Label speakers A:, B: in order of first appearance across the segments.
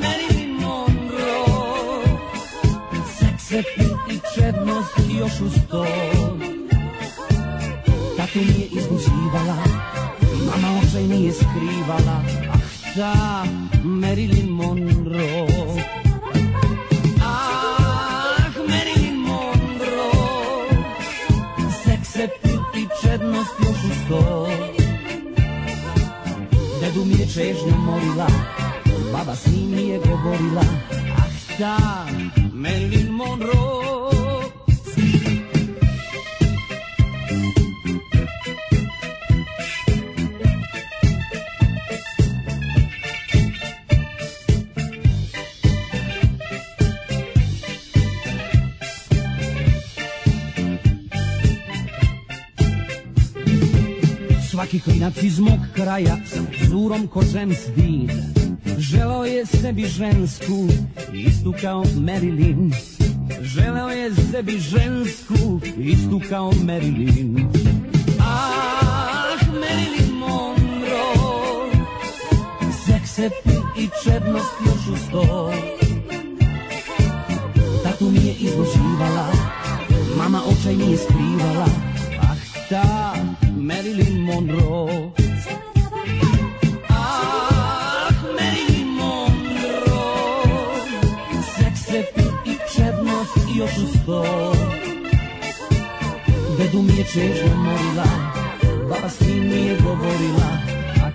A: Marilyn Monroe Sex appeal i čednost još uz to Tatu nije izbuđivala Mama očaj nije skrivala Ah ta Marilyn Monroe Ah, Marilyn Monroe Seks, appeal i čednost još uz to Dedu mi je čežnju molila, baba s njim nije govorila, ah ta, Marilyn Monroe. Svaki klinac iz mog kraja sa zurom ko James Dean Želeo je sebi žensku, istu kao Marilyn Želeo je sebi žensku, istu kao Marilyn Ah, Marilyn Monroe Seks, appeal i čednost još uz to Tatu mi je izloživala, mama očaj nije skrivala, ah ta Marilyn Monroe. Ah, Marilyn Monroe, seks, appeal i čednost i još uz to. Dedu mi je čežno morila, baba s njim nije govorila, ah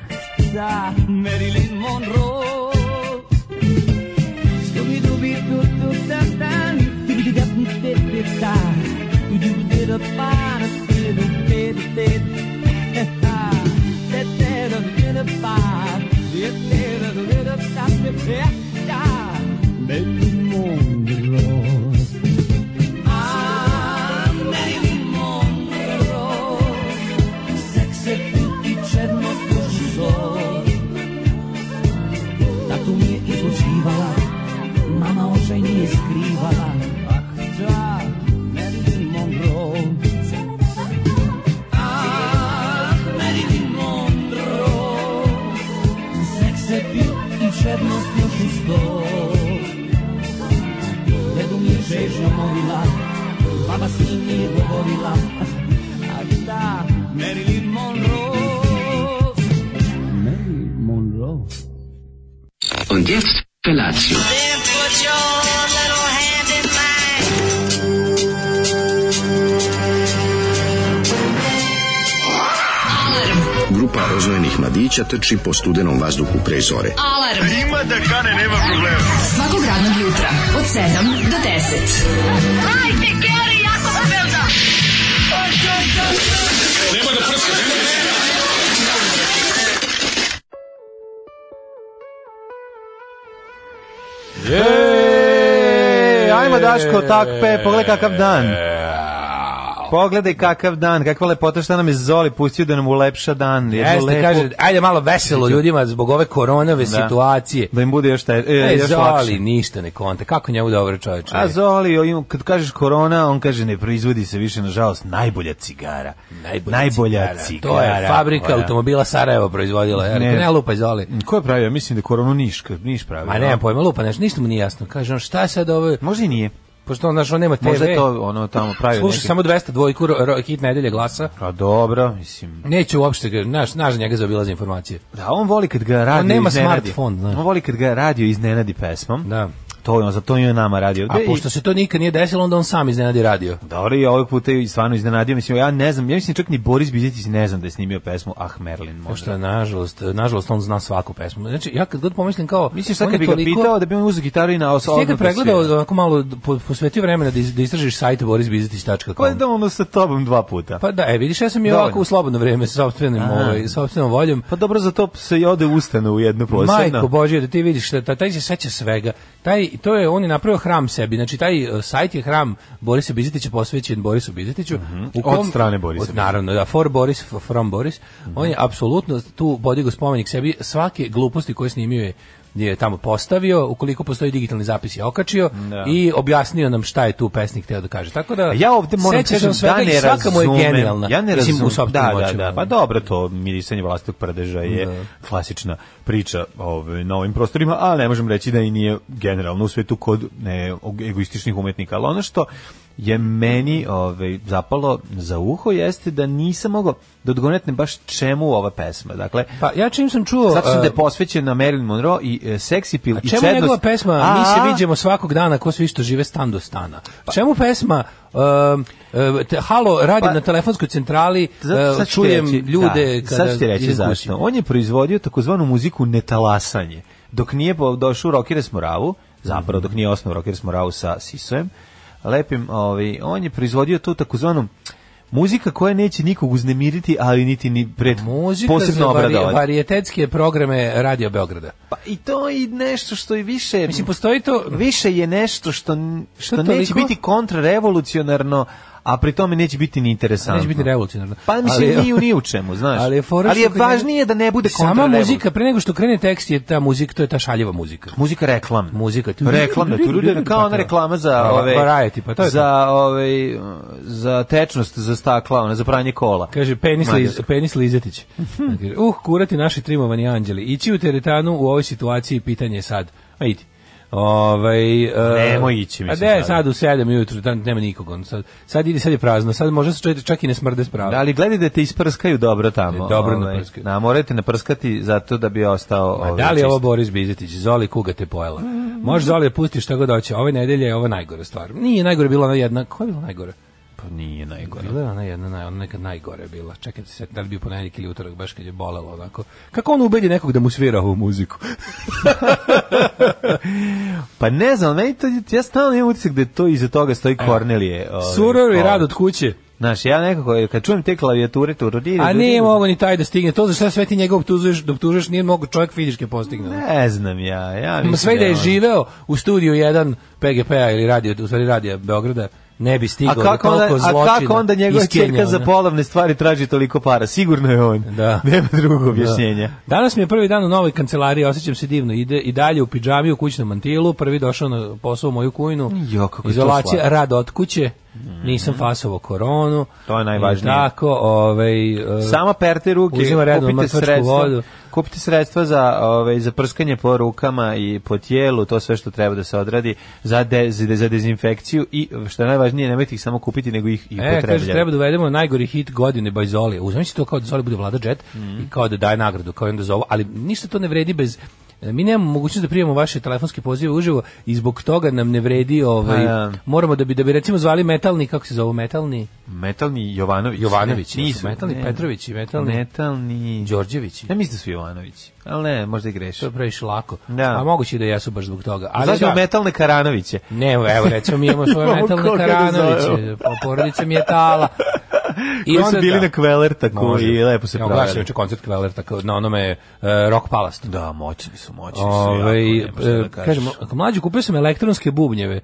A: ta Marilyn Monroe. Ah, Marilyn Monroe, seks, appeal i čednost dušu zove. Tatu mi je izlučivala, mama očaj nije skrivala. Ah, da, Marilyn Monroe. Ah, Marilyn Monroe. Seks, appeal i čednost još uz to. Dedu mi je žežno molila, baba s njim nije govorila. Ah, da, Marilyn Monroe. Marilyn Monroe.
B: Und jetzt Felatio.
C: Then put your little hand in mine.
D: Grupa rozvojenih mladića trči po studenom vazduhu pre zore.
E: Alarm. Ima da kane, nema problema. Svakog radnog jutra, od 7 do 10. Hajde, Geri, jako se velda.
F: E, ajmo Daško, takpe, pogledaj kakav dan.
G: E,
F: Pogledaj kakav dan, kakva lepota šta nam je Zoli pustio da nam ulepša dan. Jednu
G: Jeste,
F: lepu-
G: kaže, ajde malo veselo ljudima zbog ove koronove situacije.
F: Da im bude još, te, e,
G: E,
F: još
G: Zoli,
F: lakše.
G: ništa ne konta. Kako njemu dobro čoveče?
F: A Zoli, o, im- kad kažeš korona, on kaže ne proizvodi se više, nažalost, najbolja cigara. Najbolja cigara.
G: To je fabrika
F: Ona.
G: automobila Sarajevo proizvodila. Ja rekao,
F: Ne.
G: ne lupaj Zoli.
F: Ko je pravio? Ja Mislim da je koronu Niš, Niš pravio.
G: Ma nema pojma, lupa, nešto, ništa mu nije jasno. Kaže, on, šta je sad ovo?
F: Možda i nije.
G: Pošto on, znaš, on nema TV.
F: Možda je to ono tamo pravio
G: Sluša
F: neki-
G: samo 200 dvojku, ro, ro, hit nedelje glasa.
F: A dobro, mislim.
G: Neće uopšte, ga- znaš, znaš da njega zaobilaze informacije.
F: Da, on voli kad ga radio
G: nema
F: iznenadi.
G: smartfon, znaš.
F: On voli kad ga radio iznenadi pesmom.
G: Da.
F: To je on, zato je on nama radio.
G: A
F: Da, i-
G: pošto se to nikad nije desilo, onda on sam iznenadi radio.
F: Dobro, i ovog puta je stvarno iznenadio. Mislim, ja ne znam, ja mislim čak ni Boris Bizetić ne znam da je snimio pesmu Ah Merlin možda.
G: Pošto je, nažalost, nažalost, on zna svaku pesmu. Znači, ja kad god pomislim kao...
F: Misliš sad
G: on
F: kad
G: je
F: bi ga
G: toliko-
F: pitao da bi on uzeo gitaru i na os-
G: Sve
F: odmah
G: kad
F: da
G: pregledao,
F: svira?
G: onako malo po- posvetio vremena da, iz, da istražiš sajt borisbizetić.com.
F: Pa da ono sa tobom dva puta. Pa,
G: Pa da, e, vidiš, ja sam i
F: Dovoljno.
G: ovako u slobodno vreme sa sopstvenim,
F: Aha.
G: ovaj, sopstvenom voljom.
F: Pa dobro, za to se i ode u ustanu jednu posebno.
G: Majko Božje, da ti vidiš, da, taj se seća svega. Taj, to je, on je napravio hram sebi. Znači, taj e, sajt je hram Borisa Bizetića posvećen Borisu Bizetiću. u
F: Mhm. Od strane Borisa Mhm.
G: od- naravno, da, for Boris, f- from Boris. On je apsolutno tu podigao spomenik sebi svake gluposti koje snimio je je tamo postavio, ukoliko postoji digitalni zapis je okačio i objasnio nam šta je tu pesnik teo da kaže. Tako da
F: Ja ovdje moram
G: seća se
F: kažem
G: on svega
F: da
G: i
F: ne
G: svaka mu je
F: razumem.
G: genijalna.
F: Ja ne
G: Mislim, u
F: razumem.
G: sopstvenim
F: da, da,
G: očima.
F: da. Pa dobro, to mirisanje vlastitog prdeža je klasična priča ovaj, na ovim prostorima, ali ne možem reći da i nije generalno u svetu kod ne, egoističnih umetnika. Ali ono što je meni ovaj, zapalo za uho jeste da nisam mogao da odgonetnem baš čemu ova pesma. Dakle,
G: Pa ja čim sam čuo...
F: zato sam
G: e,
F: da je posvećena Marilyn Monroe i e, Sexy Pill
G: A
F: i
G: čemu
F: čednost.
G: njegova pesma
F: A,
G: Mi se viđemo svakog dana ko svi što žive stan do stana. čemu pesma um, e, te- Halo, radim
F: Pa-
G: na telefonskoj centrali,
F: Zato
G: e,
F: sad ću ti
G: čujem
F: reći,
G: ljude
F: da,
G: kada
F: sad ću ti reći
G: idem kući.
F: zašto. On je proizvodio takozvanu muziku netalasanje. Dok nije po- došao u Rockers Moravu, zapravo dok nije osnov Rockers Moravu sa Sisojem, lepim, ovaj, on je proizvodio tu takozvanu muzika koja neće nikog uznemiriti, ali niti ni pred
G: Muzika
F: posebno
G: za vari,
F: obradovati.
G: varijetetske programe Radio Beograda.
F: Pa i to i nešto što je više...
G: Mislim, postoji to...
F: više je nešto što, n- što
G: To
F: neće
G: toliko?
F: biti kontrarevolucionarno, a pri tome neće biti ni interesantno.
G: Neće biti revolucionarno.
F: Pa mislim, ni, u- ni u čemu, znaš.
G: Ali je, fora što kad
F: važnije da ne bude
G: Sama
F: kontrarevolucionarno.
G: muzika, pre nego što krene tekst, je ta muzika, to je ta šaljiva muzika.
F: Muzika reklam.
G: Muzika.
F: Reklamna, turude, kao ona reklama za
G: Pa,
F: ove
G: variety, pa to je to.
F: za ove za tečnost za stakla, ona za pranje kola.
G: Kaže penis, liz,
F: Mađarska.
G: penis Lizetić. Kaže, uh, kurati naši trimovani anđeli. Ići u teretanu u ovoj situaciji pitanje je sad. Ma idi. Ovaj e,
F: Nemoj ići,
G: A
F: mislim,
G: ne,
F: sad.
G: sad u 7 ujutru, tam nema nikog. on Sad, sad idi, sad je prazno. Sad možda se čovjek čak i ne smrde sprava.
F: Ali gledaj da te isprskaju dobro tamo.
G: Dobro
F: ovaj.
G: naprskaju.
F: Na, morate naprskati zato da bi ostao
G: Ma
F: ovaj,
G: da li je ovo
F: čist.
G: Boris Bizetić? Zoli kuga te pojela. Može Zoli da pusti šta god hoće. Ove nedelje je ovo najgore stvar. Nije najgore bila ona jedna. Koja je bila najgore?
F: Pa nije najgore.
G: Bila je ona jedna, naj, ona nekad najgore je bila. Čekaj da se setim, da li bi ponedjeljak ili utorak baš kad je bolelo onako. Kako on ubedi nekog da mu svira ovu muziku?
F: Pa ne znam, meni to, ja stalno imam utisak da je to iza toga stoji Kornelije. ovaj,
G: Suror i
F: kola.
G: rad od kuće.
F: Znaš, ja nekako, kad čujem te klavijature, tu
G: A nije mogo ni taj da stigne. To za šta sve ti njega optužuješ, da optužuješ, nije mogo čovjek fizički postigne.
F: Ne znam ja, ja mislim
G: Ma sve da je
F: on-
G: živeo u studiju 1 PGP-a P-a ili radio, u stvari radija Beograda, ne bi
F: ono- A
G: stigao do
F: kako, onda,
G: toliko
F: a
G: zločina.
F: kako onda njegova
G: iz Kenije,
F: čerka za
G: ono.
F: polovne stvari traži toliko para? Sigurno je on.
G: Da.
F: Nema drugog objašnjenja.
G: Da. Danas mi je prvi dan u novoj kancelariji, osjećam se divno. Ide i dalje u pidžami u kućnom mantilu, prvi došao na posao u moju kujnu.
F: Jo, kako je to
G: Izolacija,
F: slatko.
G: rad od kuće. Nisam fasovo koronu.
F: To je najvažnije.
G: I Tako, ovaj e,
F: Samo perte ruke,
G: Uzima redno
F: kupite
G: mrtvačku
F: sredstva,
G: vodu.
F: kupite sredstva za, ovaj, za prskanje po rukama i po tijelu, to sve što treba da se odradi za, de, za, za dezinfekciju i što je najvažnije, nemojte ih samo kupiti, nego ih i
G: E,
F: upotrebljati.
G: kaže, treba da uvedemo najgori hit godine by Zoli. Uzmi si to kao da Zoli bude vlada jet
F: Mhm.
G: i kao da daje nagradu, kao i onda zovu, ali ništa to ne vredi bez e, Mi nemamo mogućnost da primamo vaše telefonske pozive uživo i zbog toga nam ne vredi ovaj,
F: Pa, da.
G: moramo da bi, da bi recimo zvali metalni, kako se zove metalni?
F: Metalni Jovanović.
G: Jovanović,
F: Ne,
G: jesu metalni, Petrović i metalni-
F: Metalni...
G: Đorđevići.
F: Ne mislim da su Jovanovići, ali ne, možda i greš.
G: To je previše lako.
F: Da.
G: A moguće i da jesu baš zbog toga. Ali
F: Zašto
G: da,
F: metalne Karanoviće?
G: Ne, evo recimo mi imamo svoje
F: Imamo
G: metalne
F: koga da
G: Karanoviće,
F: zovemo.
G: po- porodica mi je tala.
F: Koji su bili na Kvelertaku
G: Može.
F: i lepo se
G: Evo, gledao sam
F: proveli.
G: juče koncert Kvelerta kao na onome e, Rock Palace.
F: Da, moćni su, moćni su.
G: Ove,
F: jako, nema šta da kažeš.
G: Ovaj,
F: Mhm.
G: kažemo, e, mlađi kupio sam elektronske bubnjeve.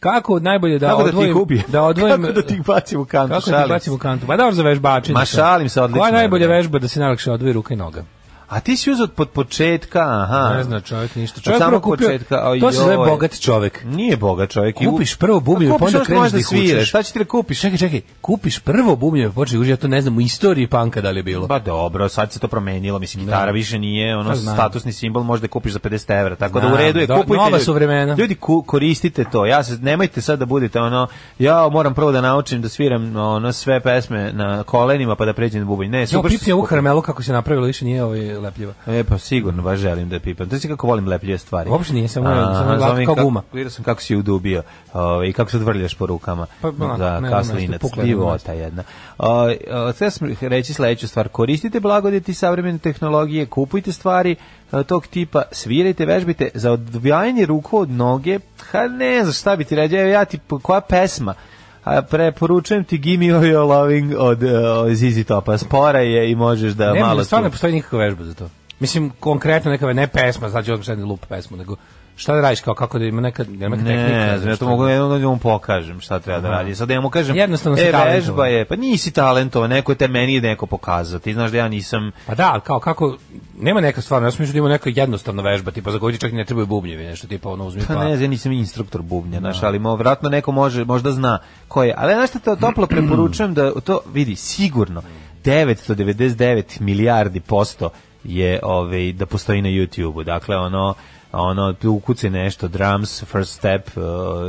G: Kako najbolje da
F: Kako da ti
G: odvojim,
F: kupi?
G: da odvojim
F: Kako da ti bacim u kantu?
G: kako da
F: šalim
G: ti
F: se.
G: bacim u kantu? Pa dobro za vežbačenje.
F: Ma, šalim se, odlično
G: Koja je
F: je,
G: najbolja
F: da.
G: vežba da se najlakše odvoji ruka i noga?
F: A ti si uzeo od početka, aha.
G: Ne zna čovjek ništa. Čovjek
F: samog
G: prvo kupio,
F: početka, oj,
G: to se zove
F: joj.
G: bogat čovjek.
F: Nije boga čovjek. i
G: Kupiš
F: u-
G: prvo
F: A
G: bubnjeve, pa
F: kupiš
G: onda
F: ono što
G: kreneš
F: možeš
G: da ih
F: sviraš.
G: učeš.
F: Šta će ti da kupiš?
G: Čekaj, čekaj, kupiš prvo bubnjeve, počeš uđe, ja to ne znam u istoriji panka da li je bilo.
F: Ba Pa dobro, sad se to promenilo, mislim gitara više nije ono
G: Pa znam.
F: statusni simbol, možda je kupiš za 50 evra, tako da
G: Znam,
F: u redu je,
G: do-
F: kupujte.
G: nova
F: ljudi.
G: su vremena.
F: Ljudi ku- koristite to. Ja se nemojte sad da budete ono ja moram prvo da naučim da sviram ono sve pesme na kolenima pa da pređem na bubanj. Ne,
G: Ja
F: super. što si
G: pipnje ovu
F: kupio.
G: karamelu kako se napravilo, više nije ovaj lepljiva.
F: E pa sigurno baš želim da pipam. To si kako volim lepljive stvari.
G: Uopšte nije, samo je-
F: A,
G: samo je
F: znam
G: glatko
F: i
G: kao
F: kako-
G: guma.
F: Vidio sam kako si udubio ovaj, i kako se odvrljaš po rukama.
G: Pa, onako, ne
F: da,
G: znam, nešto
F: kaslinac,
G: pukla je
F: divota jedna. O, o, sad sam reći sledeću stvar. Koristite blagodeti savremene tehnologije, kupujte stvari e, tog tipa, svirajte, vežbite za odvijanje ruku od noge. Ha ne znam šta bi ti ređao, ja ti, koja pesma? A preporučujem ti Gimme Your Loving od, e, od ZZ Topa. Spora je i možeš da
G: Ne,
F: malo...
G: stvarno ne
F: tu-
G: postoji nikakva vežba za to. Mislim, konkretno neka, ne pesma, znači odmah sad ne lupa pesmu, nego šta da radiš, kao kako da ima neka, da ima neka tehnika.
F: Ne, ne,
G: znaš,
F: to
G: šta-
F: mogu jednom da mu pokažem šta treba da radi. Sad da ja mu kažem,
G: Jednostavno si
F: e, vežba
G: talentovan.
F: je, pa nisi talentovan, neko je te meni neko pokazao. Ti znaš da ja nisam,
G: Pa da, ali kao kako, nema neka stvarno, ja sam mislio da ima neka jednostavna vežba, tipa za koju ti čak i ne trebaju bubnjevi, nešto tipa ono uzmi
F: pa ne, znam, ja nisam instruktor bubnja, znaš, ali mo, vratno neko može, možda zna ko je. Ali znaš šta te toplo preporučujem da to vidi, sigurno, 999 milijardi posto je ovaj, da postoji na YouTube-u. Dakle, ono, ono, tu ukuci nešto, drums, first step, uh,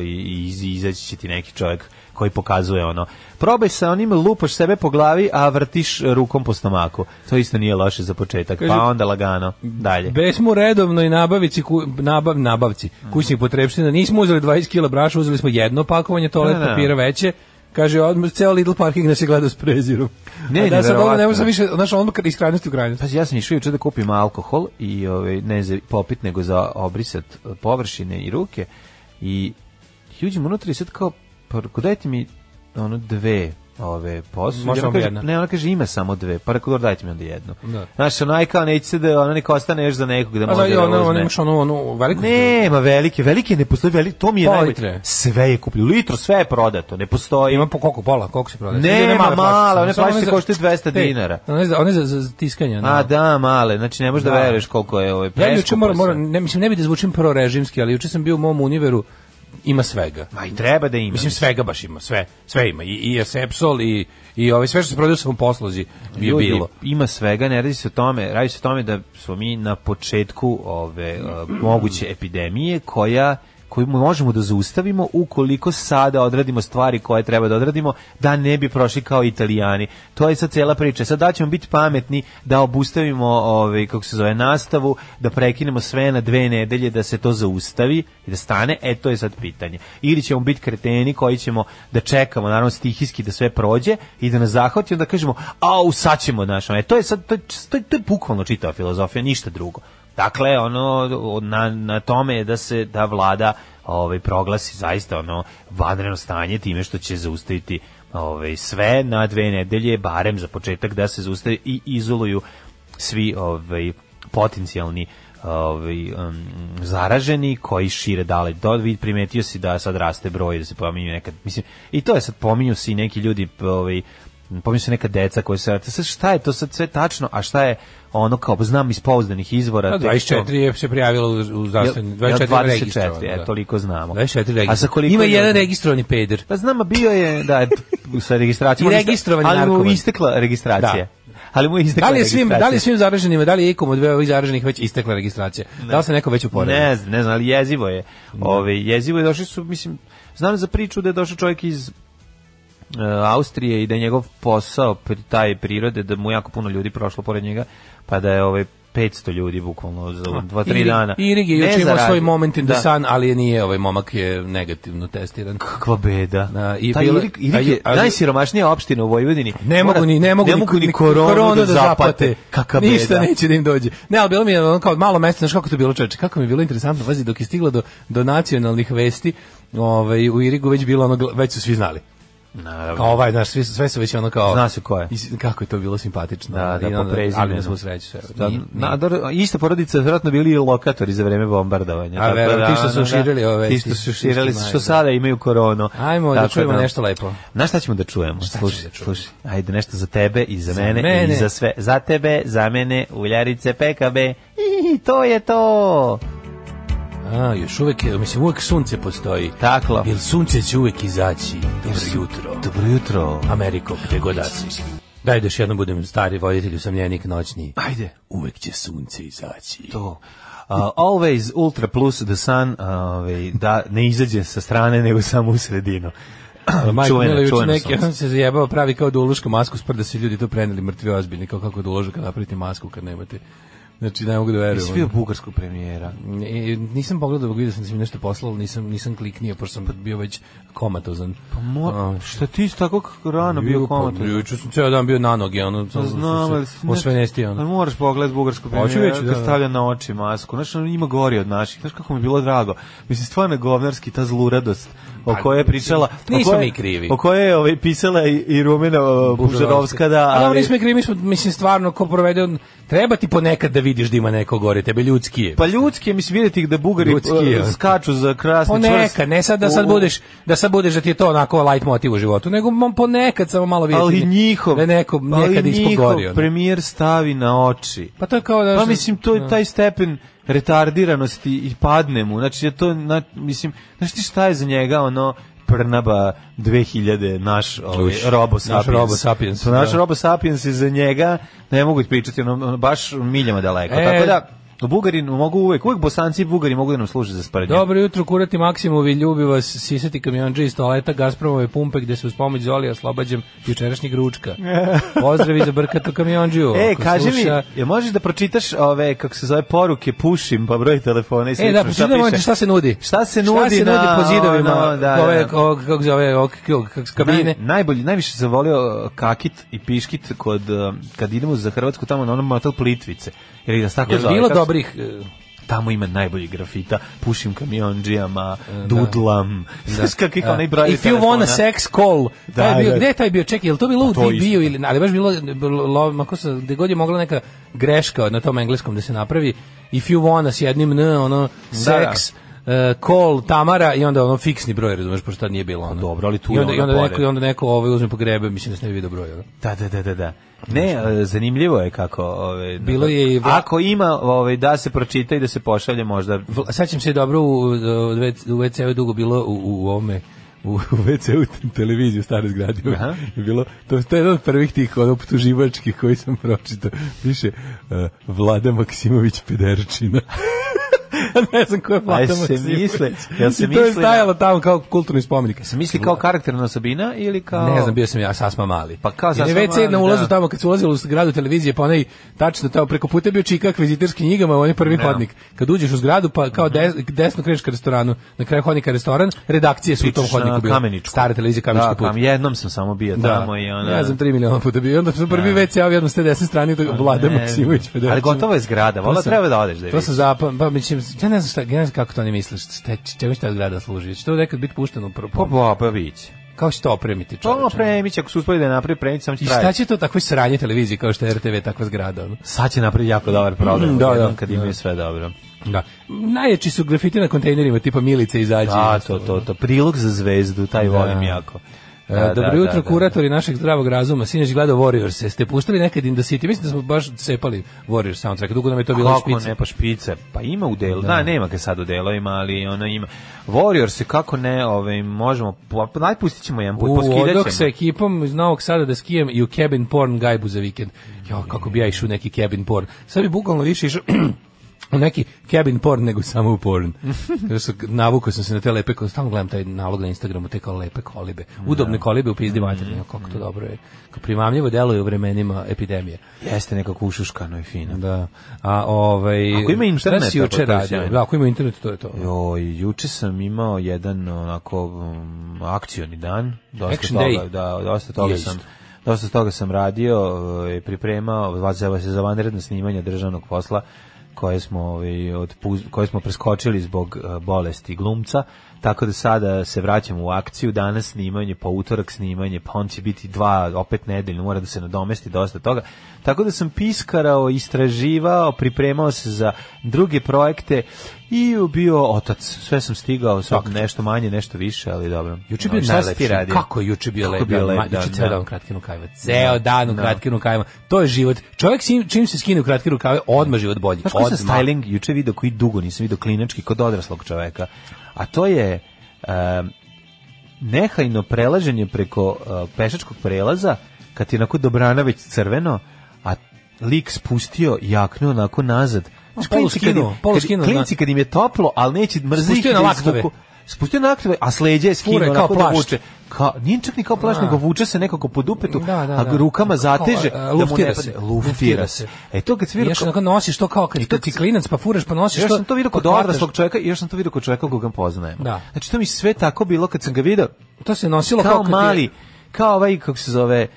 F: i, iz- izaći će ti neki čovjek koji pokazuje ono. Probaj sa onim, lupaš sebe po glavi, a vrtiš rukom po stomaku. To isto nije loše za početak,
G: Kaže-
F: pa onda lagano, dalje.
G: Besmo redovno i nabavici, ku, nabav, nabavci
F: Mhm.
G: kućnih potrepština. Nismo uzeli 20 kila braša, uzeli smo jedno pakovanje toalet
F: Da, da.
G: papira veće. Kaže, odmah, ceo Lidl parking nas je gledao s prezirom.
F: Ne,
G: A da, sad ovo ne
F: neverovatno.
G: možemo više, znaš, odmah iz krajnosti u krajnost.
F: Pazi, ja sam išao juče da kupim alkohol i ovaj ne za popit nego za obrisat e, površine i ruke i i uđem unutra i sad kao pa reko, dajte mi ono dve ove posude.
G: Može
F: Ona
G: vam
F: kaže,
G: jedna.
F: Ne, ona kaže ima samo dve. Pa rekao, dobro, dajte mi onda jednu.
G: Da.
F: Znaš, ona je kao neće se da ono neka ostane još za nekog da
G: A da,
F: može
G: i
F: da
G: ono, ono
F: uzme.
G: imaš ono, ono, veliko...
F: Nema velike, velike ne postoji, velike, to mi je
G: Pola
F: najbolje.
G: litre.
F: Sve je kupljeno, litro, sve je prodato, ne postoji.
G: Ima po koliko, pola, koliko se prodaje?
F: Nema,
G: Ili male
F: male,
G: flašice?
F: one
G: Samo
F: flašice
G: za-
F: koštaju 200
G: Ej,
F: dinara.
G: One za, one za, za, za tiskanje. ono.
F: A da, male, znači ne možeš da,
G: Da.
F: veruješ koliko je ovaj
G: Ja juče
F: preskupo
G: moram,
F: sve.
G: moram, ne, mislim, ne bi da zvučim prorežimski, ali juče sam bio u mom univeru, ima svega.
F: Ma i treba da ima.
G: Mislim svega baš ima, sve, sve ima. I i Sepsol i i ovaj sve što se prodaje u svom poslozi bi je
F: Ljudi, pa
G: bilo.
F: Ima svega, ne radi se o tome, radi se o tome da smo mi na početku ove uh, moguće epidemije koja koju možemo da zaustavimo ukoliko sada odradimo stvari koje treba da odradimo da ne bi prošli kao italijani. To je sad cela priča. Sad da ćemo biti pametni da obustavimo ovaj kako se zove nastavu, da prekinemo sve na dve nedelje da se to zaustavi i da stane, e to je sad pitanje. Ili ćemo biti kreteni koji ćemo da čekamo naravno stihijski da sve prođe i da nas zahvati onda kažemo au sad ćemo naš e to je sad to, je- to, je- to je bukvalno čitava filozofija ništa drugo. Dakle ono o- na, na tome je da se da vlada ovaj proglasi zaista ono vanredno stanje time što će zaustaviti ovaj sve na dve nedelje barem za početak da se zaustavi i izoluju svi ovaj potencijalni ovaj, um, zaraženi koji šire dalje do vid primetio si da sad raste broj da se pominju nekad mislim i to je sad pominju se i neki ljudi p- ovaj pominju se neka deca koji se sad šta je to sad sve tačno a šta je ono kao znam iz pouzdanih izvora
G: A
F: tek to.
G: 24 je se prijavilo u- u zdravstveni,
F: Jel-
G: 24
F: jel
G: je registrovano.
F: 24, e,
G: da.
F: toliko znamo.
G: 24
F: A sa
G: registrovano.
F: koliko
G: Ima
F: ljudi?
G: jedan registrovani peder.
F: Pa znam, a bio je, da, sa registracijom.
G: I registrovan je
F: Ali mu
G: narkoman.
F: istekla registracija.
G: Da.
F: Ali mu je istekla
G: Da li je svim, da li je
F: registracija.
G: svim zaraženima, da li je ikom od ovih zaraženih već istekla registracija? Da li se neko već uporedio?
F: Ne znam, ne znam, ali jezivo je. Ove, jezivo je, došli su, mislim, znam za priču da je došao čovjek iz e, Austrije i da je njegov posao pri taj prirode, da mu jako puno ljudi prošlo pored njega, pa da je ove, 500 ljudi bukvalno za 2-3
G: Irig-
F: dana.
G: Irig je
F: Ne
G: juče imao
F: zaradio.
G: svoj moment in the
F: Da.
G: sun, ali nije, ovaj momak je negativno testiran.
F: Kakva beda.
G: Da, i
F: Taj
G: bilo-
F: Irik, Irik
G: a ju-
F: je
G: a ju-
F: najsiromašnija opština u Vojvodini.
G: Ne mogu ni ne mogu
F: ne mogu ni koronu, da, zaplate. Kakva beda.
G: Ništa neće da im dođe. Ne, ali bilo mi je ono kao malo mesto, znaš kako je to bilo čoveče. Kako mi je bilo interesantno, vazi dok je stiglo do do nacionalnih vesti, ovaj u Irigu već bilo ono gl- već su svi znali.
F: Naravno.
G: Kao ovaj, znaš, svi, sve su već ono kao...
F: Zna se ko je.
G: Iz- kako je to bilo simpatično.
F: Da, da,
G: I
F: po
G: onda- Ali
F: prezimenu.
G: na svu sreću sve.
F: Da,
G: Nije- nije.
F: nador- ista porodica vjerojatno bili i lokatori za vreme bombardovanja.
G: A,
F: tako
G: verujem, ti što su
F: ono,
G: širili ove
F: Ti
G: vesti,
F: što su
G: ti
F: širili,
G: što
F: što
G: znaju,
F: sada imaju koronu.
G: Ajmo da
F: Tako
G: čujemo nešto lepo.
F: Znaš šta ćemo da čujemo? slušaj,
G: da čujemo?
F: slušaj. Ajde, nešto za tebe i za, mene,
G: mene.
F: i za sve. Za tebe, za mene, uljarice, PKB. I to je to.
G: A, još uvek, je- mislim, uvek sunce postoji.
F: Taklo.
G: Jer sunce će uvek izaći. Dobro jutro.
F: Dobro jutro.
G: Ameriko, gde god da si. Daj da još jednom budem stari voditelj, usamljenik noćni.
F: Ajde.
G: Uvek će sunce izaći.
F: to. Uh, always Ultra Plus The Sun, ovaj, da ne izađe sa strane, nego samo u sredinu. Čuvena,
G: Milović
F: čuvena
G: neki,
F: sunce.
G: on se zajebao, pravi kao da ulošku masku, sprda se ljudi to preneli mrtvi ozbiljni, kao kako da uložu kad napravite masku kad nemate. Znači, ne mogu da verujem.
F: Jesi vidio bugarskog premijera?
G: E, nisam pogledao, vidio sam da si mi nešto poslalo, nisam, nisam kliknio, pošto sam bio već komatozan. Pa
F: Mo, šta ti si tako k- rano bio komator?
G: Juče sam ceo dan pa bio na noge, ono, sam
F: Znam, ali...
G: osvenestio.
F: Ali
G: Ono.
F: moraš pogledati bugarskog
G: Hoću
F: premijera,
G: reći,
F: kad
G: da.
F: stavlja na ono, oči masku. Znaš, on ima gori od naših. Znaš kako mi je bilo drago. Mislim, stvarno je govnarski ta zluradost o kojoj je pričala, o
G: Pa, Nismo
F: kojoj-
G: mi krivi.
F: O kojoj je ovaj pisala i, i Rumena o, Bužarovska, da,
G: ali... ovo nismo i krivi, mi smo, mislim, stvarno, ko provede, on- treba ti ponekad da vidiš da ima neko gore, tebe ljudski je.
F: Pa ljudski je, mislim, vidjeti da bugari
G: Ljudski
F: e,
G: je.
F: skaču za krasni čvrst.
G: Ponekad, ne sad da sad
F: U-
G: budeš, da sad budeš da ti je to onako light motiv u životu, nego mom ponekad samo malo vidjeti.
F: Ali njihov,
G: Da je neko
F: ali
G: nekad
F: njihov
G: ispogori. ono.
F: premijer stavi na oči.
G: Pa to je kao da...
F: Pa mislim to je taj stepen retardiranosti i padne mu. Znači je to na, mislim, znači ti šta je za njega ono Prnaba 2000 naš ovaj
G: Uš,
F: Robo
G: naš
F: Sapiens.
G: Robo Sapiens,
F: Pa naš
G: da.
F: Robo Sapiens je za njega ne mogu pričati ono, ono, baš miljama daleko.
G: E.
F: Tako da Bugari mogu uvek, uvek Bosanci i Bugari mogu da nam služe za sparednje.
G: Dobro jutro, kurati Maksimovi, ljubi vas, sisati kamionđe iz toaleta Gazpromove pumpe gde se uz pomoć Zoli oslobađam jučerašnjeg ručka. Pozdrav i za brkato kamionđiju.
F: E,
G: ako
F: kaži mi,
G: sluša-
F: je možeš da pročitaš ove, kako se zove, poruke, pušim, pa broj telefona i slično.
G: E, da,
F: šta
G: pročitaj
F: piše?
G: molim te šta se nudi.
F: Šta se
G: šta
F: nudi
G: se nudi
F: na-
G: po zidovima
F: ono, da, da.
G: ove, ovog, kako zove, ovog, ovog, kako se- kabine.
F: Naj, najbolji, najviše sam volio uh, kakit i piškit kod, uh, kad idemo za Hrvatsku tamo na onom motel Plitvice. Jer da se tako
G: Jel
F: zove,
G: bilo
F: kako se-
G: dobrih... e,
F: Tamo ima najbolji grafita, pušim kamionđijama, dudlam, znaš kakvi kao najbravi
G: E, If you want a sex call.
F: Da,
G: Da, bio,
F: da. Pa
G: gde je taj bio? Čekaj, je li to bilo u
F: to
G: DB-u
F: isto.
G: ili ali baš bilo bilo- lo- ma ko se gde god je mogla neka greška na tom engleskom da se napravi. If you want s jednim n ono sex e, call Tamara i onda ono fiksni broj, razumeš, pošto tad nije bilo ono.
F: Pa dobro, ali tu
G: I
F: je
G: onda, i
F: ono
G: onda
F: pored.
G: neko, i onda neko ovaj uzme po grebe, mislim da se ne bi video broj. Ono.
F: Da, da, da, da, da. Ne, e, zanimljivo je kako... Ove,
G: Bilo je i vla-
F: Ako ima ove, da se pročita i da se pošalje možda...
G: Vla- Sećam se dobro u, u, u WC-u je dugo bilo u, u ovome u, u WC-u t- televiziju u staroj zgradi
F: Aha.
G: je bilo, to, to je jedan od prvih tih ono, optuživačkih koji sam pročitao piše uh, Vlada Maksimović Pederčina ne znam ko je
F: A
G: Vlada
F: jel se
G: Maksimović
F: misle- jel se
G: I to je
F: misle na-
G: stajalo tamo kao kulturni spomenik
F: Se misli kao karakterna osobina ili kao...
G: ne znam, bio sam ja sasma mali.
F: Pa kao
G: Jer je
F: sasma
G: WC
F: mali,
G: na ulazu
F: da.
G: tamo kad se ulazilo u zgradu televizije, pa onaj tačno tamo preko puta je bio čikak viziterskim knjigama, onaj prvi hodnik. Kad uđeš u zgradu pa kao
F: Mhm.
G: des- desno kreneš ka restoranu, na kraju hodnika je restoran, redakcije su u tom
F: Pričaš na
G: hodniku bile.
F: Kameničku.
G: Stare televizije kamenički
F: Da,
G: put.
F: kam, jednom sam samo bio tamo i ono- ona...
G: Ne znam, 3 miliona puta bio. I Onda sam prvi WC ja odjednom s te desne strane do Vlada
F: ne,
G: Maksimović.
F: ali
G: Federacin.
F: gotova je zgrada,
G: To
F: valjda
G: sam-
F: treba da odeš da je
G: To
F: vidiš.
G: sam zapam, pa mislim, ja ne znam šta, ja ne znam kako to oni misle, šta, čemu će ta zgrada služi, će to nekad biti pušteno, u pro-
F: Pa, pa, pa, vić.
G: kao će to opremiti
F: To
G: čoveče?
F: premić, ako se uspoji da je napravi premić, samo će
G: I šta
F: trajati.
G: će to takvoj sranje televiziji kao što je RTV takva zgrada? Ono?
F: Sad će napraviti jako dobar
G: Mm,
F: program.
G: da,
F: jednom
G: da.
F: Kad imaju sve dobro.
G: Da. Najjači su grafiti na kontejnerima, tipa Milice izađe.
F: Da, to, to, to. Prilog za zvezdu, taj volim jako.
G: E,
F: Da,
G: Dobro
F: da,
G: jutro,
F: da, da.
G: kuratori našeg zdravog razuma. Sinoć gledao Warriors. Ste puštali nekad in the city? Mislim da smo baš cepali Warriors soundtrack. Dugo nam je to bilo
F: Kako
G: špice.
F: ne, pa špice. Pa ima u delu. Da, nema ga sad u delovima, ali ona ima. Warrior se kako ne, ovaj, možemo, pa, najpustit ćemo jedan put,
G: U
F: poskidat
G: Odok sa
F: ćemo.
G: ekipom iz Novog Sada da skijem i u cabin porn gajbu za vikend.
F: Mm.
G: Jo, kako bi ja išao u neki cabin porn. Sad bi bukvalno više išao u neki cabin porn nego samo u porn. Kada sam- Navukao sam se na te lepe, ko- stalno gledam taj nalog na Instagramu, te kao lepe kolibe. Udobne kolibe u pizdi
F: Mm.
G: materine, jo, kako to dobro je. Kao primamljivo deluje u vremenima epidemije.
F: Jeste nekako ušuškano i fino.
G: Da. A ovaj
F: Ako ima interneta,
G: šta si
F: pa
G: juče
F: to je
G: radio?
F: sjajno.
G: Da, ako ima internet, to je to.
F: Joj, juče sam imao jedan onako um, akcioni dan. Dosta
G: Action
F: toga,
G: day.
F: da, dosta toga
G: Jest.
F: sam dosta toga sam radio, e, pripremao, vazava se za vanredno snimanje državnog posla koje smo ovaj od koje smo preskočili zbog e, bolesti glumca. Tako da sada se vraćamo u akciju, danas snimanje, pa utorak snimanje, pa on će biti dva, opet nedeljno, mora da se nadomesti dosta toga. Tako da sam piskarao, istraživao, pripremao se za druge projekte i bio otac. Sve sam stigao, sad nešto manje, nešto više, ali dobro.
G: Juče je
F: No,
G: bio
F: šta si ti
G: najlepši.
F: radio?
G: Kako je juče bio
F: Kako
G: lep
F: je bio
G: dan?
F: lep
G: Ma, Juče
F: dan,
G: ceo
F: da.
G: dan u kratkim rukavima. Ceo dan u kratkim rukavima. To je život. Čovjek sim- čim se skine u kratke rukave, odmah život bolji.
F: Znaš koji sam
G: Odmah.
F: styling juče video koji dugo nisam video klinački kod odraslog čoveka? A to je em, nehajno prelaženje preko e, pešačkog prelaza kad je onako dobrana već crveno, a lik spustio jaknu onako nazad. Znaš,
G: polu
F: klinci kad im-
G: skinuo, polu
F: kad-
G: skinuo,
F: Klinci kad im je toplo, ali neće mrzi
G: Spustio
F: ih
G: na
F: da
G: laktove.
F: izvuku. Spustio na laktove, a sleđe je skinuo
G: Fure, kao
F: onako da
G: plašt.
F: vuče. Ka, nije čak ni kao plašt,
G: Da.
F: nego vuče se nekako po dupetu,
G: Da, da, da.
F: a rukama
G: Kao,
F: zateže,
G: e,
F: da mu ne
G: luftira
F: padne.
G: se. Luftira
F: Luftira
G: se.
F: se. E to kad se vidi
G: Još onako nosiš to kao kad,
F: I to
G: kad si klinac pa furaš pa nosiš
F: još
G: to.
F: Znači, sam to vidio
G: pa
F: kod
G: hvataš.
F: odraslog čovjeka i još sam to vidio kod čovjeka koga poznajem.
G: Da.
F: Znači to mi sve tako bilo kad sam ga vidio
G: To se nosilo
F: kao
G: kad je-
F: mali, kao ovaj kako se zove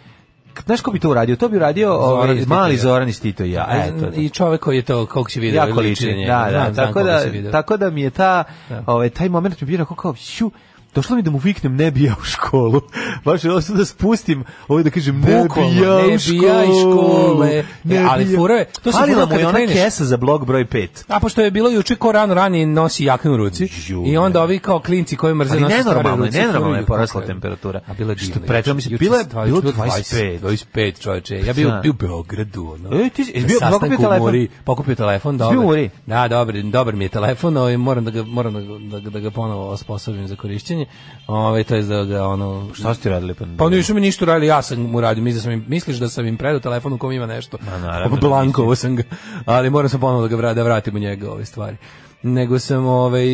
F: k- Znaš ko bi to uradio? To bi uradio ovaj,
G: iz Tito i
F: mali
G: ja.
F: Zoran iz Tito i ja.
G: A,
F: Eto,
G: I čovjek koji je to, kog si vidio,
F: jako liči.
G: na njega.
F: Da, da,
G: Znam, znam
F: tako,
G: koga
F: da
G: si vidio.
F: tako da mi je ta, ovaj, taj moment mi je bio onako kao, šu, došlo mi da mu viknem ne bija u školu. Baš je došlo da spustim, ovo da kažem ne
G: Bukvalno,
F: bija
G: ne
F: u
G: bija iz
F: školu.
G: škole. E, ali
F: bija.
G: fora je- to se
F: Falila
G: fora
F: mu je
G: kad
F: ona
G: kreneš.
F: kesa za blok broj 5.
G: A pošto je bilo juče ko rano ranije nosi jaknu u ruci
F: Ju,
G: i onda ovi kao klinci koji mrze
F: Ali
G: nose stvari u
F: nenormalno je,
G: ruci,
F: nenormalno je
G: furaju,
F: porasla
G: kako je.
F: temperatura.
G: A bila je
F: Što
G: divna. juče.
F: preterao mi se,
G: Juče
F: bila je-
G: stvarno
F: bilo
G: bilo
F: 25.
G: 25, 25 čoveče. Ja bio
F: Da.
G: bio u Beogradu, ono.
F: E, ti si- jesi
G: Na
F: bio-
G: sastanku
F: pokupio
G: u
F: telefon?
G: Muri, pokupio telefon,
F: bio u
G: dobro.
F: Muri?
G: Da, dobar, dobar mi je telefon, ovaj moram da ga moram da ga, da ga- da ga ponovo osposobim za korišćenje. Ovaj to jest da ga ono
F: Šta ste radili? Pa,
G: Pa nisu mi ništa uradili, ja sam mu radio. Misliš da sam im, misliš da sam im predao telefon u kom ima nešto?
F: Ma, naravno,
G: Blankovo sam ga. Ali moram sam ponovo da ga vra- da vratim u njega ove stvari. Nego sam ovaj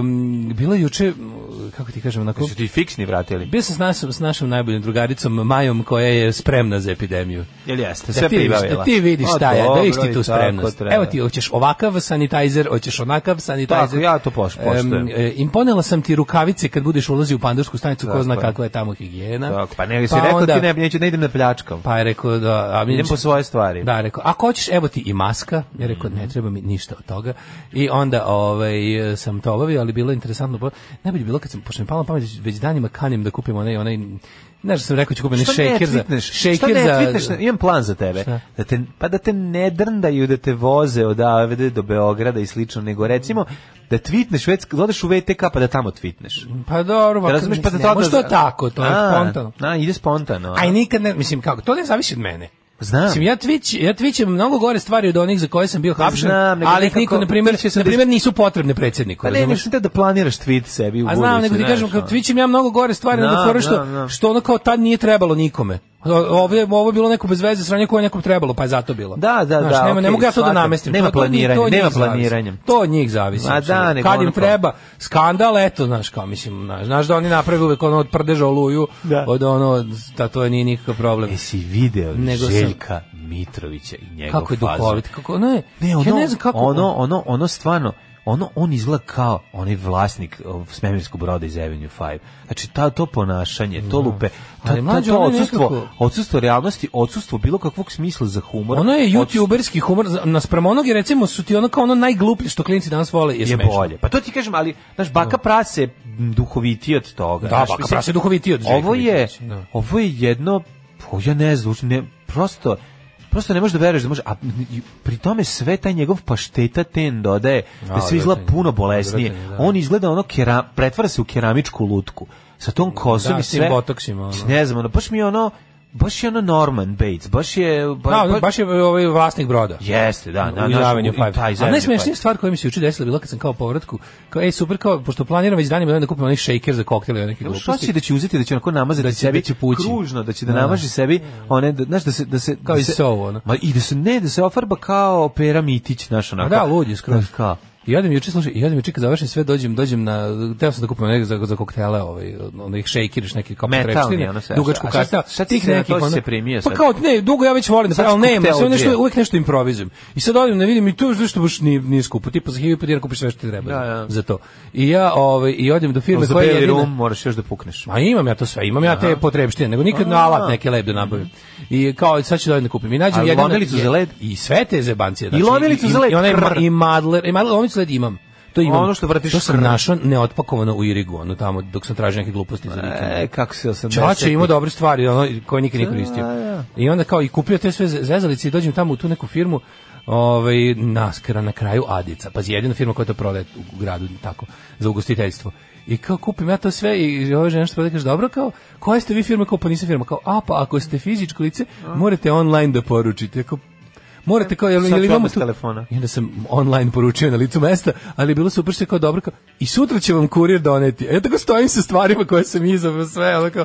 G: em, bila juče kako ti kažem onako
F: Su ti fiksni vratili?
G: bio sam s, našom, s našom najboljom drugaricom Majom koja je spremna za epidemiju.
F: Jel jeste?
G: da
F: Sve
G: ti vidiš,
F: pribavila.
G: da ti vidiš
F: A,
G: šta je, da
F: dobro,
G: vidiš ti
F: i
G: tu
F: tako
G: spremnost.
F: treba.
G: Evo ti, hoćeš ovakav sanitajzer, hoćeš onakav sanitajzer.
F: Tako, ja to poš- poštujem.
G: Em, e, imponela sam ti rukavice kad budeš ulazio u pandursku stanicu, ko
F: Tako
G: zna
F: je.
G: kakva je tamo higijena.
F: Tako, pa nego si rekao
G: onda-
F: ti ne, neću, ne idem na pljačkam.
G: Pa je rekao da... A mi
F: Idem po svoje stvari.
G: Da, rekao, ako hoćeš, evo ti i maska. Ja rekao, ne treba mi ništa od toga. I onda ovaj, sam to obavio, ali bilo je interesantno. bo- Najbolje je bilo kad sam, pošto mi je palo na pamet, već danima kanim da kupim onaj, onaj Znaš da sam rekao ću kupiti
F: Što ne
G: šeker za...
F: tvitneš? Što
G: Šeker
F: ne
G: za...
F: tvitneš? Imam plan za tebe. Da te, pa da te ne drndaju, da te voze od Avede do Beograda i slično, nego recimo da tvitneš, već, da odeš u VTK pa da tamo tvitneš.
G: Pa dobro,
F: Da
G: pa
F: razumeš, pa da
G: ne
F: tada-
G: može to tako, to je
F: A,
G: spontano.
F: A, ide spontano.
G: Aj nikad ne, mislim kako, to ne zavisi od mene.
F: Znam.
G: Mislim, ja Twitch, ja Twitch mnogo gore stvari od onih za koje sam bio hapšen,
F: Pa Znam, nego
G: ali ih
F: nekako-
G: niko, na primjer,
F: Twitch je
G: na primjer nisu potrebne predsjedniku,
F: Pa ne,
G: razumeš?
F: mislim da planiraš tweet sebi u
G: A znam, nego ti
F: znaš,
G: kažem, kao
F: ono.
G: Twitchim ja mnogo gore stvari, nego
F: Znam,
G: fora što,
F: znam, znam.
G: što ono kao tad nije trebalo nikome. O- Ovo je, ovo je bilo neko bez veze sranje koje je nekom trebalo, pa je zato bilo.
F: Da, da,
G: Znaš,
F: da,
G: Nema, ne
F: okej,
G: mogu ja to da
F: shvatam.
G: namestim.
F: Nema
G: To- to od njih-
F: planiranja,
G: to od njih
F: nema
G: zavisi.
F: planiranja.
G: To od njih zavisi.
F: Ma da,
G: apsolutno.
F: nego
G: Kad im
F: ono kao-
G: treba skandal, eto, znaš, kao mislim, znaš, znaš da oni naprave uvek ono od prdeža oluju,
F: Da.
G: od ono, da to nije nikakav problem.
F: Jesi video
G: Nego sam-
F: Željka Mitrovića i njegov
G: Kako je
F: fazon?
G: duhovit, kako, ne,
F: Ne, ono,
G: ja ne znam kako,
F: ono, ono, ono stvarno, ono, on izgleda kao onaj vlasnik o, svemirskog broda iz Avenue 5. Znači, ta, to ponašanje, to lupe, ta,
G: Ali,
F: ta,
G: mlađe,
F: to
G: ono je
F: odsustvo,
G: nekako-
F: odsustvo realnosti, odsustvo bilo kakvog smisla za humor.
G: Ono je
F: odsustvo-
G: youtuberski humor, za- naspram onog je recimo su ti ono kao ono najgluplje što klinci danas vole je,
F: je
G: smešno.
F: bolje. Pa to ti kažem, ali znaš baka prase duhoviti od toga.
G: Da,
F: znaš,
G: Baka
F: mislim,
G: Prase je duhovitiji od Željka
F: Ovo je
G: Mitrovića, da.
F: ovo je jedno o, ja ne znam, ne prosto prosto ne možeš da veruješ da može a i pri tome sve taj njegov pašteta ten dodaje da
G: A,
F: sve izgleda
G: odvratan je,
F: puno bolesnije.
G: odvratan je, da.
F: On izgleda ono kera, pretvara se u keramičku lutku sa tom kosom
G: Da,
F: i
G: s tim
F: sve.
G: botoksima, ono.
F: Ne znam, ono, baš mi je ono baš je ono Norman Bates, baš je ba-
G: Da,
F: ba-
G: baš je ovaj vlasnik broda.
F: Jeste, Pa, da, da,
G: u
F: znaš,
G: Javanju
F: u-
G: Five.
F: taj
G: A
F: Javanju
G: najsmešnija
F: Five.
G: stvar koja mi se juče desila bila kad sam kao povratku, kao ej super kao pošto planiram već danima da kupim onaj shaker za koktel i neke
F: Kako što
G: gluposti.
F: će da će uzeti da će onako namazati
G: Da će-
F: sebi
G: da će pući.
F: kružno da će da
G: Da.
F: namaže sebi one da, znaš da se da se
G: Kao
F: da
G: i
F: se-
G: Sovo, ono.
F: ma i da se ne da se ofarba kao pera mitić znaš onako
G: A da, lud je skroz.
F: Znaš, kao
G: I odem juče, slušaj, i odem juče kad završim sve, dođem, dođem na, teo sam da kupim neke za, za koktele, ovaj, onih šejkiriš neki kao
F: Metalni,
G: potrepštine,
F: ono sve.
G: dugačku
F: A šta-
G: karta,
F: šta ti
G: tih
F: se na
G: nekih,
F: to si
G: ono-
F: se primio
G: pa
F: sad?
G: kao, ne, dugo ja već volim da
F: Sad
G: pravim, ali
F: si
G: nema, sve
F: koktel
G: nešto,
F: odbija.
G: uvek nešto improvizujem. I sad odem, ne vidim, i tu nešto baš nije, nije skupo, tipa za hiljadu i po dinara kupiš sve što ti treba
F: Da, da.
G: za to. I ja, ovaj, i odem do firme
F: za
G: koja je
F: beli
G: jedina-
F: rum moraš još da pukneš
G: Ma imam ja to sve, imam ja te potrebštine, nego nikad na alat neke led da nabavim. I kao sad ću da odem da kupim. I nađem
F: A
G: jedino-
F: lomilicu za led?
G: i sve te zebancije. znači,
F: lomilicu za led,
G: I, onaj ma-
F: krr.
G: i madler, i madler, lomilicu za led imam. To imam.
F: Ono što vratiš,
G: To sam
F: krr.
G: našao neotpakovano u Irigu, ono tamo dok sam tražio neke gluposti za vikend.
F: e kako se 80
G: Čače ima dobre stvari, ono koje nikad nije koristio. I onda kao i kupio te sve ze- zezalice i dođem tamo u tu neku firmu, ovaj naskara na kraju Adica. Pa jedina firma koja to prodaje u gradu tako za ugostiteljstvo. I kao kupim ja to sve i ova žena što prodaje kaže dobro kao koja ste vi firma kao pa nisam firma kao a pa ako ste fizičko lice morate online da poručite. Ja Kao, Morate kao, jel,
F: Sad
G: jel
F: ću
G: imamo
F: odmah s
G: tu...
F: telefona.
G: I onda sam online poručio na licu mesta, ali je bilo super što je kao dobro kao, i sutra će vam kurir doneti. E tako stojim sa stvarima koje sam izabrao sve, ono kao,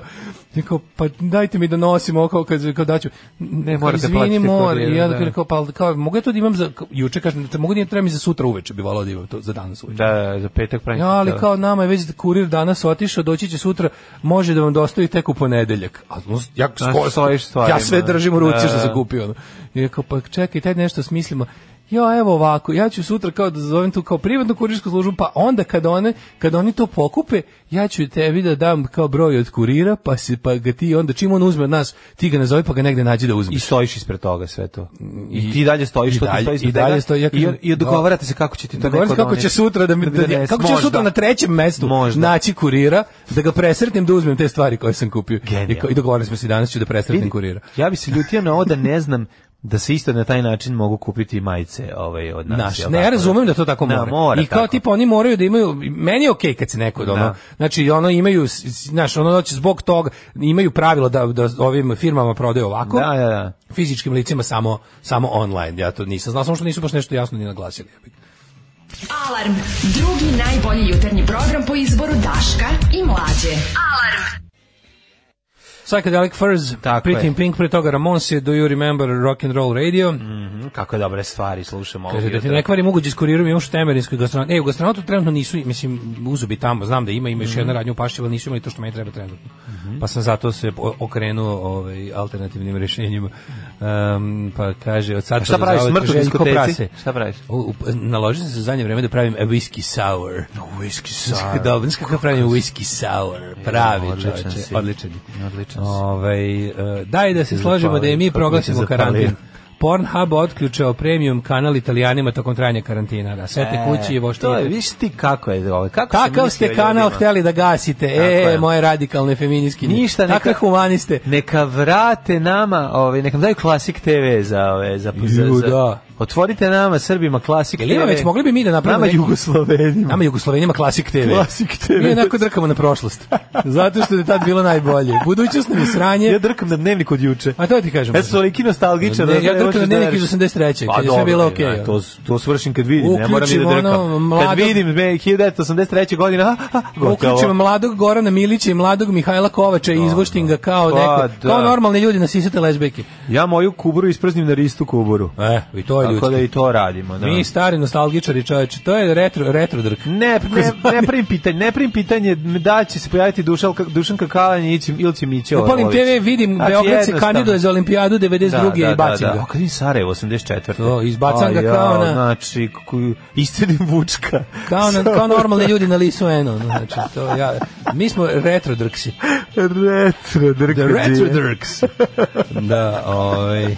G: i kao, pa dajte mi da nosim ovo kao, kad, kao daću. Ne
F: morate platiti
G: mor,
F: kuriru,
G: I onda
F: da.
G: kao, kao, pa, kao, mogu ja to da imam za, kao, juče kažem, da mogu da imam, treba mi za sutra uveče, bi volao da imam to za danas uveče.
F: da da, za petak pravim
G: Ja, ali
F: koktel.
G: kao nama je već kurir danas otišao, doći će sutra, može da vam dostavi tek u ponedeljak. A no, ja,
F: stojiš
G: ja
F: stvarima.
G: sve držim u ruci
F: Da.
G: što sam kupio. Ono. I rekao, pa čekaj, taj nešto smislimo. ja evo ovako, ja ću sutra kao da zovem tu kao privatnu kurirsku službu, pa onda kada one, kada oni to pokupe, ja ću tebi da dam kao broj od kurira, pa se pa ga ti onda čim on uzme od nas, ti ga nazovi pa ga negde nađi da uzmeš.
F: I stojiš ispred toga sve to. I, ti dalje stojiš,
G: Mm, i
F: to ti
G: dalje-
F: stojiš ispred
G: i dalje
F: toga
G: stoji, ja kažem,
F: i, i dogovarate se kako će ti to
G: Da
F: neko
G: govorim kako
F: doneti.
G: će sutra da mi da,
F: donese,
G: kako će
F: možda.
G: sutra na trećem mestu
F: Možda.
G: naći kurira da ga presretnem da uzmem te stvari koje sam kupio. I,
F: Genijalno.
G: ko- I dogovorili smo se danas ću da presretnem
F: Vidi,
G: kurira.
F: Ja bi se ljutio na ovo da ne znam da se isto na taj način mogu kupiti majice ovaj, od nas.
G: Naš,
F: jel
G: ne,
F: tako?
G: ja razumem da to tako
F: Da,
G: mora.
F: mora
G: I kao
F: tako.
G: tipa oni moraju da imaju, meni je okej kad se neko, ono,
F: Da.
G: znači ono imaju, s- s- znaš, ono znači, zbog toga imaju pravilo da, da ovim firmama prodaju ovako,
F: Da, da, da.
G: fizičkim licima samo, samo online, ja to nisam znao, samo što nisu baš nešto jasno ni naglasili.
E: Alarm. Drugi najbolji jutarnji program po izboru Daška i Mlađe. Alarm.
G: Psychedelic Furs,
F: Tako
G: Pretty
F: je.
G: in Pink, pre toga Ramonse, Do You Remember Rock and Roll Radio,
F: Mhm, kako dobre stvari slušamo ovog
G: Kaže da ti
F: jutra.
G: ne kvari moguće skuriram još u temerinskoj gastronomiji. E, u gastronotu trenutno nisu, mislim, uzu bi tamo, znam da ima, ima još
F: Mhm.
G: jedna radnja u Pašćevu, ali nisu imali to što meni treba trenutno. Pa sam zato se o- okrenuo ovaj, alternativnim rješenjima. Em, pa kaže, od sad...
F: A šta
G: pa do
F: praviš,
G: zauvek
F: smrt u
G: Željko
F: diskoteci?
G: Prase.
F: Šta praviš?
G: U, u, naložio sam se u zadnje vreme da pravim a whisky sour.
F: Whisky
G: Kako dobro, znaš kako pravim whisky sour, pravi
F: odličan
G: čovječe,
F: si.
G: odličan.
F: Odličan si.
G: Ovaj, e, daj da se složimo
F: zapalio,
G: da je mi
F: kako mi
G: proglasimo
F: se
G: karantin.
F: zapalio.
G: Pornhub otključao premium kanal italijanima tokom trajanja karantina. Da, sve te kući i
F: E, To je,
G: voštite.
F: viš ti kako je ovo. Kako sam
G: Takav
F: mislio
G: ste kanal
F: ljudima.
G: hteli da gasite,
F: Tako
G: e,
F: je.
G: moje radikalne feminijski.
F: Ništa, neka-
G: Takve humaniste.
F: Neka vrate nama, ovaj, neka nam daju Classic TV za ove, za, za,
G: Ju,
F: za-
G: da.
F: Otvorite nama, Srbima, Classic
G: Jel
F: TV.
G: ima već, mogli bi mi da napravimo
F: E, Nama
G: neki-
F: Jugoslovenima.
G: Nama Jugoslovenima Klasik TV.
F: Klasik TV.
G: Mi onako drkamo na prošlost. Zato što je tad bilo najbolje. Budućnost nam je sranje.
F: Ja E, drkam na dnevnik od juče.
G: A to ti kažem.
F: Ja sam toliki nostalgičan.
G: Ne,
F: da
G: ja drkam
F: možeš
G: na
F: da
G: dnevnik iz
F: veruješ.
G: 83., kad je sve
F: dobro,
G: bilo
F: ne,
G: okej,
F: ne,
G: ono.
F: To, to svršim kad vidim, ne moram i da
G: Uključimo
F: drkam.
G: ono mlado-
F: Kad vidim e, me 1983. godina, a, a, gotovo.
G: Uključimo mladog Gorana Milića i mladog Mihajla Kovača i izvuštim ga kao
F: Pa,
G: neko,
F: da.
G: kao normalni ljudi na sisate lezbejke.
F: Ja moju kuburu isprznim na ristu kuburu.
G: E, i to je
F: Tako da
G: ljudski.
F: i to radimo. Da.
G: Mi stari nostalgičari čoveče, to je retro, retro drk.
F: Ne, ne, ne prim pitanje, ne prim pitanje da će se pojaviti Dušan, Dušan Kakalanje ili će, ili će Miće
G: Upalim
F: Orlović.
G: TV, vidim,
F: Znači,
G: Beograd se
F: jednostavno.
G: kandiduje za olimpijadu 92. i bacim
F: da, da.
G: ga.
F: O, kad vidim Sarajevo 84.
G: To, izbacam ga
F: Aj,
G: kao na-
F: Znači, kuju, istedim Vučka.
G: Kao, na, kao normalni ljudi na Lisu Eno. Znači, to ja, mi smo retro drksi.
F: Retro
G: The
F: drkađije.
G: retro drks. Da, ovaj.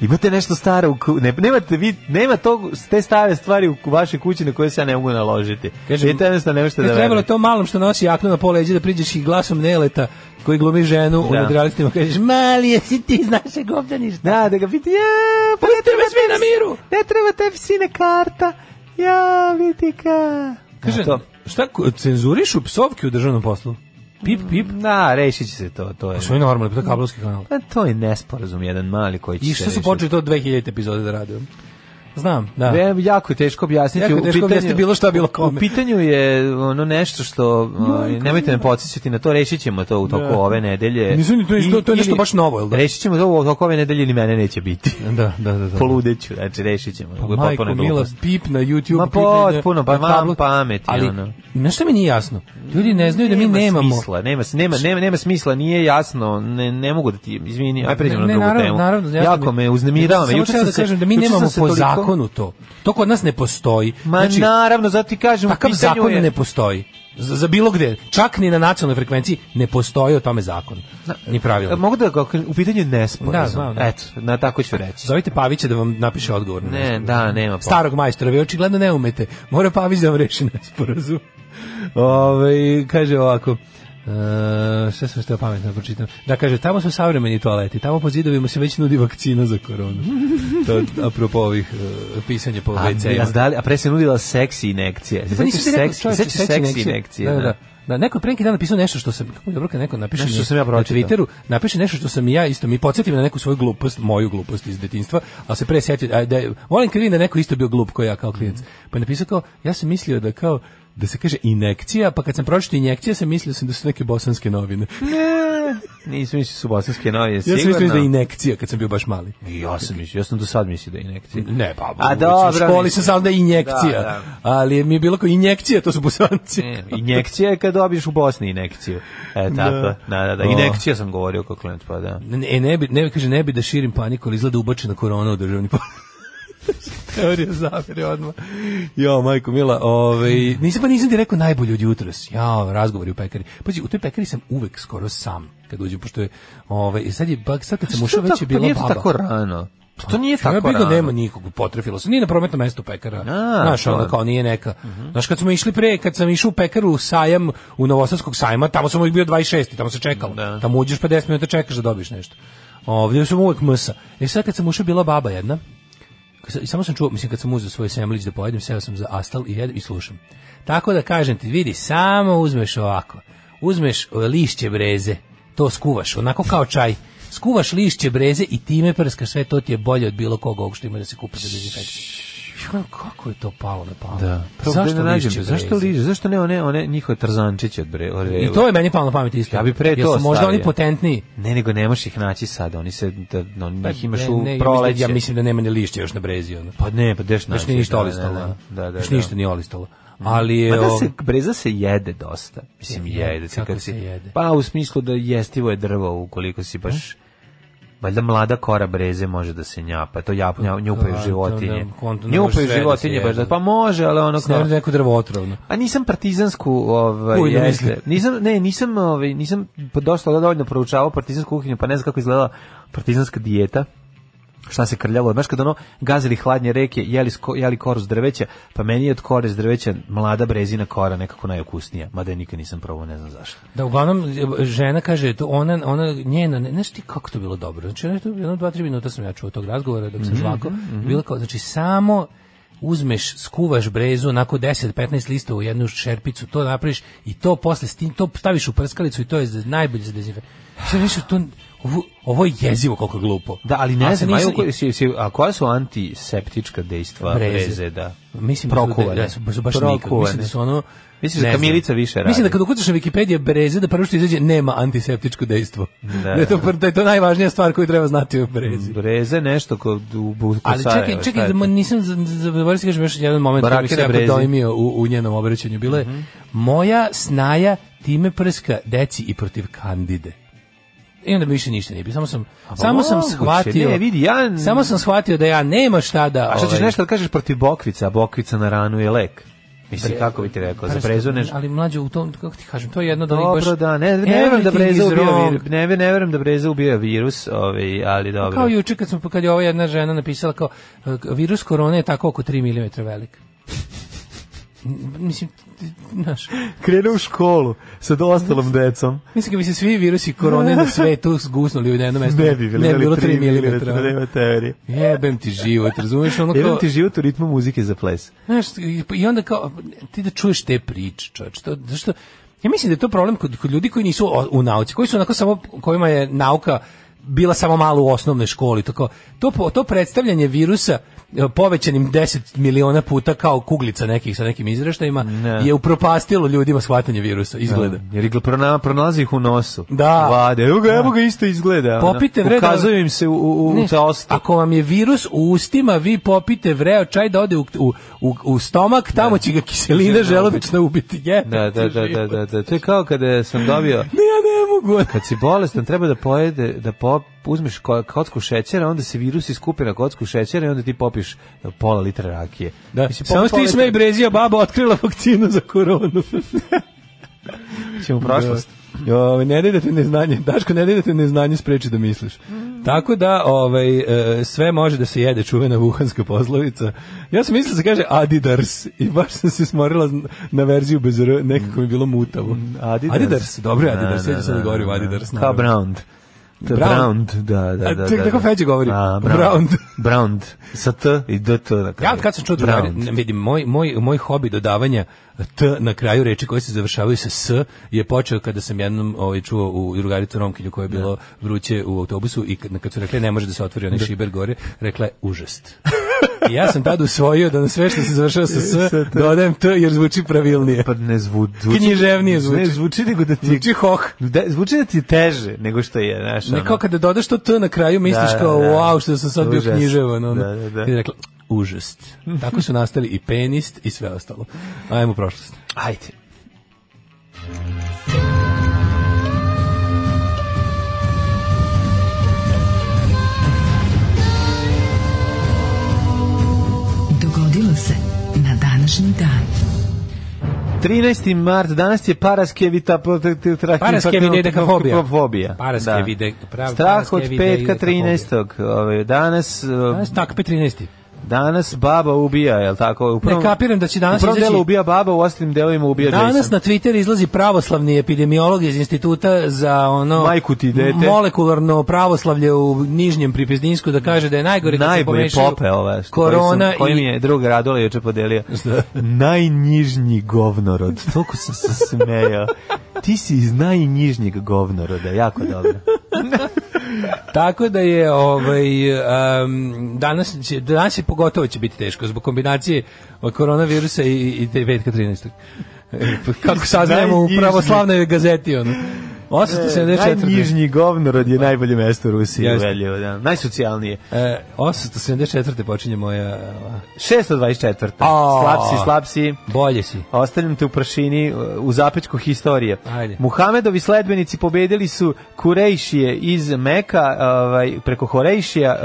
F: Imate nešto staro u ku... ne, nemate vi nema tog te stare stvari u ku- vašoj kući na koje se ja ne mogu naložiti.
G: Kažem,
F: Kažem, Vidite, jednostavno ne možete da
G: Kad trebalo
F: verujete.
G: to malom što nosi jaknu na poleđe da priđeš i glasom Neleta koji glumi ženu u
F: Da.
G: nadrealistima kažeš mali jesi ti iz našeg obdaništa
F: Da, da ga vidi, ja, pa ne
G: Pustite
F: treba
G: me sve na
F: tebi-
G: miru.
F: Ne treba tebi sine karta, ja, vidi ka.
G: Kaže,
F: A to-
G: šta ko- cenzurišu psovke u državnom poslu? Pip, pip.
F: Na, rešit će se to, to je.
G: Što je normalno, pa to je kablovski kanal.
F: Pa to je nesporazum jedan mali koji će
G: I
F: se
G: što su
F: rešiti.
G: počeli to 2000 epizode da rade? Znam, da.
F: Ve- jako je teško objasniti.
G: Jako je
F: u
G: teško
F: pitanju-
G: objasniti bilo šta, bilo kome.
F: U pitanju je ono nešto što, ovaj, nemojte me podsjećati na to, rešit ćemo to u toku
G: Da.
F: ove nedelje.
G: Nisu ni to-
F: I-
G: to- to je nešto
F: ili-
G: baš novo, jel da?
F: Rešit ćemo to u toku ove nedelje ili mene neće biti.
G: Da, da, da. da.
F: Poludeću, znači rešit ćemo.
G: Pa
F: Ovo je
G: majko
F: potpuna
G: mila,
F: glupost.
G: pip na YouTube.
F: Ma
G: pip na-
F: potpuno, pa
G: na
F: van
G: kablu.
F: pameti,
G: Ali,
F: ono.
G: znaš šta mi nije jasno? Ljudi ne znaju da mi
F: Nema
G: nemamo...
F: smisla, nema, nema, nema, nema smisla, nije jasno, ne, ne mogu da ti, izvini, aj pređemo na
G: Ne, ne,
F: drugu
G: naravno,
F: temu.
G: naravno, jasno
F: jako
G: mi je.
F: me uznemirava, me.
G: Samo
F: Juče
G: treba
F: sam
G: da
F: se-
G: kažem da mi
F: juče sam
G: nemamo
F: se
G: po
F: toliko-
G: zakonu to. To kod nas ne postoji. Znači,
F: Ma naravno, zato ti kažem, u
G: Takav
F: pitanju
G: zakon
F: je...
G: ne postoji. Za, za bilo gde, čak ni na nacionalnoj frekvenciji ne postoji o tome zakon. Ni pravilo.
F: Mogu da ga kažem, u pitanju je nesporazum.
G: Da, znam, da.
F: Eto, na tako ću reći.
G: Zovite Pavića da vam napiše odgovor. na
F: Ne,
G: nesporazum.
F: da, nema pa.
G: Starog majstora, vi očigledno ne umete. Mora Pavić da vam reši nesporazum. Ove, kaže ovako, Uh, šta sam što pametno da pročitam. Da, kaže, tamo su savremeni toaleti, tamo po zidovima se već nudi vakcina za koronu. to apropo ovih uh, pisanja po
F: A,
G: WC-ima.
F: a zdali, a pre se nudila seksi inekcije.
G: Pa nisi
F: Sećaš
G: ti rekao,
F: seksi,
G: čoveče,
F: sećaš
G: seksi
F: seksi
G: inekcije.
F: inekcije.
G: Da, da, da. Da, neko je pre neki dan napisao nešto što sam, kako je dobro kad neko napiše
F: Nešto što
G: mi
F: sam ja
G: na
F: pročitao.
G: Twitteru, napiše nešto što sam i ja isto, mi podsjeti me na neku svoju glupost, moju glupost iz detinjstva, ali se pre sjetio, a, da, je- volim kad vidim da je neko isto bio glup kao ja kao klijent.
F: Mhm.
G: Pa je napisao kao, ja sam mislio da kao, da se kaže inekcija, pa kad sam pročitao injekcija, sam mislio sam da su neke bosanske novine.
F: Nisam mislio su bosanske novije,
G: Ja
F: sigurno.
G: sam mislio da je inekcija kad sam bio baš mali.
F: Ja sam mislio, ja sam do sad mislio da je inekcije.
G: Ne, pa
F: A
G: u- u
F: dobro,
G: školi
F: mislim.
G: sam sam da je injekcija.
F: Da, da.
G: Ali mi je bilo kao injekcija, to su bosanci.
F: Ne, Injekcija je kad dobiješ u Bosni inekciju. E, tako, da, da, da.
G: O.
F: Inekcija sam govorio kao klient, pa da.
G: e, Ne, ne bi, ne bi, kaže, ne bi da širim paniku, ali izgleda ubačena korona u državni pa. Teorija zavere odmah. Jo, majko mila, ovaj, nisam pa nisam ti rekao najbolje od jutros. Ja, razgovori u pekari. Pazi, u toj pekari sam uvek skoro sam kad uđem, pošto je, ovaj, sad je, bak, sad kad sam ušao, već je bila
F: nije
G: baba.
F: tako rano. Pa to nije
G: Što
F: tako
G: ja
F: rano.
G: bilo nema nikog, potrefilo se. Nije na prometnom mestu pekara.
F: A,
G: znaš,
F: to
G: ono
F: je.
G: kao nije neka. Znaš, kad smo išli pre, kad sam išao u pekaru u sajam, u Novosadskog sajma, tamo sam uvijek bio 26 i tamo se čekalo.
F: Da.
G: Tamo uđeš 50 minuta čekaš da dobiš nešto. Ovdje sam uvijek msa. E sad kad sam ušao, bila baba jedna, i samo sam čuo, mislim kad sam uzeo svoj semlić da pojedem, seo sam za astal i jedem i slušam. Tako da kažem ti, vidi, samo uzmeš ovako, uzmeš e, lišće breze, to skuvaš, onako kao čaj, skuvaš lišće breze i time prskaš sve, to ti je bolje od bilo koga ovog što ima da se kupi za dezinfekciju. Ja gledam, Kako je to palo na pamet?
F: Da. Zašto
G: Zašto
F: nađem?
G: lišće
F: Zašto
G: breze?
F: liže? Zašto ne one one njihove tarzančiće od bre?
G: I to je meni palo na pamet isto.
F: Ja bi pre
G: Jer
F: to
G: su možda oni
F: stavio.
G: potentniji.
F: Ne, nego ne možeš ih naći sad, oni se, da, no, njih imaš
G: Pa Ne,
F: u
G: ne, ja mislim-
F: proleće.
G: Ja mislim da nema ni lišća još na brezi. Ono.
F: Pa ne, pa deš naći.
G: Još nije ništa
F: da,
G: olistalo.
F: Da, da, da.
G: Još
F: da.
G: ništa nije olistalo. Ali je...
F: Ma da
G: ovo-
F: se, breza se jede dosta. Mislim,
G: Je,
F: jede se.
G: kako
F: kad
G: se
F: si-
G: jede? Hm?
F: Pa u smislu da jestivo je drvo ukoliko si baš... Valjda mlada kora breze može da se njapa, to jap, nja, njupaju
G: Da, Pa to
F: životinje.
G: ne, konto ne može
F: Njupaju
G: sve da se
F: životinje baš, da,
G: jede.
F: pa može, ali ono
G: Ne
F: kao...
G: vredi neko drvo otrovno.
F: A nisam partizansku, ovaj
G: Kuj da
F: jeste.
G: misli.
F: Nisam ne, nisam ovaj nisam pa dosta dovoljno proučavao partizansku kuhinju, pa ne znam kako izgledala partizanska dijeta. Šta se krljalo, znaš kad ono gazili hladnje reke, jeli, sko- jeli koru s drveća, pa meni je od kore s drveća mlada brezina kora nekako najukusnija, mada je nikad nisam probao, ne znam zašto.
G: Da, uglavnom, žena kaže, to ona, ona njena, ne, znaš ti kako to bilo dobro. Znači, ono, jedno, dva, tri minuta sam ja čuo tog razgovora dok sam žvako. Bilo kao, znači, samo uzmeš, skuvaš brezu, onako 10-15 lista u jednu šerpicu, to napraviš i to posle, s tim, to staviš u prskalicu i to je za- najbolje za dezinfekciju. Sve više to, ovo, ovo je jezivo koliko je glupo.
F: Da, ali
G: A
F: ne
G: sad
F: znam, a,
G: nisam-
F: koje- si- si- a koja su antiseptička dejstva breze,
G: Breze.
F: da?
G: Mislim da su-
F: Prokuvane.
G: da, da su baš- baš nikad. Mislim da su ono
F: Misliš da
G: ne znam.
F: kamilica više radi?
G: Mislim da kad ukucaš na Wikipedia breze da prvo što izađe nema antiseptičko dejstvo. Da, je to
F: da. Mm.
G: da je to najvažnija stvar koju treba znati o brezi.
F: Breze nešto kod u, u, u
G: Ali čekaj, čekaj, da mo- nisam z- z- zaboravio sam kažem još jedan moment koji mi
F: Barake
G: se
F: na
G: jako
F: brezi. Mhm.
G: dojmio u, u njenom obraćanju. Bilo je, moja snaja time prska deci i protiv kandide. I onda mi više ništa nije bilo. Samo sam,
F: pa
G: samo sam
F: moguće,
G: shvatio...
F: ne, vidi, ja-
G: Samo sam shvatio da ja nema šta da...
F: A šta ćeš
G: ovaj,
F: nešto da kažeš protiv bokvica, a bokvica na ranu je lek. Mislim, kako bi ti rekao, za
G: Prsto,
F: brezu ne...
G: Ali mlađe u tom, kako ti kažem, to je jedno da oni baš...
F: Dobro, da, ne, ne verujem da
G: Everything
F: breza
G: is
F: ubija
G: wrong. Pa
F: virus, ne, ne verujem da breza ubija virus, ovaj, ali dobro.
G: Kao juče kad, smo, kad je ova jedna žena napisala kao e, virus korone je tako oko 3 mm velik. M- Mislim, ti- znaš,
F: krenu u školu sa ostalom decom.
G: mislim da bi se svi virusi korone na svetu zgusnuli u jednom mestu. ne, bilo 3 mm.
F: teorije.
G: Jebem ti život, razumeš? Ono
F: Jedan
G: kao,
F: ti život u ritmu muzike za ples.
G: Znaš, i onda kao, ti da čuješ te priče, čovječ, to, zašto, ja mislim da je to problem kod, kod ljudi koji nisu o- u nauci, koji su onako samo, kojima je nauka bila samo malo u osnovnoj školi, to, kao, to, po- to predstavljanje virusa e, povećanim 10 miliona puta kao kuglica nekih sa nekim izreštajima
F: Ne.
G: je upropastilo ljudima shvatanje virusa, izgleda.
F: Jer ih prona- pronalazi ih u nosu.
G: Da.
F: Vade. Evo ga, evo ga isto izgleda. ono.
G: Popite vreda.
F: Ukazuju im se u, u, u
G: Ne,
F: taostu.
G: Ako vam je virus u ustima, vi popite vreo čaj da ode u, u, u, u stomak, tamo će ga kiselina želobična ubiti. Jebem
F: Da,
G: ti
F: da, da, da,
G: život.
F: da, da. To je kao kada sam dobio...
G: Ne, ja ne mogu.
F: Kad si bolestan, treba da pojede, da po, uzmeš ko- kocku šećera, onda se virus iskupi na kocku šećera i onda ti popiš e, pola litra rakije.
G: Da,
F: Mislim,
G: samo
F: pola-
G: što ti
F: pola
G: sme i
F: litra-
G: brezija baba otkrila vakcinu za koronu.
F: Ćemo u prošlost.
G: Ove, ne dajte neznanje. Daško, ne dajte neznanje spreči da misliš. Tako da, ovaj, e, sve može da se jede čuvena vuhanska poslovica. Ja sam mislio da se kaže Adidars i baš sam se smorila zn- na verziju bez R, nekako mi je bilo mutavo.
F: Adidas.
G: dobro je
F: Da,
G: Adidars,
F: da,
G: ja ću sad
F: da,
G: Mm, da govorim
F: da.
G: Adidars.
F: Kao
G: naravno.
F: Brown. To je
G: Brown.
F: Brown, da, da, da.
G: A, ček,
F: da,
G: tako
F: da.
G: Feđa govori.
F: A,
G: Brown.
F: Brown. Sa T i D T na kraju.
G: Ja kad sam čuo drugari,
F: Brown.
G: ne, vidim, moj, moj, moj hobi dodavanja T na kraju reči koje se završavaju sa S je počeo kada sam jednom ovaj, čuo u drugaricu Romkinju koje je bilo vruće u autobusu i kad, kad su rekli ne može da se otvori onaj šiber gore, rekla je užast. I ja sam tad usvojio da na sve što se završava sa
F: E,
G: S dodajem T jer zvuči pravilnije.
F: Pa ne zvu, zvuči.
G: Književnije zvuči.
F: Ne zvuči nego da ti...
G: Zvuči hoh.
F: Da, zvuči da ti je teže nego što je, znaš. ono.
G: Ne kao kada dodaš to T na kraju misliš
F: Da, da,
G: kao
F: da.
G: wow što sam sad bio
F: Užas.
G: književan. Ono.
F: Da, da, da.
G: I je rekla užast. Tako su nastali i penist i sve ostalo. Ajmo u prošlost.
F: Ajde.
H: današnji dan.
F: 13. mart, danas je paraskevita
G: Paraskevide-dekafobija.
F: fobija.
G: Paraskevide- prav-
F: Strah od petka
G: paraskevide-dekafobija.
F: 13. Ovaj, danas, eh,
G: Danas takpe 13.
F: danas baba ubija, je li tako? U
G: Ne kapiram da će danas
F: u prvom
G: izaći-
F: delu ubija baba, u ostalim delovima ubija
G: Danas
F: Jason.
G: na Twitter izlazi pravoslavni epidemiolog iz instituta za ono
F: Majku ti dete.
G: molekularno pravoslavlje u Nižnjem Pripizdinsku da kaže da je najgore kad se
F: najbolje
G: pomešaju
F: pope ove što
G: korona
F: koji, sam, koji mi
G: i
F: je drug Radola juče podelio najnižnji govnorod toliko sam se smejao ti si iz najnižnjeg govnoroda jako dobro
G: tako da je ovaj em, danas će danas je pogotovo će biti teško zbog kombinacije koronavirusa i i te petka 13. Kako saznajemo u
F: Najnižnji. E,
G: pravoslavnoj gazeti ono. 874.
F: najnižnji govnorod je najbolje mesto u Rusiji
G: Jeste.
F: uverljivo, da. najsocijalnije
G: E, 874. počinje moja...
F: 624.
G: A.
F: slab si slab si
G: Bolje si.
F: Ostavljam te u prašini uh, u zapečku historije.
G: Ajde.
F: Muhamedovi sledbenici pobedili su Kurejšije iz Meka ovaj, preko Horejšija uh,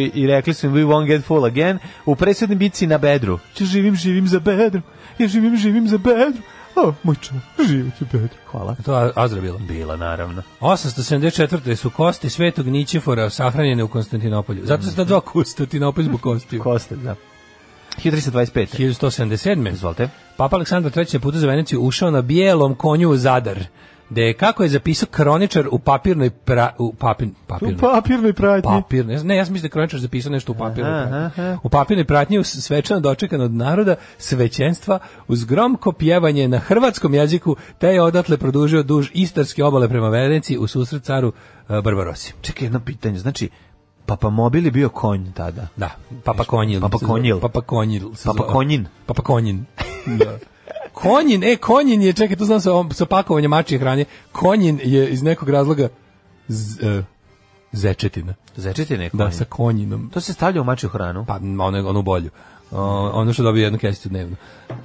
F: i- i rekli su im we won't get full again u presudnim bitci na Bedru. Ja živim, živim za Bedru. Ja živim, živim za Bedru. O, moj čar, živim za Bedru. Hvala.
G: To je Azra bila.
F: Bila, naravno.
G: 874. su kosti svetog Nićefora sahranjene u Konstantinopolju. Zato se nazvao Konstantinopolj zbog kostiju.
F: Koste, da. 1325.
G: 1177.
F: Izvolite.
G: Papa Aleksandar III. je putu za Veneciju ušao na bijelom konju u Zadar, gde je, kako je zapisao kroničar u papirnoj pra, u papin, papirnoj,
F: U papirnoj pratnji.
G: papirnoj, ne, ja sam mislim da je kroničar zapisao nešto u papirnoj
F: Aha,
G: pratnji.
F: aha.
G: U papirnoj pratnji u svečano dočekan od naroda svećenstva uz gromko pjevanje na hrvatskom jeziku, te je odatle produžio duž istarske obale prema Veneciji u susret caru e, Barbarosi.
F: Čekaj jedno pitanje. Znači, Papa Mobil je bio konj tada.
G: Da, Papa Konjil.
F: Papa Konjil.
G: Papa Konjil. se
F: Papa
G: zove.
F: Konjin.
G: Papa Konjin. Da. Konjin, e, Konjin je, čekaj, to znam sa, ovom- sa pakovanjem mačije hrane, Konjin je iz nekog razloga z, e, zečetina.
F: Zečete neko.
G: Da, sa konjinom.
F: To se stavlja u mačju hranu.
G: Pa, ono, ono bolju. O, ono što dobije jednu kesicu dnevno.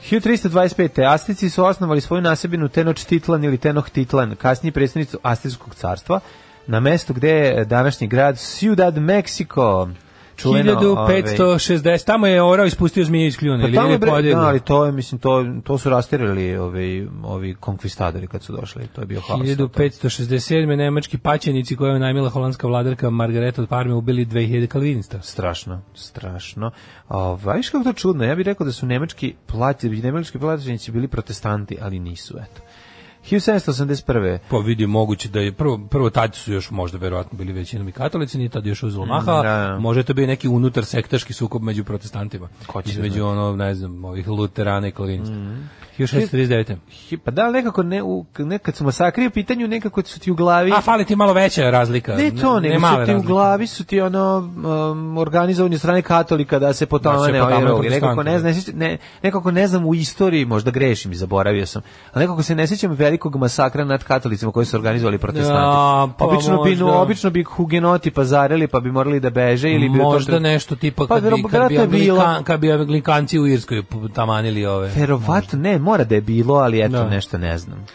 F: 1325. Astici su osnovali svoju nasebinu Tenochtitlan ili Tenochtitlan, kasnije predstavnicu Astirskog carstva, na mestu gde je današnji grad Ciudad Mexico. Čuveno, ovaj,
G: 1560, tamo je orao ispustio zmije iz kljuna.
F: Pa
G: ili
F: tamo je
G: je
F: bre-
G: podigao.
F: da, ali to je mislim to to su rastirali ovi ovi konkvistadori kad su došli, to je bio haos.
G: 1567. nemački paćenici koje je najmila holandska vladarka Margareta od Parme ubili 2000 kalvinista.
F: strašno, strašno. Ovaj viš kako to čudno. Ja bih rekao da su nemački plati, nemački plaćenici bili protestanti, ali nisu, eto. 1781.
G: Pa vidi, moguće da je prvo, prvo tad su još možda verovatno bili većinom i katolici, nije tad još uzelo maha,
F: da, da.
G: može to bio neki unutar sektaški sukob među protestantima.
F: Ko će da
G: Između ono, ne znam, ovih luterana i kalvinista. Mm. 1639.
F: Hi- Pa da, ali nekako ne, u, ne kad su masakri u pitanju, nekako su ti u glavi...
G: A, fali ti malo veća razlika.
F: ne to, nego su ti
G: male
F: u
G: razlike.
F: glavi su ti ono um, organizovani od strane katolika da se potamane
G: potamane
F: ovaj rogi.
G: protestanti,
F: Nekako ne, znam, ne, sjećam- ne, nekako ne znam u istoriji, možda grešim i zaboravio sam, ali nekako se ne sjećam velikog masakra nad katolicima koji su organizovali protestanti.
G: Ja, pa
F: obično, bi,
G: možda.
F: obično bi hugenoti pazarili pa bi morali da beže ili bi... u tom
G: Možda
F: trenutku-
G: nešto tipa
F: Pa,
G: kad, bi, kad, bi
F: verovatno je bilo.
G: Anglikan, kad bi Anglikanci u Irskoj tamanili ove.
F: Verovatno ne, mora da je bilo, ali eto,
G: Da.
F: nešto ne znam.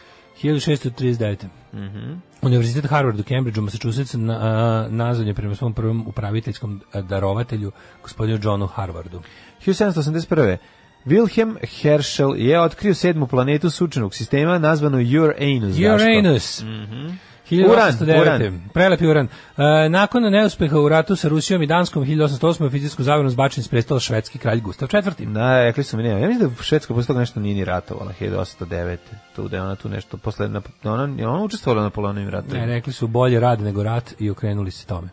G: 1639.
F: Mhm.
G: Univerzitet Harvard u Cambridgeu, Massachusetts, na, a, nazvan je prema svom prvom upraviteljskom a, darovatelju, gospodinu Johnu Harvardu.
F: 1781. Wilhelm Herschel je otkrio sedmu planetu sunčanog sistema nazvanu Uranus. Zašto?
G: Uranus.
F: Uran,
G: 1809.
F: Mhm. uran.
G: Prelepi uran. E, nakon neuspeha u ratu sa Rusijom i Danskom 1808. u fizičku zavrnu zbačen s prestola švedski kralj Gustav IV.
F: Da, rekli su mi nema. Ja mislim da Švedska posle toga nešto nije ni ratovala 1809. Tu da je ona tu nešto posle na ona je ona učestvovala na Napoleonovim
G: Ne,
F: ratovima.
G: E, rekli su bolje rad nego rat i okrenuli se tome.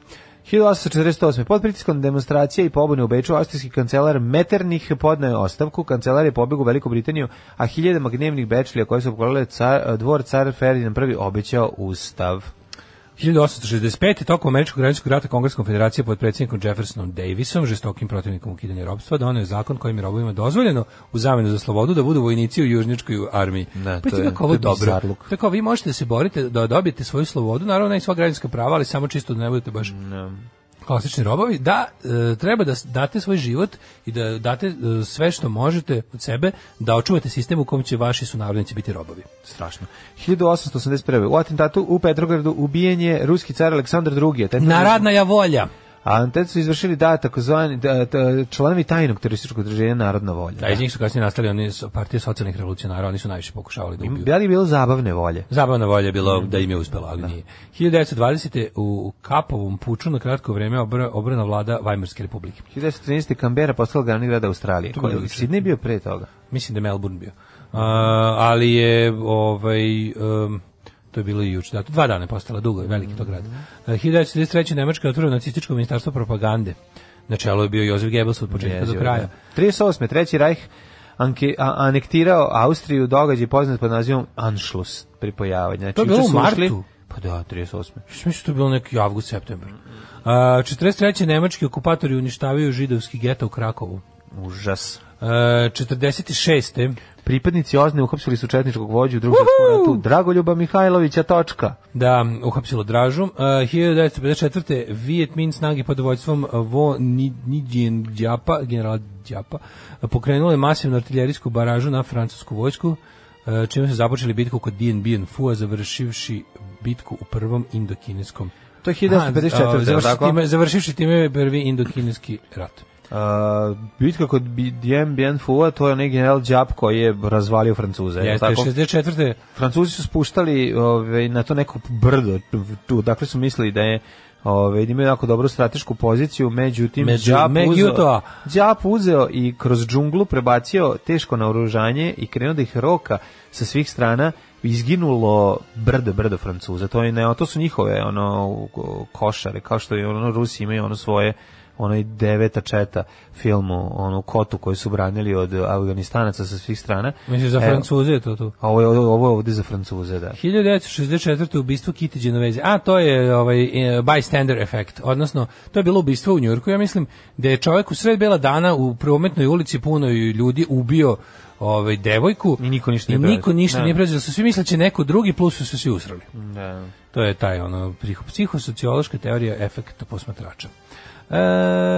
F: 1848. Pod pritiskom demonstracije i pobune u Beču, austrijski kancelar Metternich podneo je ostavku. Kancelar je pobjegao u Veliku Britaniju, a hiljadama gnevnih bečlija koje su pokolile car, dvor car Ferdinand I obećao ustav.
G: 1865. tokom američkog građanskog rata Kongres konfederacije pod predsjednikom Jeffersonom Davisom, žestokim protivnikom ukidanja robstva, donio je zakon kojim je robovima dozvoljeno u zamenu za slobodu da budu vojnici u južnjačkoj armiji.
F: Da,
G: pa
F: to
G: to
F: je-
G: kako ovo
F: to je
G: dobro.
F: bizarluk.
G: Tako vi možete da se borite da dobijete svoju slobodu, naravno i sva građanska prava, ali samo čisto da ne budete baš klasični robovi, da e, treba da s- date svoj život i da date e, sve što možete od sebe da očuvate sistem u kom će vaši sunarodnici biti robovi.
F: Strašno. 1881. U atentatu u Petrogradu ubijen je ruski car Aleksandar II. Atentat-
G: Narodna ja volja.
F: Atentat su izvršili da takozvani da, da, članovi tajnog terorističkog udruženja Narodna volja.
G: Da, iz njih su kasnije nastali oni su partije socijalnih revolucionara, oni su najviše pokušavali da ubiju.
F: Da li je bilo zabavne volje?
G: Zabavna volja je bilo da im je uspelo, ali nije. 1920. u Kapovom puču na kratko vreme obra- obrana vlada Weimarske republike.
F: 1913. Kambera postala glavni grad Australije.
G: To
F: To
G: je odlično.
F: Sidney je bio pre toga.
G: Mislim da je Melbourne bio. A, ali je ovaj em, to je bilo i juče. Da, dva dana je postala dugo, je veliki to grad. E, 1933. Nemačka je otvorila nacističko ministarstvo propagande. Na čelu je bio Jozef Goebbels od početka do
F: Jezivo,
G: kraja.
F: da. 38. Treći rajh anke, a, anektirao Austriju događaj poznat pod nazivom Anschluss pripojavanje. Znači,
G: To je bilo
F: juče
G: u
F: su ušli-
G: martu?
F: Pa da, 38.
G: Mislim što je bilo neki avgust, septembar. A, 43. nemački okupatori uništavaju židovski geto u Krakovu.
F: Užas.
G: E, 46.
F: Pripadnici Ozne uhapsili su četničkog vođu u drugom svetskom ratu Dragoljuba Mihajlovića Točka.
G: da uhapsilo Dražu. E, 1954. Viet Minh snagi pod vojstvom Vo Ni- Nidjen Đapa, generala Đapa, pokrenule masivnu artiljerijsku baražu na francusku vojsku, e, čime su započeli bitku kod Dien Bien Phu, a završivši bitku u prvom indokineskom.
F: To je 1954.,
G: A, završi-
F: tako?
G: time- završivši time prvi indokineski rat.
F: Uh, bitka kod Bi- Dien Bien Phua, to je onaj general Đap koji je razvalio Francuze. je li
G: Jeste,
F: tako?
G: 64.
F: Francuzi su spuštali ovaj, na to neko brdo, tu, dakle su mislili da je ovaj, da imaju jako dobru stratešku poziciju, međutim,
G: Među-
F: Đap, uzeo,
G: međuto.
F: Đap uzeo i kroz džunglu prebacio teško naoružanje i krenuo da ih roka sa svih strana izginulo brdo, brdo Francuza. To, je, ne, to su njihove ono, košare, kao što je ono, Rusi imaju ono svoje onaj deveta četa filmu, onu kotu koju su branili od Afganistanaca sa svih strana. E,
G: Mislim, za
F: Evo,
G: Francuze je to tu.
F: a Ovo je, ovo je ovde za Francuze, da.
G: 1964. ubistvo Kitty Genovese. A to je ovaj e, bystander efekt, odnosno to je bilo ubistvo u Njujorku. Ja mislim da je čovjek u sred bela dana u prometnoj ulici puno ljudi ubio ovaj devojku
F: I niko ništa
G: i
F: nije preuzeo.
G: niko ništa
F: Da. Mm.
G: nije preuzeo. Su svi mislili da će neko drugi plus su se svi usrali.
F: Da.
G: To je taj ono psiho- psihosociološka teorija efekta posmatrača. E,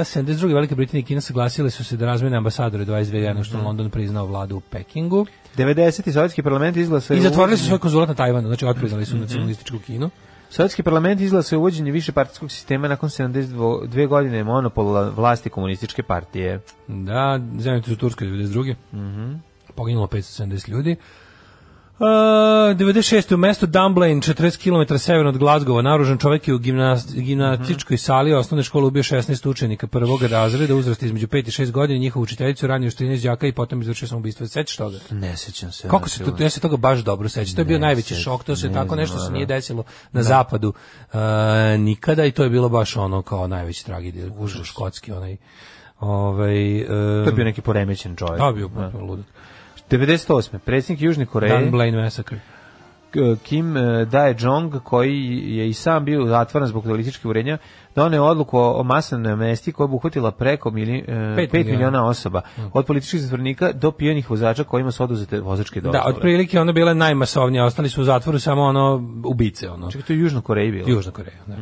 G: 72. Velike Britanije i Kina saglasile su se da razmene ambasadore 22 dana
F: Mm.
G: što je London priznao vladu u Pekingu.
F: 90. Sovjetski parlament izglasao je
G: I zatvorili su
F: uvođenje-
G: svoj konzulat na Tajvanu, znači otpriznali su nacionalističku Kinu.
F: Sovjetski parlament izglasao je uvođenje višepartijskog sistema nakon 72 godine monopola vlasti komunističke partije.
G: Da, zemljete su u Turskoj 92. Mm Poginulo 570 ljudi. Uh, 96. u mestu Dunblane, 40 km severno od Glazgova, naružan čovjek je u gimnas- gimnastičkoj sali osnovne škole ubio 16 učenika prvog razreda, uzrasta između 5 i 6 godina, njihovu učiteljicu ranio još 13 đaka i potom izvršio samoubistvo. Sećaš toga?
F: Ne sećam se.
G: Kako se znači, to, ja se toga baš dobro sećam. To je bio najveći šok, to se tako nešto se nije desilo na zapadu uh, nikada i to je bilo baš ono kao najveći tragedija, užas škotski onaj. Ovaj um,
F: To je bio neki poremećen čovjek.
G: da, bio potpuno ludak.
F: 98. Predsjednik Južne Koreje,
G: Dan Blaine Massacre.
F: K- Kim e, Dae Jong, koji je i sam bio zatvoren zbog političkih urenja, doneo odluku o o masovnoj amnestiji koja je obuhvatila preko 5
G: Pet Mm.
F: miliona
G: miliona
F: osoba, od političkih zatvornika do pijenih vozača kojima su oduzete vozačke dozvole.
G: Da, otprilike ona bila najmasovnija, ostali su u zatvoru samo ono ubice, ono.
F: Čekaj, to Mhm. je u Južnoj Koreji bilo.
G: Južna Koreja, da.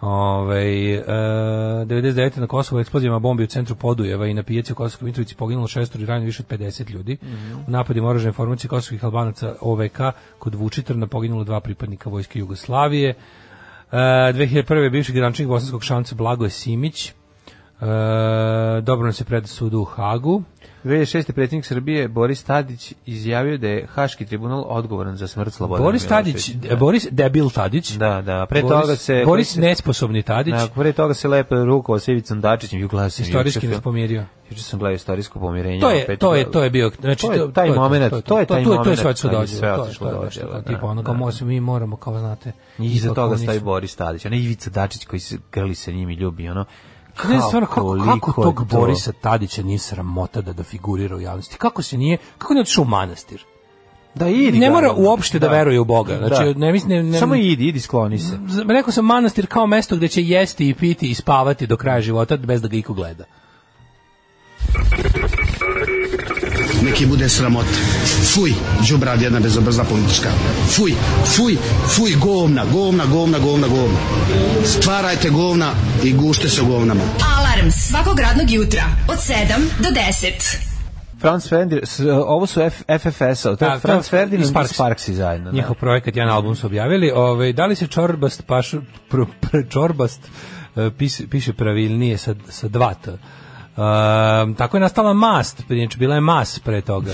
G: Ovaj, e, 99. na Kosovo eksplozijama bombi u centru Podujeva i na pijaci u Kosovskoj Mitrovici poginulo šestor i ranjeno više od 50 ljudi.
F: Mhm.
G: U napadima oružane formacije kosovskih Albanaca OVK kod Vučitrna poginulo dva pripadnika vojske Jugoslavije. E, 2001. bivši grančnik bosanskog šanca Blagoje Simić e, dobro nam se pred sudu u Hagu.
F: 2006. predsjednik Srbije Boris Tadić izjavio da je Haški tribunal odgovoran za smrt Slobodana
G: Boris Tadić,
F: Miloševića.
G: e, Boris debil Tadić.
F: Da, da, pre
G: Boris,
F: toga se...
G: Boris nesposobni Tadić,
F: Da, pre toga se lepo rukovao sa Ivicom Dačićem, ju gledao sam
G: istorijski
F: juče,
G: nas pomirio.
F: Juče sam gledao istorijsko pomirenje.
G: To je
F: opet,
G: to je to je bio znači
F: To je taj momenat, to je taj
G: to, to je
F: momenat
G: sve što
F: kad je
G: dođe.
F: sve
G: to je-
F: otišlo
G: to je
F: dođe,
G: nešto
F: da,
G: kao
F: da,
G: tipa ono kao
F: da.
G: mo- mi moramo kao znate.
F: I iza
G: ipak
F: toga
G: oni
F: stavi
G: su-
F: Boris Tadić, ona Ivica Dačić koji se grli sa njim i ljubi, ono...
G: Ne, stvarno, kako, kako
F: koliko
G: tog
F: je to-
G: Borisa Tadića nije sramota da, da figurira u javnosti? Kako se nije, kako nije otišao u manastir?
F: Da, idi
G: Ne
F: ga,
G: mora
F: ono.
G: uopšte da, veruje u Boga. Znači,
F: Da.
G: ne mislim... Ne, ne,
F: Samo idi, idi, skloni se.
G: Z- rekao sam manastir kao mesto gdje će jesti i piti i spavati do kraja života bez da ga iko gleda.
D: Neki bude sramot. Fuj, džubrad jedna bezobrzna politička. Fuj, fuj, fuj, govna, govna, govna, govna, govna. Stvarajte govna i gušte se u govnama.
E: Alarm svakog radnog jutra od 7 do 10.
F: Franz Ferdinand, s- ovo su F, FFS-a, to je
G: Da,
F: Franz Ferdinand i
G: Sparks.
F: Sparksi zajedno. da.
G: Njihov projekat, jedan album su objavili. Ove, da li se čorbast, paš, pr, pr, čorbast e, pis- piše pravilnije sa, sa dva t. Um, tako je nastala mast, prije, znači bila je mas pre toga.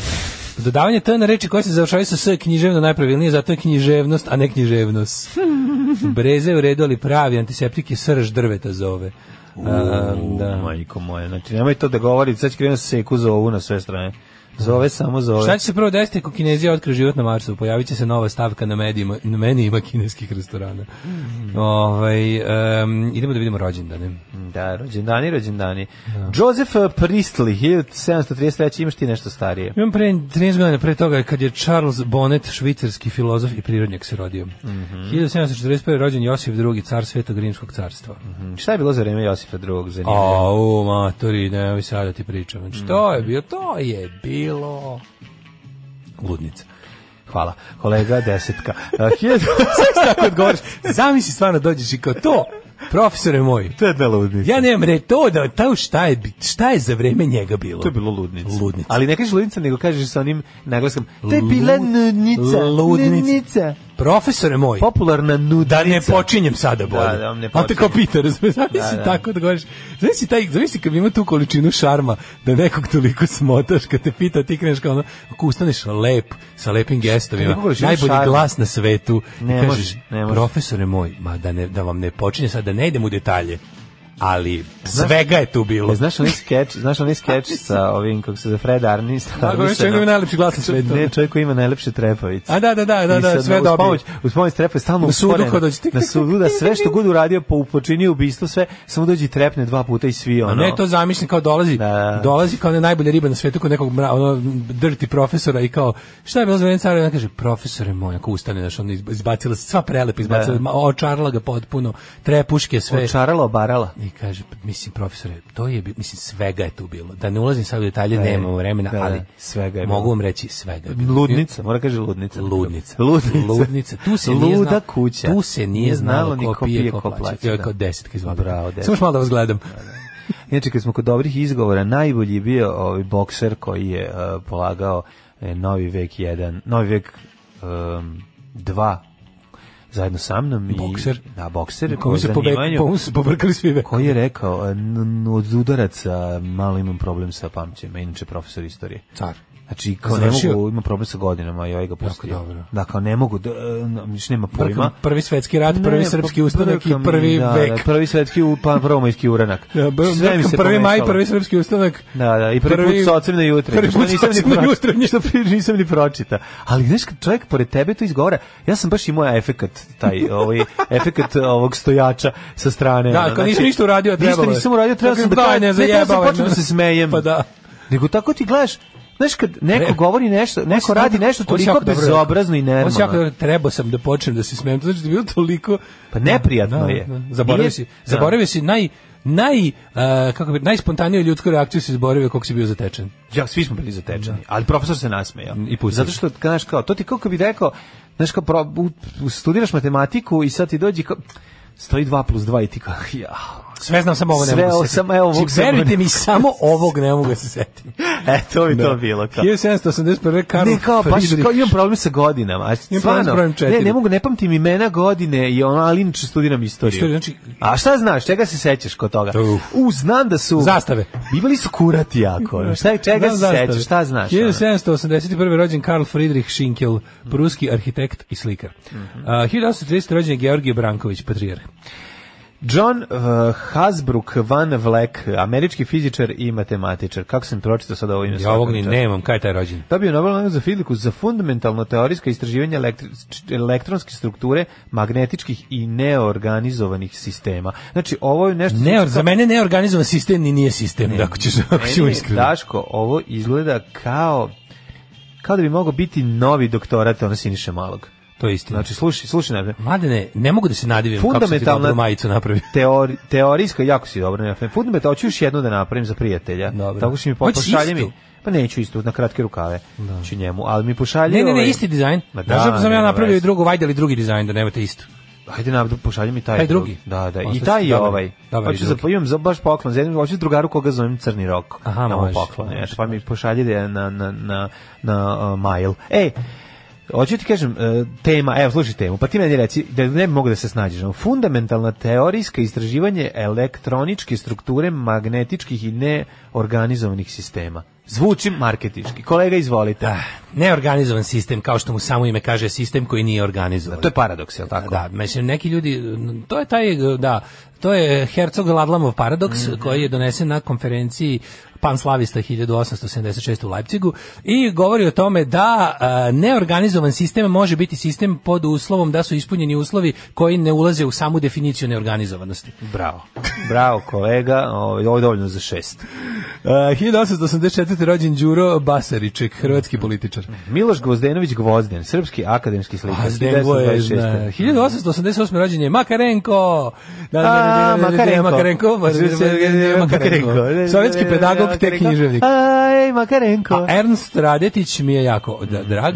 G: Dodavanje t na reči koje se završavaju sa s je književno najpravilnije, zato je književnost, a ne književnost. Breze je u redu, ali pravi antiseptik je srž drveta zove. Um,
F: da.
G: da.
F: majko moja, znači nemoj to da govori, sad će krenuti seku za ovu na sve strane. Zove samo zove.
G: Šta će se prvo desiti ako Kinezija otkrije život na Marsu? Pojavit će se nova stavka na, medijima, na meni ima kineskih restorana. Ovaj, em, idemo da vidimo rođendane.
F: Da, rođendani, rođendani. Joseph eh, Priestley, 1733, imaš ti nešto starije.
G: Imam pre 13 godina pre toga kad je Charles Bonnet, švicarski filozof i prirodnjak se rodio. 1741. rođen Josip II, car Svetog Rimskog carstva.
F: Mm, Šta je bilo za vreme Josifa II? Zanimljivo.
G: A, u, matori, ne, sada ti pričam. Znači, to je bilo, to je bilo... Ludnica.
F: Hvala. Kolega desetka. Eh, 1000
G: Tako odgovoriš, zamisli stvarno dođeš i kao to, profesore moj,
F: To je jedna ludnica.
G: Ja nemam re to da to šta je bi- šta je za vreme njega bilo.
F: To je bilo ludnica.
G: Ludnica.
F: Ali ne kažeš ludnica, nego kažeš sa onim naglaskom. To je bila nudnica.
G: Ludnica.
F: Nudnica.
G: Profesore moj,
F: Popularna nudnica.
G: da ne počinjem sada bolje.
F: da vam ne
G: A on te
F: počinjem.
G: kao pita, razumiješ, da,
F: da.
G: tako da govoriš. Zamisli taj, zamisli kad ima tu količinu šarma da nekog toliko smotaš kad te pita, ti kreneš kao ono, ako ustaneš lep, sa lepim gestovima,
F: Kako govoriš, ima
G: najbolji
F: šarma.
G: glas na svetu, i
F: Ne
G: kažeš,
F: može, ne može.
G: profesore moj, ma da, ne, da vam ne počinje sad, da ne idem u detalje, ali svega je tu bilo.
F: E, Znaš onaj skeč, znaš onaj skeč sa ovim, kako se zove, Fred Arnist.
G: Tako je, čovjek ima najlepši glas na svetu.
F: Ne, čovjek koji ima najlepše trepavice.
G: A da, da, da, da,
F: I
G: da,
F: sad
G: sve
F: uz
G: dobro.
F: Pomoć, uz pomoć trepa je stalno
G: Na sudu
F: usporena.
G: ko dođe, tik, tik,
F: Na
G: tik,
F: sudu da sve što god uradio po upočinio ubistvo sve, samo dođe i trepne dva puta i svi ono.
G: Pa Ne, to zamišljam kao dolazi,
F: Da.
G: dolazi kao ona najbolja riba na svetu kod nekog mra, ono, dirty profesora i kao, šta je bilo za vreme cara? I ona kaže, profesore moj, ako ustane, znaš, ono, izb- izbacila se, sva prelepa izbacila,
F: Da.
G: ma, očarala ga potpuno, trepuške, sve.
F: Očarala, obarala.
G: I kaže, "Pa mislim, profesore, to je, bi- mislim, svega je tu bilo. Da ne ulazim sad u detalje, nemamo vremena,
F: da,
G: ali
F: svega je
G: mogu
F: bilo.
G: vam reći, svega je bilo.
F: Ludnica, mora kaže ludnica.
G: Ludnica.
F: Ludnica.
G: Ludnica. Tu se
F: Luda
G: nije znalo,
F: kuća.
G: Tu se nije znalo ko, pije, ko plaća. Evo
F: da.
G: kao desetka izvali.
F: Bravo,
G: Samo još
F: desetka.
G: malo da vas gledam.
F: Inače, kad smo kod dobrih izgovora, najbolji je bio ovaj bokser koji je eh, polagao eh, Novi vek 1, Novi vek 2 zajedno sa mnom. I,
G: Bokser?
F: Da, bokser.
G: Komu
F: po
G: se pobe,
F: zanimanju,
G: komu se pobrkali svi vekovi.
F: Koji je rekao, eh, n- n- od udaraca malo imam problem sa pamćenjem, inače profesor istorije.
G: Car.
F: Znači, kao ne
G: Završio?
F: mogu, ima problem sa godinama i ovaj ga pustio.
G: dobro.
F: Da, kao ne mogu, da, eh, n- više nema pojma.
G: Brkam, prvi svetski rat, prvi
F: Ne,
G: srpski
F: pa
G: ustanak i
F: brkam,
G: prvi
F: da,
G: vek.
F: Da, prvi svetski, u- pa prvomajski uranak.
G: Da, br-
F: Sve mi
G: brkam,
F: se
G: prvi maj,
F: pomešalo.
G: prvi srpski ustanak.
F: Da, da, i prvi, put sa ocem na jutre.
G: Prvi
F: što
G: put sa
F: nisam ni
G: ocem na
F: pročita-
G: jutre.
F: Što prije nisam ni pročita. Ali, znaš, kad čovjek pored tebe to izgovara, ja sam baš imao efekat, taj, ovaj, efekat ovog stojača sa strane.
G: Da,
F: ono,
G: kad nisam
F: znači,
G: ništa uradio, trebalo
F: Ništa
G: je.
F: nisam uradio, trebao
G: Dakle,
F: sam da
G: daj,
F: kažem,
G: ne
F: ne, trebao sam
G: zajebavaj
F: počnem
G: me.
F: da se smejem.
G: Pa da.
F: Nego tako ti gledaš, Znaš, kad neko
G: Ne.
F: govori nešto, neko
G: On si
F: radi
G: jako-
F: nešto
G: on si
F: toliko
G: jako dobro rekao.
F: bezobrazno i
G: On si jako
F: nenormalno.
G: dobro, trebao sam da počnem da se smijem. To znači da je bilo toliko...
F: Pa neprijatno je.
G: Zaboravio
F: Nije-
G: si,
F: Da.
G: zaboravio si naj, naj, uh, kako bi, najspontaniju ljudsku reakciju si zaboravio kako si bio zatečen.
F: Ja, svi smo bili zatečeni, ali profesor se nasmejao.
G: I pustio.
F: Zato što, znaš, kao, to ti kao kad bi rekao, znaš, kao, pro, u, u- studiraš matematiku i sad ti dođi kao, stoji 2 plus 2 i ti kao, ja,
G: Sve znam, samo ovo ne
F: Sve
G: mogu
F: ovo,
G: se setiti.
F: samo evo ovog
G: Znači,
F: samo
G: Verujte
F: ne-
G: mi, samo ovog ne mogu da se setim.
F: e, to bi to bilo, kao.
G: 1781. Karl
F: Ne, kao, baš,
G: Friedrich.
F: kao, imam problem sa godinama. A,
G: Imam problem s
F: stvarno,
G: brojem
F: ne,
G: četiri.
F: ne mogu, ne pamtim imena godine i ono, ali inače studiram istoriju.
G: Istoriju, znači-
F: A šta znaš, čega se sećaš kod toga?
G: Uf.
F: U, znam da su...
G: Zastave.
F: Bivali su kurati jako. ono. Šta, čega
G: Znam
F: se
G: zašto.
F: sećaš, šta znaš? ono?
G: 1781. rođen Karl Friedrich Schinkel, pruski arhitekt i slikar.
F: Mhm.
G: A, 1830. rođen je Georgije Branković, patrijarh.
F: John uh, Hasbrook van Vleck, američki fizičar i matematičar. Kako sam pročitao sad ovo ime?
G: Ja ovog ni
F: svaka čast.
G: nemam, kaj je taj rođen?
F: Dobio je Nobel nagradu za fiziku za fundamentalno teorijsko istraživanje elektri- elektronske strukture magnetičkih i neorganizovanih sistema. Znači, ovo je nešto...
G: Ne, za mene neorganizovan sistem ni nije sistem, ne. ako ćeš, ako ćemo
F: Meni,
G: iskreno.
F: Daško, ovo izgleda kao kao da bi mogao biti novi doktorat ono Siniša Malog.
G: To je istina.
F: Znači, slušaj, slušaj najprej.
G: Mladene, ne mogu da se nadivim kako sam ti
F: Fundamentalna-
G: dobru majicu napravio.
F: Teori, teorijska, jako si dobro napravim. Fundamental, hoću još jednu da napravim za prijatelja.
G: Dobro.
F: Tako si mi po-
G: Hoćeš
F: pošalje
G: istu?
F: mi. Pa neću isto, na kratke rukave. Ću njemu, ali mi pošalje...
G: Ne, ne,
F: ovaj-
G: ne, isti dizajn.
F: Ma da,
G: Znaš da sam ja
F: nema
G: napravio i
F: veze.
G: drugu, vajdali drugi dizajn, da nemate isto.
F: Ajde na pošalji mi taj.
G: Taj drugi?
F: drug- Da, da. I
G: Ostaće-
F: taj je
G: dobar,
F: ovaj.
G: dobar je
F: Hoću za
G: drugi.
F: pa imam za baš poklon, za jednog hoću drugaru koga zovem Crni rok.
G: Aha,
F: Da mu
G: može,
F: poklon,
G: može,
F: eto, pa mi pošalji da je na na na na uh, mail. Ej, Hoću ti kažem, e, tema, evo, slušaj temu, pa ti meni reci, da ne mogu da se snađeš, ono, fundamentalna teorijska istraživanje elektroničke strukture magnetičkih i neorganizovanih sistema. Zvuči marketički. Kolega, izvolite.
G: Da, neorganizovan sistem, kao što mu samo ime kaže, sistem koji nije organizovan.
F: To je pa- paradoks, jel tako?
G: Da, mislim, neki ljudi, to je taj, da, to je Hercog Ladlamov paradoks
F: Mhm.
G: koji je donesen na konferenciji Panslavista 1876 u Leipcigu i govori o tome da a, neorganizovan sistem može biti sistem pod uslovom da su ispunjeni uslovi koji ne ulaze u samu definiciju neorganizovanosti.
F: Bravo. Bravo kolega, ovaj, ovo je dovoljno za šest.
G: Uh, 1884. rođen Đuro Basariček, hrvatski političar.
F: Miloš Gvozdenović Gvozden, srpski akademski slikar.
G: A Zdengo Pa, je,
F: 1926..
G: zna, 1888. rođen je Makarenko. Da, da,
F: A,
G: da, da, da, da,
F: Pa, Makarenko.
G: Makarenko. pa, Makarenko. Sovjetski pedagog, te
F: Makarenko. pa.
G: književnik.
F: Aj, Makarenko.
G: A Ernst Radetić mi je jako da, drag.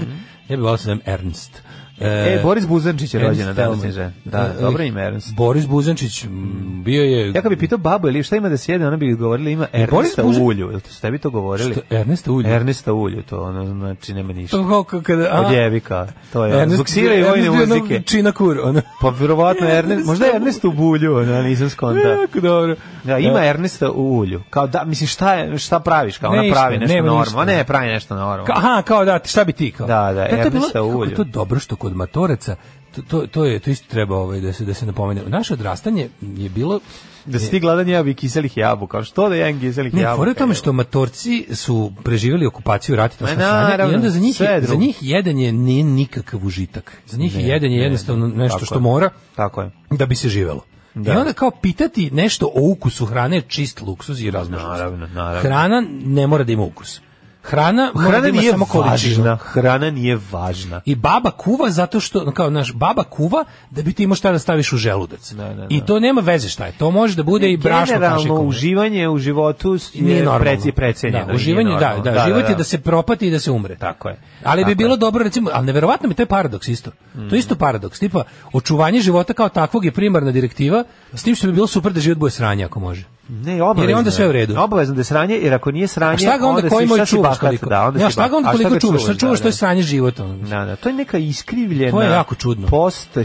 G: Ja bih volao da se zovem Ernst.
F: Mhm. E, Boris Buzančić je
G: Ernst
F: rođena danas
G: Thälmann.
F: je žena. Da,
G: E,
F: dobro ime Ernst.
G: Boris Buzančić m, bio je...
F: Ja kad bi pitao babu ili šta ima da sjede, ona bi govorila ima
G: E, Boris
F: Ernesta
G: Buzan-
F: Ulju. Jel ste bi to govorili?
G: Što, Ernest Ulje.
F: Ernesta Ulju, to ono znači nema ništa.
G: To kao kada... a,
F: Od jevika, to je.
G: Ernest-
F: Ernest, Zvuksira i vojne
G: Ernest bio ono
F: muzike.
G: Čina kur, ono.
F: Pa vjerovatno Ernest, možda je Ernest u bulju, ono, nisam skonta.
G: Jako dobro. E,
F: Da, ima Ernesta u ulju. Kao da, mislim, šta, je, šta praviš? Kao ona
G: Ne,
F: pravi
G: ništa,
F: nešto
G: nema
F: normalno.
G: ništa.
F: Ne, pravi nešto normalno.
G: Ka, aha, kao da, šta bi ti kao?
F: Da, da,
G: to je bilo-
F: Ernesta
G: kako
F: Ulju.
G: je To dobro što kod matoraca, to, to, to je, to isto treba ovaj, da se, da se napomene. Naše odrastanje je bilo,
F: Da si ti gladan jabi kiselih jabuka. Što da jedan kiselih
G: Ne,
F: jabuka?
G: fora je u tome
F: evo?
G: što matorci su preživjeli okupaciju rat i to
F: Ma,
G: smo sranje, i
F: naravno,
G: onda za njih,
F: sve je
G: za
F: drugo.
G: njih jedan je nije nikakav užitak. Za njih jedan je jednostavno nešto
F: tako
G: što
F: je.
G: mora
F: Tako je.
G: da bi se živelo. I onda kao pitati nešto o ukusu hrane je čist luksuz i razmažnost.
F: Naravno, naravno.
G: Hrana ne mora da ima ukus. Hrana, mora
F: Hrana
G: da ima
F: nije
G: samo količinu.
F: važna. Hrana nije važna.
G: I baba kuva zato što, kao, znaš, baba kuva da bi ti imao šta da staviš u želudac.
F: Da, da, da.
G: I to nema veze šta je. To može da bude i brašno
F: Generalno,
G: kašikom.
F: uživanje u životu
G: nije
F: je
G: normalno.
F: preci, precenjeno.
G: Da, uživanje,
F: nije
G: da,
F: normalno.
G: da, život je da se propati i da se umre.
F: Tako je.
G: Ali
F: Tako
G: bi bilo
F: je.
G: dobro recimo, ali neverovatno mi to je paradoks isto. To je isto paradoks, tipa očuvanje života kao takvog je primarna direktiva, s tim što bi bilo super da život bude sranje ako može.
F: Ne, obavezno.
G: Jer je onda sve u redu.
F: Obavezno da je sranje, jer ako nije sranje,
G: A šta ga onda, koji
F: si-
G: moj
F: šta si
G: čuvaš
F: bahat?
G: koliko?
F: Da, onda
G: ja,
F: si
G: šta ga onda
F: bahat. A
G: koliko
F: ga
G: čuvaš? Šta
F: Da,
G: čuvaš
F: da.
G: to je sranje života. ono.
F: Da, da, to je neka iskrivljena.
G: To je jako čudno.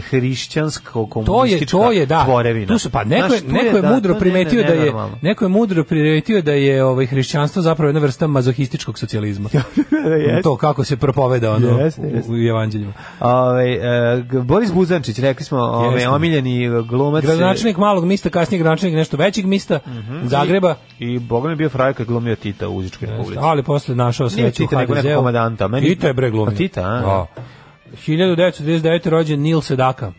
F: Posthrišćansko
G: To je
F: komunistička
G: to je da.
F: tvorevina.
G: Tu su pa neko je,
F: Znaš, tu
G: neko je
F: da,
G: mudro
F: to ne,
G: primetio
F: ne, ne,
G: da je
F: normalno.
G: neko je mudro primetio da je ovaj hrišćanstvo zapravo jedna vrsta mazohističkog socijalizma.
F: Jeste.
G: To kako se propoveda ono
F: Jeste, jeste.
G: u, u evanđeljima.
F: Ovaj e, g- Boris Buzančić, rekli smo, ovaj
G: Jeste.
F: omiljeni glumac e,
G: Gradonačelnik malog mista, kasnije gradonačelnik nešto većeg mista, Zagreba,
F: Mhm. i Boga mi je bio frajer kad je glumio Tita u Uzičkoj ulici.
G: ali posle našao
F: Nije
G: sreću u
F: Tita, nego nekog
G: HDZ-u.
F: komandanta. Meni-
G: Tita je bre glumio.
F: A Tita, a?
G: Da. 1939. rođen Nil Sedaka.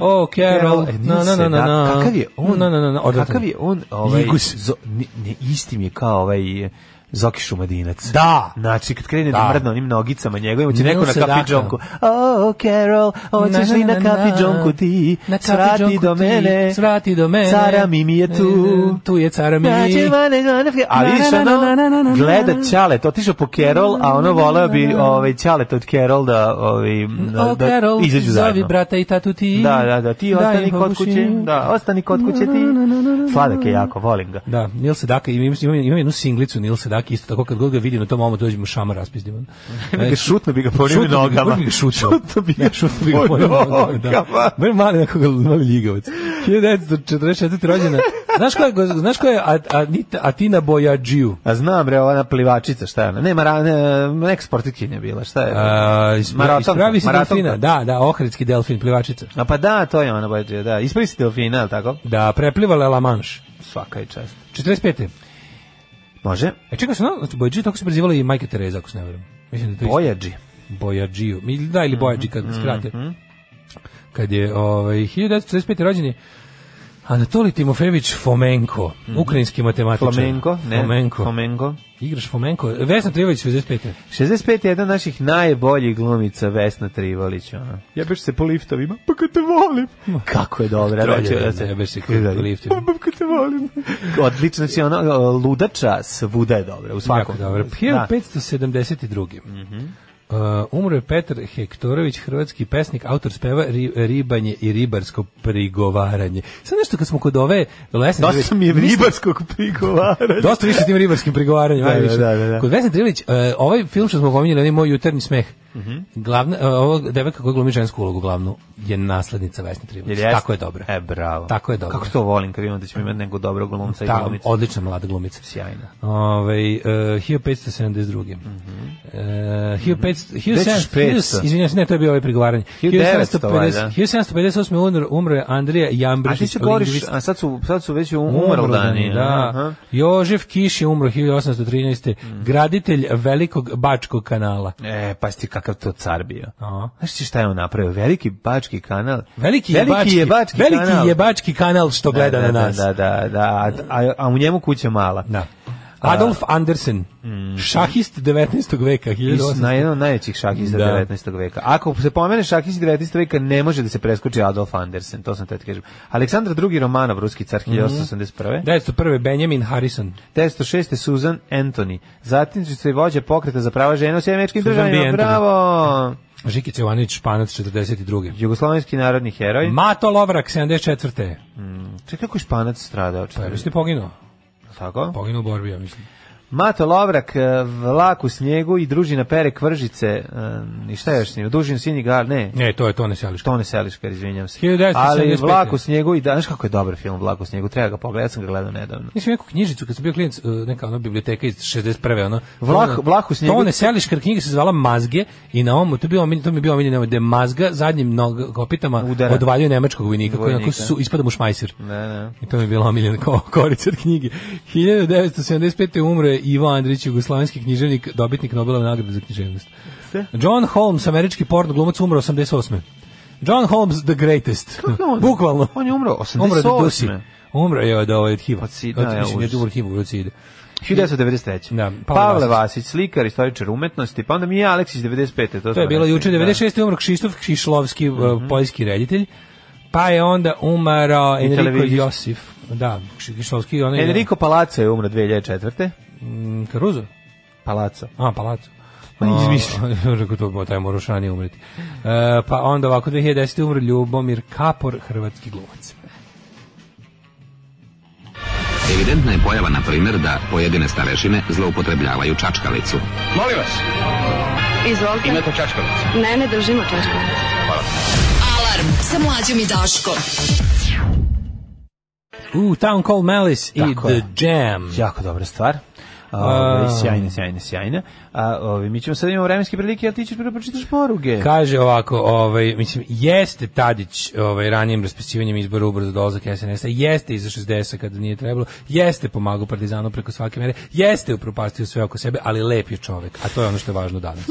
G: Oh, Carol.
F: Mhm. Carol, e,
G: na, na, na, na, na.
F: Kakav je on?
G: Na, na, na, na, odvratan.
F: Kakav je on? Ovaj,
G: Ljigus.
F: zo- ne, ne, isti mi je kao ovaj e, Zoki Šumadinac.
G: Da.
F: Znači, kad krene da,
G: Da.
F: mrdne onim nogicama njegovim, će
G: Nil
F: neko na
G: se
F: kafi
G: dakle.
F: džonku. Oh, Carol, hoćeš li na kafi džonku ti?
G: Na kafi
F: Svrati
G: džonku
F: do
G: ti,
F: mene.
G: Svrati do mene.
F: Cara Mimi je tu.
G: E, Tu je cara
F: Znači,
G: Mimi.
F: mane, mane, fri- A
G: Na,
F: vidiš,
G: na, na, na, na,
F: ono,
G: na,
F: gleda
G: na.
F: Ćalet, otišao po Carol, a ono voleo bi ovaj, Ćalet od Carol da, ovaj, da,
G: Oh,
F: da
G: Carol,
F: izađu
G: zovi
F: zajedno.
G: brata i tatu ti.
F: Da, da, da, ti
G: Daj
F: ostani
G: im
F: kod
G: babuši.
F: kuće, da, ostani kod kuće ti. Sladak je jako, volim ga.
G: Da, Nil Sedaka, imam, imam, imam jednu singlicu Nil Sedaka, isto tako kad god ga vidim na tom omotu dođem u šama raspizdivan.
F: Bi ga šutno bi ga ponio
G: Šutno bi ga-
F: nogama.
G: baš bi ga šutno.
F: Šutno bi ga, šutno
G: bi ga ponio nogama, da. Bar mali nekog mali ljigavac. 1944. rođena. Znaš ko je, go- znaš ko je At- Anita, Atina Bojađiju?
F: A znam bre, ona plivačica, šta je ona? Ne, mara, ne, neka sportitkinja bila, šta je?
G: A, ispra-
F: Uh, Maratonka,
G: ispravi se
F: maratonka.
G: delfina, da, da, ohridski delfin, plivačica.
F: A pa da, to je ona, bađe, da. Ispravi si delfina, ali tako?
G: Da, preplivala je La Manche.
F: Svaka je čast.
G: 45.
F: Može?
G: E čekaj, se ona, znači Bojađiju tako se prezivala i majka Tereza, ako se ne verujem. Mislim da je to isto.
F: Bojađi.
G: Bojađiju. Mi- Da,
F: Mhm,
G: ili Bojađi kad skrate. Kad je ovaj, 1945. rođen je Anatoli Timofević Fomenko, ukrajinski matematičar.
F: Flamenko, Mhm. ne?
G: Fomenko.
F: Flamenko.
G: Igraš Fomenko. Vesna Trivović, 65.
F: 65 je jedna od naših najboljih glumica Vesna Trivolić. Ona. Jebeš se po liftovima, pa kad te volim. Kako je dobra. znači,
G: Troljevna,
F: da se-
G: jebeš se po liftovima.
F: Pa kad te volim. Odlično, znači ona o, ludača svuda je dobra, u svakom.
G: Jako dobro.
F: Da.
G: 1572. Uh, umro je Petar Hektorović, hrvatski pesnik, autor speva ri, Ribanje i ribarsko prigovaranje. Sad nešto kad smo kod ove Lesne
F: Dosta mi je ribarskog prigovaranja.
G: Dosta više s tim ribarskim prigovaranjem,
F: Da,
G: ajde više.
F: da, da, da.
G: Kod Vesne Trivilić, e, ovaj film što smo pominjali, onaj moj jutarnji smeh,
F: Mhm.
G: glavna, e, ova devojka koja glumi žensku ulogu glavnu, je naslednica Vesne Trivilić.
F: jeste?
G: Tako je dobra.
F: E, bravo.
G: Tako je dobro.
F: Kako to volim, kad imam da ćemo imati nekog dobrog glumca i
G: Ta,
F: glumicu.
G: odlična mlada glumica.
F: Sjajna.
G: Ovaj e, 1572. Mm -hmm.
F: Mhm.
G: 1500 1700
F: 500?
G: izvinjavam se, ne, to je bio ovaj prigovaranje.
F: 1900
G: 1750
F: valjda.
G: 1758 umro, umro je Andrija
F: A
G: Jambrišić.
F: ti se govoriš,
G: lingvist.
F: a sad su, sad su već umrlo dani.
G: da.
F: aha. Mhm.
G: Jožef Kiš je umro 1813. Graditelj velikog Bačkog kanala.
F: E, pa si ti kakav to car bio.
G: Aha.
F: Znaš ti šta je on napravio? Veliki bački kanal.
G: Veliki, je bački,
F: jebački
G: veliki
F: kanal.
G: je bački kanal što gleda
F: da,
G: na nas.
F: Da, da, da. A, a, a u njemu kuća mala.
G: Da. Adolf Andersen,
F: Mhm.
G: šahist 19. veka,
F: I
G: 1800.
F: na jedan od najvećih šahista
G: Da.
F: 19. veka. Ako se pomene šahist 19. veka, ne može da se preskoči Adolf Andersen, to sam te kažem. Aleksandar II. Romanov, ruski car
G: Mhm.
F: 1881.
G: 1901. Benjamin Harrison.
F: 1906. Susan Anthony. Zatim se vođa pokreta za prava žena u Sjedinim američkim
G: Susan B.
F: državima.
G: Anthony.
F: Bravo!
G: Žikić Jovanović Španac 42.
F: Jugoslovenski narodni heroj.
G: Mato Lovrak 74.
F: Čekaj, kako je Španac stradao?
G: Pa je
F: Čekaj,
G: mislim Pa- poginuo.
F: tako?
G: Poginuo u borbi, ja mislim.
F: Mato Lovrak, eh, vlak u snijegu i družina pere kvržice. eh, I šta je još s njim? Dužin sinji gar, ne.
G: Ne, to je to ne sjališ.
F: Tone Seliškar, izvinjam se.
G: 1975.
F: Ali Vlak u snijegu i da, znaš kako je dobar film Vlak u snijegu, treba ga pogledati, ja sam ga gledao nedavno.
G: Mislim neku knjižicu kad sam bio klinac, e, neka ona biblioteka iz 61. ono.
F: Vlah-
G: Ono,
F: Vlah u snijegu.
G: To ne seliš kar knjiga se zvala Mazge i na ovom to je bio to mi je bio omiljeno da Mazga zadnjim nog kopitama
F: Udara.
G: odvaljuje nemačkog vojnika koji onako
F: Vojnika.
G: su ispada mu šmajser.
F: Ne, ne.
G: I to mi je bila omiljena kao korica od knjige. 1975. umro je Ivo Andrić, jugoslavenski književnik, dobitnik Nobelove nagrade za književnost. John Holmes, američki porno glumac, umro 88. John Holmes, the greatest.
F: on?
G: Bukvalno.
F: On je umro
G: Umro je od dusi.
F: 88.
G: Umro je od, ovaj, od HIV-a.
F: Od sida,
G: Od-
F: ja,
G: mislim,
F: užas.
G: je umro od HIV-a, od sida.
F: 1993.
G: Da, Pavle
F: Pavle
G: Vasić.
F: Vasić, slikar, istoričar umetnosti, pa onda mi je Aleksić 95.
G: To je
F: smo
G: bilo
F: rekli,
G: juče,
F: Pa da. Mhm.
G: 96. umro Kšištof Kšišlovski, eh, poljski reditelj. Pa je onda umro Enrico
F: televizijski.
G: Josif. Da, Kšišlovski, onaj...
F: Enrico Palazzo je umro 2004.
G: mm, Caruso?
F: Palazzo. Ovaj,
G: A, palacu.
F: Ma, izmišljam.
G: pa, Rekao to, taj mora još ranije umreti. E, pa onda ovako, 2010. umre Ljubomir Kapor, hrvatski glumac.
B: Evidentna je pojava, na primjer, da pojedine starešine zloupotrebljavaju čačkalicu.
H: Molim vas,
I: Izvolite,
H: imate čačkalicu.
I: ne, ne držimo čačka.
E: Alarm sa mlađom i Daškom.
G: U, Town Call Malice i
F: Tako je.
G: The Jam.
F: Jako dobra stvar. Ovaj, Ove, sjajne, sjajne, sjajne. A, ove, mi ćemo sad imamo vremenske prilike, ali ti ćeš prvo pročitaš poruge.
G: Kaže ovako, ovaj, mislim, jeste Tadić ovaj, ranijim raspisivanjem izbora ubrzo dolazak SNS-a, jeste iza 60 kada nije trebalo, jeste pomagao Partizanu preko svake mere, jeste upropastio sve oko sebe, ali lep je čovek, a to je ono što je važno danas.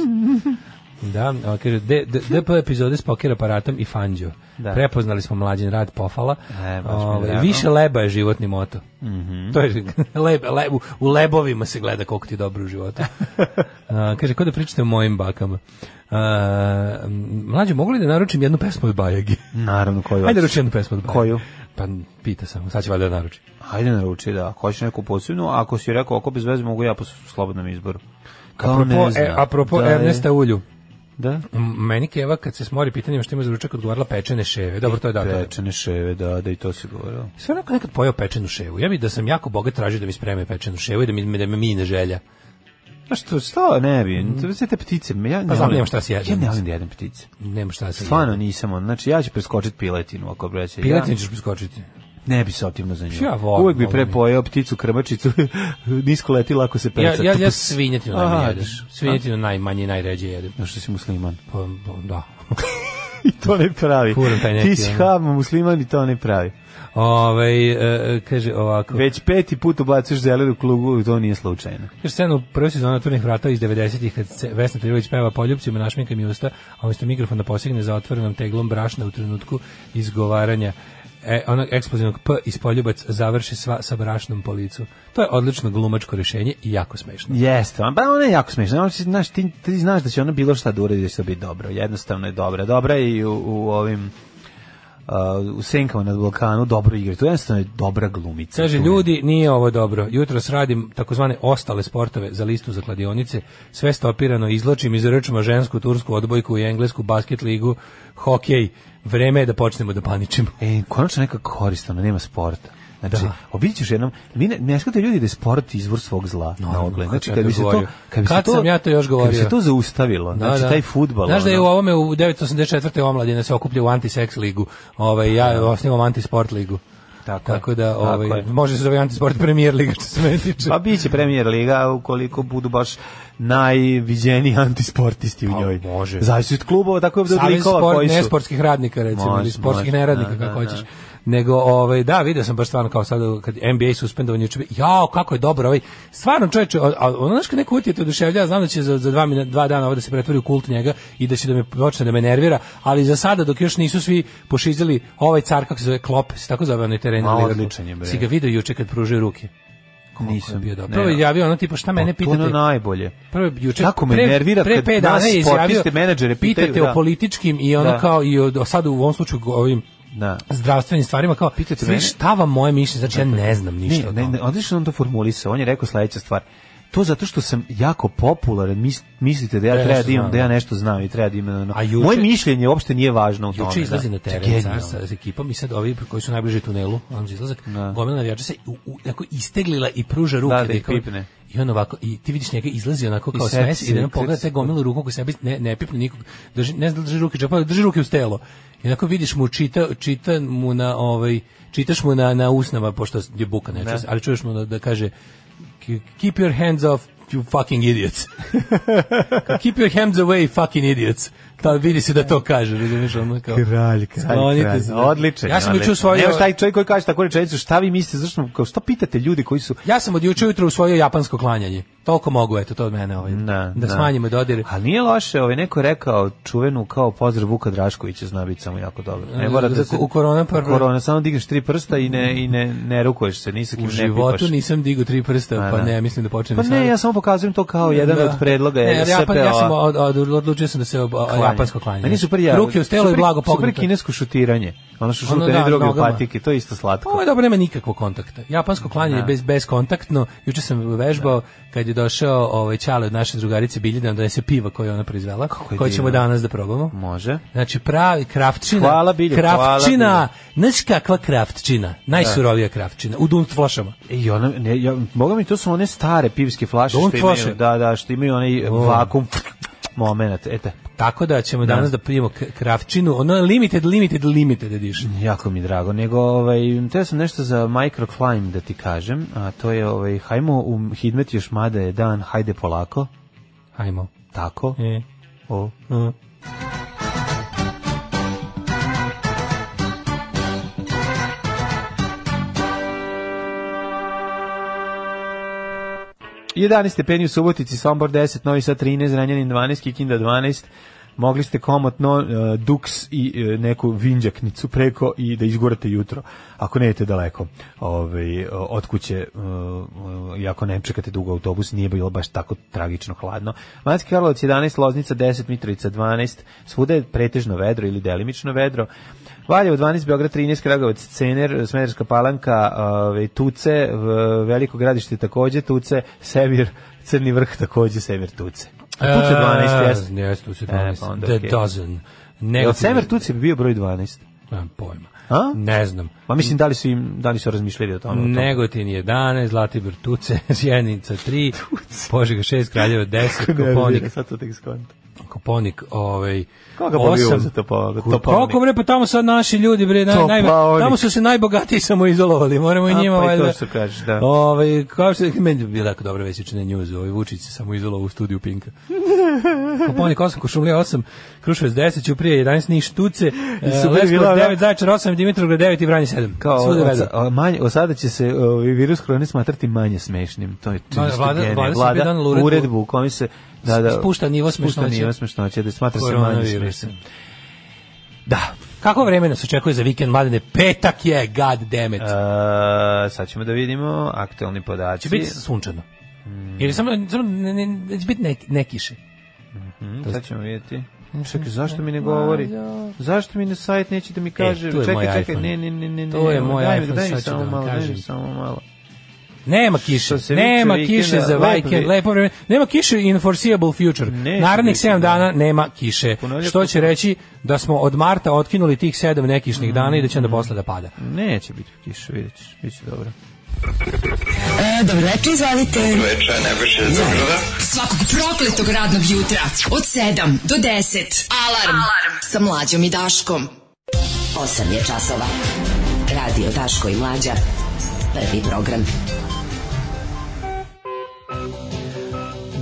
G: Da, a, kaže, D- D- DP epizode s poker aparatom i fanđo.
F: Da.
G: Prepoznali smo mlađen rad pofala.
F: E, baš mi je
G: Ovaj,
F: drago. Mhm.
G: više leba je životni moto. To je, lebe, lebu, u lebovima se gleda koliko ti je dobro u životu. A, kaže, ko da pričate o mojim bakama? A, m, mlađe, mogu li da naručim jednu pesmu od Bajagi?
F: Naravno, koju
G: Ajde,
F: hoćeš.
G: naruči jednu pesmu od Bajagi.
F: Koju?
G: Pa pita sam, sad će valjda da naruči.
F: Ajde naruči da, ako hoćeš neku posebnu, a ako si rekao oko bez veze mogu ja po s- slobodnom izboru. Kao
G: Apropo,
F: ne zna.
G: e, apropo
F: Da, je.
G: Ernesta Ulju.
F: Da?
G: M- Meni Keva kad se smori pitanjima što ima za ručak odgovarala pečene ševe. Dobro, to je da. to je-
F: Pečene ševe, da, da i to se govorilo.
G: Sve onako nekad pojeo pečenu ševu. Ja bih da sam jako bogat tražio da mi spreme pečenu ševu i da mi, da me mine želja.
F: Pa što, što ne bi, to sve te ptice, ja ne
G: Mhm. Pa znam,
F: volim-
G: nemam šta si jedem.
F: Ja ne volim da jedem ptice.
G: Nema šta se...
F: Stvarno nisam on, znači ja ću preskočiti piletinu ako breće.
G: Pilet
F: ja
G: nećeš preskočiti.
F: ne bi se optimno za nju.
G: Ja volim,
F: Uvek bi
G: volim.
F: prepojao pticu krmačicu, nisko leti, lako se
G: Ja,
F: peca.
G: ja, ja
F: Tup,
G: svinjetinu
F: A,
G: najmanje jedem.
F: vidiš.
G: Svinjetinu najmanje i najređe jedem.
F: No što si musliman.
G: Pa, pa, da.
F: I to ne pravi.
G: Furam taj neki,
F: Ti si
G: ono.
F: ham, musliman i to ne pravi.
G: Ove, e, kaže ovako.
F: Već peti put ubacuješ zelenu klugu i to nije slučajno.
G: Kaže scenu u prvoj sezoni Otvorenih vrata iz 90-ih kad se Vesna Trilović peva poljupcima našminka mi usta, a umjesto mikrofon da posegne za otvorenom teglom brašna u trenutku izgovaranja e, onog eksplozivnog P iz poljubac završi sva sa brašnom po licu. To je odlično glumačko rješenje i jako smešno.
F: Jeste, on- pa ona je jako smiješna. Ona, će- znaš, ti, ti znaš da će ona bilo šta da uredi da će to biti dobro. Jednostavno je dobra. Dobra je i u, u ovim uh, u Senkama na Balkanu dobro igra. To je jednostavno je dobra glumica.
G: Kaže,
F: Tu je-
G: ljudi, nije ovo dobro. Jutros radim takozvane ostale sportove za listu za kladionice. Sve stopirano izločim iz rčma žensku, tursku odbojku i englesku basket ligu, hokej. Vreme je da počnemo da paničimo.
F: E, konačno neka korist, ono, nema sporta. Znači,
G: Da.
F: da. obiđit ćeš jednom, mi ne, ne shvataju ljudi da je sport izvor svog zla na
G: Naravno,
F: ogled.
G: kad
F: Znači,
G: sam
F: kad
G: ja
F: bi
G: to
F: se to,
G: govorio.
F: kad bi se
G: Kad
F: to,
G: sam ja to još
F: Kad bi
G: govorio.
F: se to zaustavilo, znači, taj fudbal.
G: Znaš da je u
F: ono,
G: ovome u 984. omladine se okuplja u anti-sex ligu. Ovaj, ja osnivam anti-sport ligu.
F: Tako je.
G: Tako da,
F: Tako
G: ovaj,
F: je.
G: može se zove anti-sport premijer liga, što se mene tiče.
F: Pa bit će premijer liga ukoliko budu baš najviđeniji antisportisti u
G: Pa,
F: njoj.
G: može.
F: Zavisi od klubova, tako je od
G: Savez
F: likova
G: sport,
F: koji su.
G: ne sportskih radnika recimo
F: Može,
G: ili sportskih
F: može,
G: neradnika
F: da,
G: kako
F: da,
G: hoćeš. Nego ovaj da, video sam baš stvarno kao sad kad NBA suspendovan juče. Jao, kako je dobro ovaj. Stvarno čoveče, a- a ono znaš kad neko utje te oduševljava, ja znam da će za za dva, minu- dva dana ovo da se pretvori u kult njega i da će da me počne da me nervira, ali za sada dok još nisu svi pošizili ovaj car kako se zove Klop, se tako zove onaj teren
F: Ma,
G: na Liverpoolu.
F: odličan je, bre.
G: Si ga video juče kad pružio ruke. Kako je
F: Nisam,
G: bio dobro.
F: ne.
G: Prvo je javio ono tipa šta mene
F: Pa, To je
G: pitate.
F: ono najbolje.
G: Prvo je juče
F: Kako me nervira kad nas
G: pet dana je izjavio,
F: sportiste, menadžere pitaju,
G: pitate
F: da.
G: o političkim i ono
F: Da.
G: kao i o, o sad u ovom slučaju o ovim
F: Da.
G: zdravstvenim stvarima kao
F: Pitate
G: pitate
F: mene-
G: šta vam moje mišljenje znači ja ne znam ništa.
F: Ne, ne, ne, odlično on to formulisao. On je rekao sledeća stvar. To zato što sam jako popularan, mis, mislite da ja
G: Da ja
F: treba
G: nešto
F: da imam,
G: znam,
F: da ja
G: da.
F: nešto znam i treba da imam. ono.
G: A juče-
F: Moje mišljenje uopšte nije važno u tome.
G: Juče izlazi
F: da.
G: na teren
F: Genijalno.
G: car sa, sa ekipom i sad ovi koji su najbliži tunelu, on za izlazak, gomila navijača se u, u, onako isteglila i pruža ruke.
F: Da, da
G: je
F: ih
G: kao-
F: pipne.
G: I on ovako, i ti vidiš njega izlazi onako
F: I
G: kao
F: seti
G: smes
F: se,
G: i da
F: i
G: on pogleda
F: seti se.
G: te gomilu ruku koji sebi ne, ne pipne nikog. Drži, ne znam da li drži ruke u džepu, ali drži ruke uz telo. I onako vidiš mu, čita, čita mu na, ovaj, čitaš mu na, na usnama, pošto je buka nečas, ali čuješ mu da, da kaže "K- keep your hands off you fucking idiots. keep your hands away fucking idiots. Ta vidi se da to kaže, razumiješ, ono kao.
F: Pa, Kralj, kralj,
G: Sklonite
F: kralj.
G: se.
F: Odličan.
G: Ja sam juče
F: odličan.
G: usvojio-
F: Nemaš taj čovjek koji kaže tako rečenicu, šta vi mislite, zašto, smo- kao, šta pitate ljudi koji su...
G: Ja sam od juče ujutro usvojio japansko klanjanje. Toliko mogu, eto, to od mene ovaj,
F: Na,
G: da
F: na.
G: smanjimo dodir.
F: A nije loše, ovaj neko je rekao čuvenu kao pozdrav Vuka Draškovića zna biti samo jako dobro. Ne morate
G: Za-
F: se
G: u korona prvo.
F: korona samo digneš tri prsta i ne i ne ne rukuješ se, ni sa kim
G: U
F: ne
G: životu
F: pipaš.
G: nisam digo tri prsta,
F: A,
G: pa
F: da.
G: ne, mislim da počnem
F: Pa
G: i
F: ne,
G: sada.
F: ja samo pokazujem to kao jedan
G: Da.
F: od predloga
G: Ne,
F: je
G: ali Japan, ja sam
F: SPO.
G: od, od, odlučio sam da se ob,
F: klanja.
G: japansko klanje.
F: Meni Pa super ja.
G: Ruke uz telo i
F: super-
G: blago
F: Super
G: pognute.
F: kinesko šutiranje. Ono što
G: Ono
F: šute
G: da,
F: ne druge
G: nogama.
F: patike, to je isto slatko.
G: Pa Ovo je dobro, nema nikakvog kontakta. Japansko klanje je bez, bezkontaktno. Juče sam vežbao kad je došao ovaj Ćale od naše drugarice Biljana da se piva koje je ona proizvela,
F: je
G: koje ćemo
F: divno.
G: danas da probamo.
F: Može.
G: Znači pravi kraftčina.
F: Hvala Biljo, hvala
G: kraftčina. Znaš kakva kraftčina? Najsurovija kraftčina. U dunt flašama.
F: I ona ne ja mogu mi to su one stare pivske flaše
G: Don't Oh.
F: što imaju,
G: flaše.
F: da da, što imaju onaj vakum momenat. Eto,
G: Tako da ćemo danas da pijemo k- kraftčinu. Ono je limited, limited, limited edition.
F: jako mi drago. Nego ovaj te sam nešto za microclimb da ti kažem, a to je ovaj hajmo u hidmet još mada je dan, hajde polako.
G: Hajmo.
F: Tako.
G: E.
F: O.
G: Mm.
F: I 11 stepeni u Subotici, Sombor 10, Novi Sad 13, Ranjanin 12, Kikinda 12. Mogli ste komotno e, duks i e, neku vinđaknicu preko i da izgurate jutro, ako ne idete daleko ovaj, e, od kuće e, e, i ako ne čekate dugo autobus, nije bilo baš tako tragično hladno. Manski Karlovac 11, Loznica 10, Mitrovica 12, svuda je pretežno vedro ili delimično vedro. Valjevo 12, Beograd 13, Kragovac, Cener, Smederska palanka, ove, Tuce, v- Veliko gradište takođe Tuce, Semir, Crni vrh takođe Semir Tuce. A Tuce 12, jeste.
G: E, Jeste, Tuce
F: E,
G: 12.
F: pa onda
G: The
F: okej.
G: dozen.
F: Jel
G: Negativni-
F: Semir Tuce bi bio broj 12?
G: Nemam pojma.
F: A?
G: Ne znam.
F: Ma mislim, da li su, im, da li su razmišljali o tome? o tome?
G: Negotin 11, Zlatibor Tuce, Sjenica 3, Požega 6, Kraljeva 10,
F: Ne,
G: Koponik,
F: ne, Sad to tek skontam.
G: Koponik, ovaj,
F: Koga pa boli
G: osam.
F: uza Topo-
G: Ko-
F: Topovnik?
G: Koliko bre, pa tamo sad naši ljudi, bre, naj, naj,
F: Topovnik.
G: tamo su se najbogatiji samo izolovali, moramo i
F: A,
G: njima,
F: pa i to
G: valjda.
F: što kažeš, da.
G: Ovaj, kao što, meni je bila jako dobra već juče na njuz, ovaj Vučić se samo izolovao u studiju Pinka. Koponik 8, Košumlija 8, Kruševac 10, Ćuprije 11, Niš Tuce, eh,
F: super
G: Leskovac
F: bila ona-
G: 9, Zaječar 8, Dimitrovgrad 9 i Vranje 7.
F: Kao,
G: Svuda
F: od,
G: vedro.
F: od, manje, od sada će se ovaj virus korone smatrati manje smešnim. To je čisto
G: Da, vlada-
F: genijalno.
G: vlada Srbije donela
F: uredbu,
G: uredbu-
F: u kojoj se da, da,
G: Spušta nivo
F: Spušta
G: smešnoće.
F: nivo smešnoće, da smatra se manje
G: Koronavirusa.
F: smešnim. Da.
G: Kako vreme nas očekuje za vikend, mladene? Petak je, god damn it.
F: E, sad ćemo da vidimo aktualni podaci.
G: će biti sunčano. Ili samo, samo ne, ne, će biti ne, ne kiše.
F: Mm, sad ćemo vidjeti. Čekaj, zašto mi ne govori? Zašto mi na sajt neće da mi kaže?
G: E, tu je moj
F: čekaj, čekaj, ne,
G: iPhone.
F: ne, ne, ne. ne,
G: To je moj
F: daj mi-
G: iPhone,
F: Daj mi
G: sad ću
F: samo
G: da vam
F: malo, daj mi
G: kažem.
F: samo malo.
G: Nema kiše,
F: Što se viče
G: nema
F: vikenda,
G: kiše za
F: lepo
G: vikend,
F: vi-
G: lepo vreme. Nema kiše in foreseeable future.
F: Neće
G: Narednih
F: biti,
G: 7
F: da.
G: dana nema kiše.
F: Ponavljaj
G: Što
F: po-
G: će reći da smo od marta otkinuli tih 7 nekišnih dana i da će
F: Mm.
G: onda posle da pada.
F: Neće biti kiše, vidjet ćeš, bit će dobro.
E: E, dobro večer, izvolite. Dobro večer, Svakog prokletog radnog jutra od 7 do 10. Alarm, Alarm. sa mlađom i Daškom.
H: 8 je časova. Radio Daško i Mlađa. Prvi program.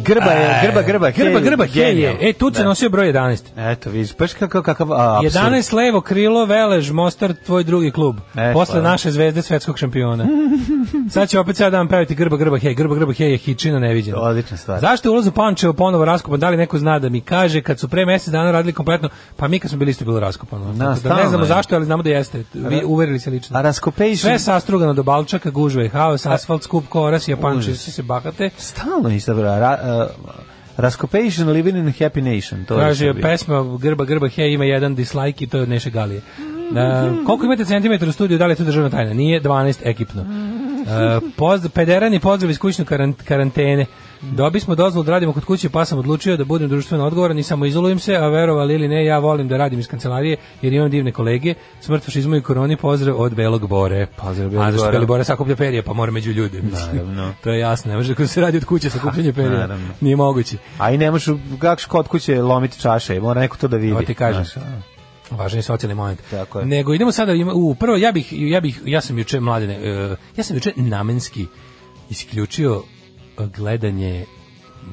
F: Grba je, E, grba, grba,
G: Pa Grba, grba, hej je. E, tu se
F: Da.
G: nosio broj 11.
F: Eto, vidiš, baš kakav, kakav a, absurd.
G: 11 levo krilo, Velež, Mostar, tvoj drugi klub.
F: E,
G: Posle
F: hvala.
G: naše zvezde svetskog šampiona. Sad će opet cijel dan pevati grba, grba, hej, grba, grba, hej, je hičina neviđena.
F: Odlična stvar.
G: Zašto je ulaz u Pančevo ponovo raskopan? Da li neko zna da mi kaže kad su pre mjesec dana radili kompletno, pa mi kad smo bili isto bilo raskopano. Tako da
F: stalno
G: ne znamo
F: je.
G: zašto, ali znamo da jeste. Vi uverili se lično.
F: A raskopejši-
G: Sve sastrugano do Balčaka, gužve i haos, asfalt, skup koras, japanči svi se bahate.
F: Stalno je sabra, ra, a, Raskopation Living in Happy Nation. To je
G: Kaže,
F: Srbija.
G: pesma Grba Grba Hej ima jedan dislike i to je od Neše Galije. E, koliko imate centimetara u studiju, da li je to državna tajna? Nije 12 ekipno. E, pozdrav, pederani pozdrav iz kućne karan- karantene. Dobi smo dozvolu da radimo kod kuće, pa sam odlučio da budem društveno odgovoran i samo izolujem se, a verovali ili ne, ja volim da radim iz kancelarije jer imam divne kolege. Smrt fašizmu i koroni, pozdrav od Belog Bore.
F: Pozdrav Belog
G: A zašto
F: Bora.
G: Beli Bora sakuplja perje, pa mora među ljude. mislim.
F: Naravno.
G: to je jasno, ne može da se radi od kuće sakupljanje perje.
F: Naravno.
G: Nije moguće.
F: A i ne možeš, kako kod kuće lomiti čaše, mora neko to da vidi.
G: Ovo ti kažem.
F: Znaš, a.
G: Važan je socijalni moment.
F: Tako je.
G: Nego idemo sada ima- u prvo ja bih ja bih ja sam juče mladene e, ja sam juče namenski isključio e, gledanje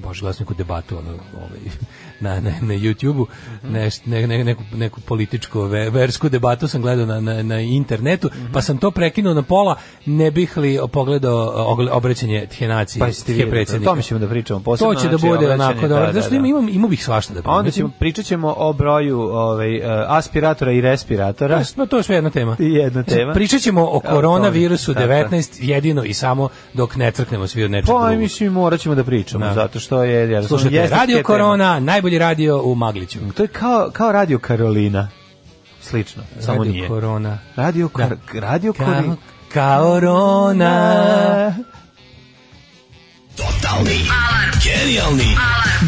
G: bože gledam sam neku debatu ono, ovaj, na, na, na YouTube-u,
F: Mhm.
G: neš- ne, ne, neku, neku političku ve- versku debatu sam gledao na, na, na internetu,
F: Mhm.
G: pa sam to prekinuo na pola, ne bih li pogledao e, ogle- obraćanje Tjenacije,
F: Pa jeste vidjeli, o tome ćemo da pričamo posebno.
G: To će da
F: znači,
G: bude
F: obraćanje,
G: onako,
F: da,
G: dobro,
F: da,
G: znaš,
F: da.
G: imam, imam, imao bih svašta da
F: A onda
G: primetim.
F: ćemo, pričat ćemo o broju ovaj, e, aspiratora i respiratora.
G: Pa, to je sve jedna tema.
F: I jedna tema.
G: Pričat ćemo o
F: tome,
G: koronavirusu
F: tako je.
G: 19 jedino i samo dok ne crknemo svi od nečeg
F: Pa
G: drugog.
F: mislim morat ćemo da pričamo,
G: Da.
F: zato što je... Jer,
G: Slušajte,
F: jeste
G: Radio
F: tema.
G: Korona, najbolji radio u Magliću.
F: To je kao, kao Radio Karolina. Slično, samo
G: radio
F: nije.
G: Korona.
F: Radio, kar, radio
G: Kao,
F: Korina.
G: kao Rona.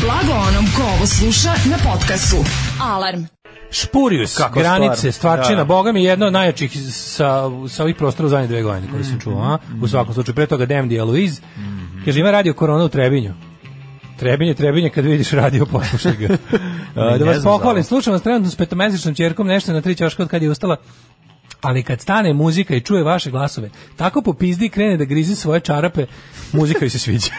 H: Blago onom ko ovo sluša na podcastu. Alarm.
G: Špurius,
F: Kako
G: granice,
F: stvar.
G: stvarčina,
F: Da.
G: Boga mi jedna od najjačih sa, sa ovih prostora u zadnje dve godine koje
F: Mm.
G: sam čuo, a? u svakom slučaju, pre toga Demdi Eloiz,
F: Mm-hmm.
G: kaže ima radio korona u Trebinju. Trebinje, Trebinje, kad vidiš radio, poslušaj ga. A, da
F: ne
G: vas
F: znam za ovo.
G: pohvalim, slušam vas trenutno s petomesečnom čerkom, nešto na tri ćoška od kad je ustala, ali kad stane muzika i čuje vaše glasove, tako popizdi i krene da grizi svoje čarape, muzika joj se sviđa.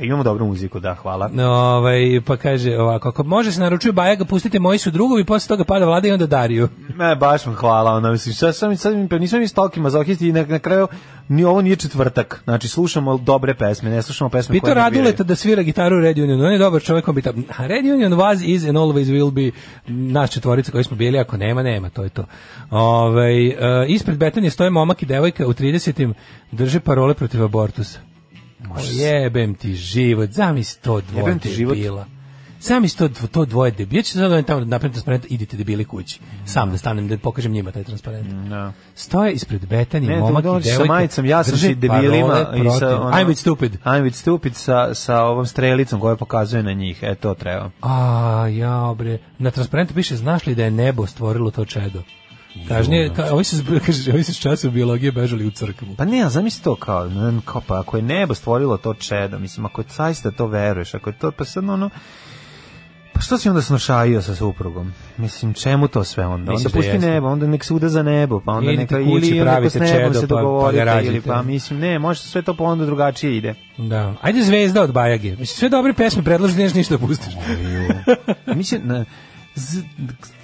F: Imamo dobru muziku, da, hvala.
G: No, ovaj, pa kaže ovako, ako može se naručuje Bajaga, pustite moji su drugovi, posle toga pada vlada i onda Dariju.
F: Ne, baš vam hvala, ono, mislim, sad sam, sad mi, pa nisam mi stalki mazohisti i na, na kraju ni ovo nije četvrtak, znači slušamo dobre pesme, ne slušamo pesme
G: Pitao
F: koje ne biraju.
G: Raduleta da svira gitaru u Red Unionu, on je dobar čovjek, on bi tam, a Red Union was, is and always will be naš četvorica koji smo bili, ako nema, nema, to je to. Ovaj e, ispred Betanije stoje momak i devojka u 30 drže parole protiv abortusa. Jebem ti život, zamisli to dvoje
F: Jebem ti život.
G: debila. Zamisli to, dv- to dvoje debila. Ja ću sad ovaj tamo da napravim transparent, idite debili kući. Sam da stanem, da pokažem njima taj transparent. Stoje ispred Betanije,
F: Mm, Ne,
G: momak
F: momak
G: i devojka.
F: sa majicom, ja sam
G: drže
F: si debilima
G: parole
F: i sa
G: protiv-
F: ono,
G: I'm with stupid.
F: I'm with stupid sa, sa ovom strelicom koja pokazuje na njih, e to treba.
G: A, ja bre, na transparentu piše znaš li da je nebo stvorilo to čedo? Kažnije, ka, ovi su, s- kaže, ovi su s časom biologije bežali u crkvu.
F: Pa ne, ali zamisli to kao, ne, kao pa ako je nebo stvorilo to čedo, mislim, ako zaista to veruješ, ako je to, pa sad ono, Pa što si onda snošajio sa suprugom? Mislim, čemu to sve onda?
G: Mislim
F: Onda
G: da
F: pusti
G: jeste.
F: nebo, onda nek se uda za nebo, pa onda
G: Idite
F: neka
G: kući,
F: ili onda neko s
G: pravite
F: nebom
G: čedo,
F: se
G: pa- pa ga
F: dogovorite, ili
G: rađajte.
F: pa mislim, ne, može sve to pa onda drugačije ide.
G: Da. Ajde zvezda od Bajage. Mislim, sve dobre pesme predloži, neš ništa da pustiš.
F: Mislim, na,
G: Z-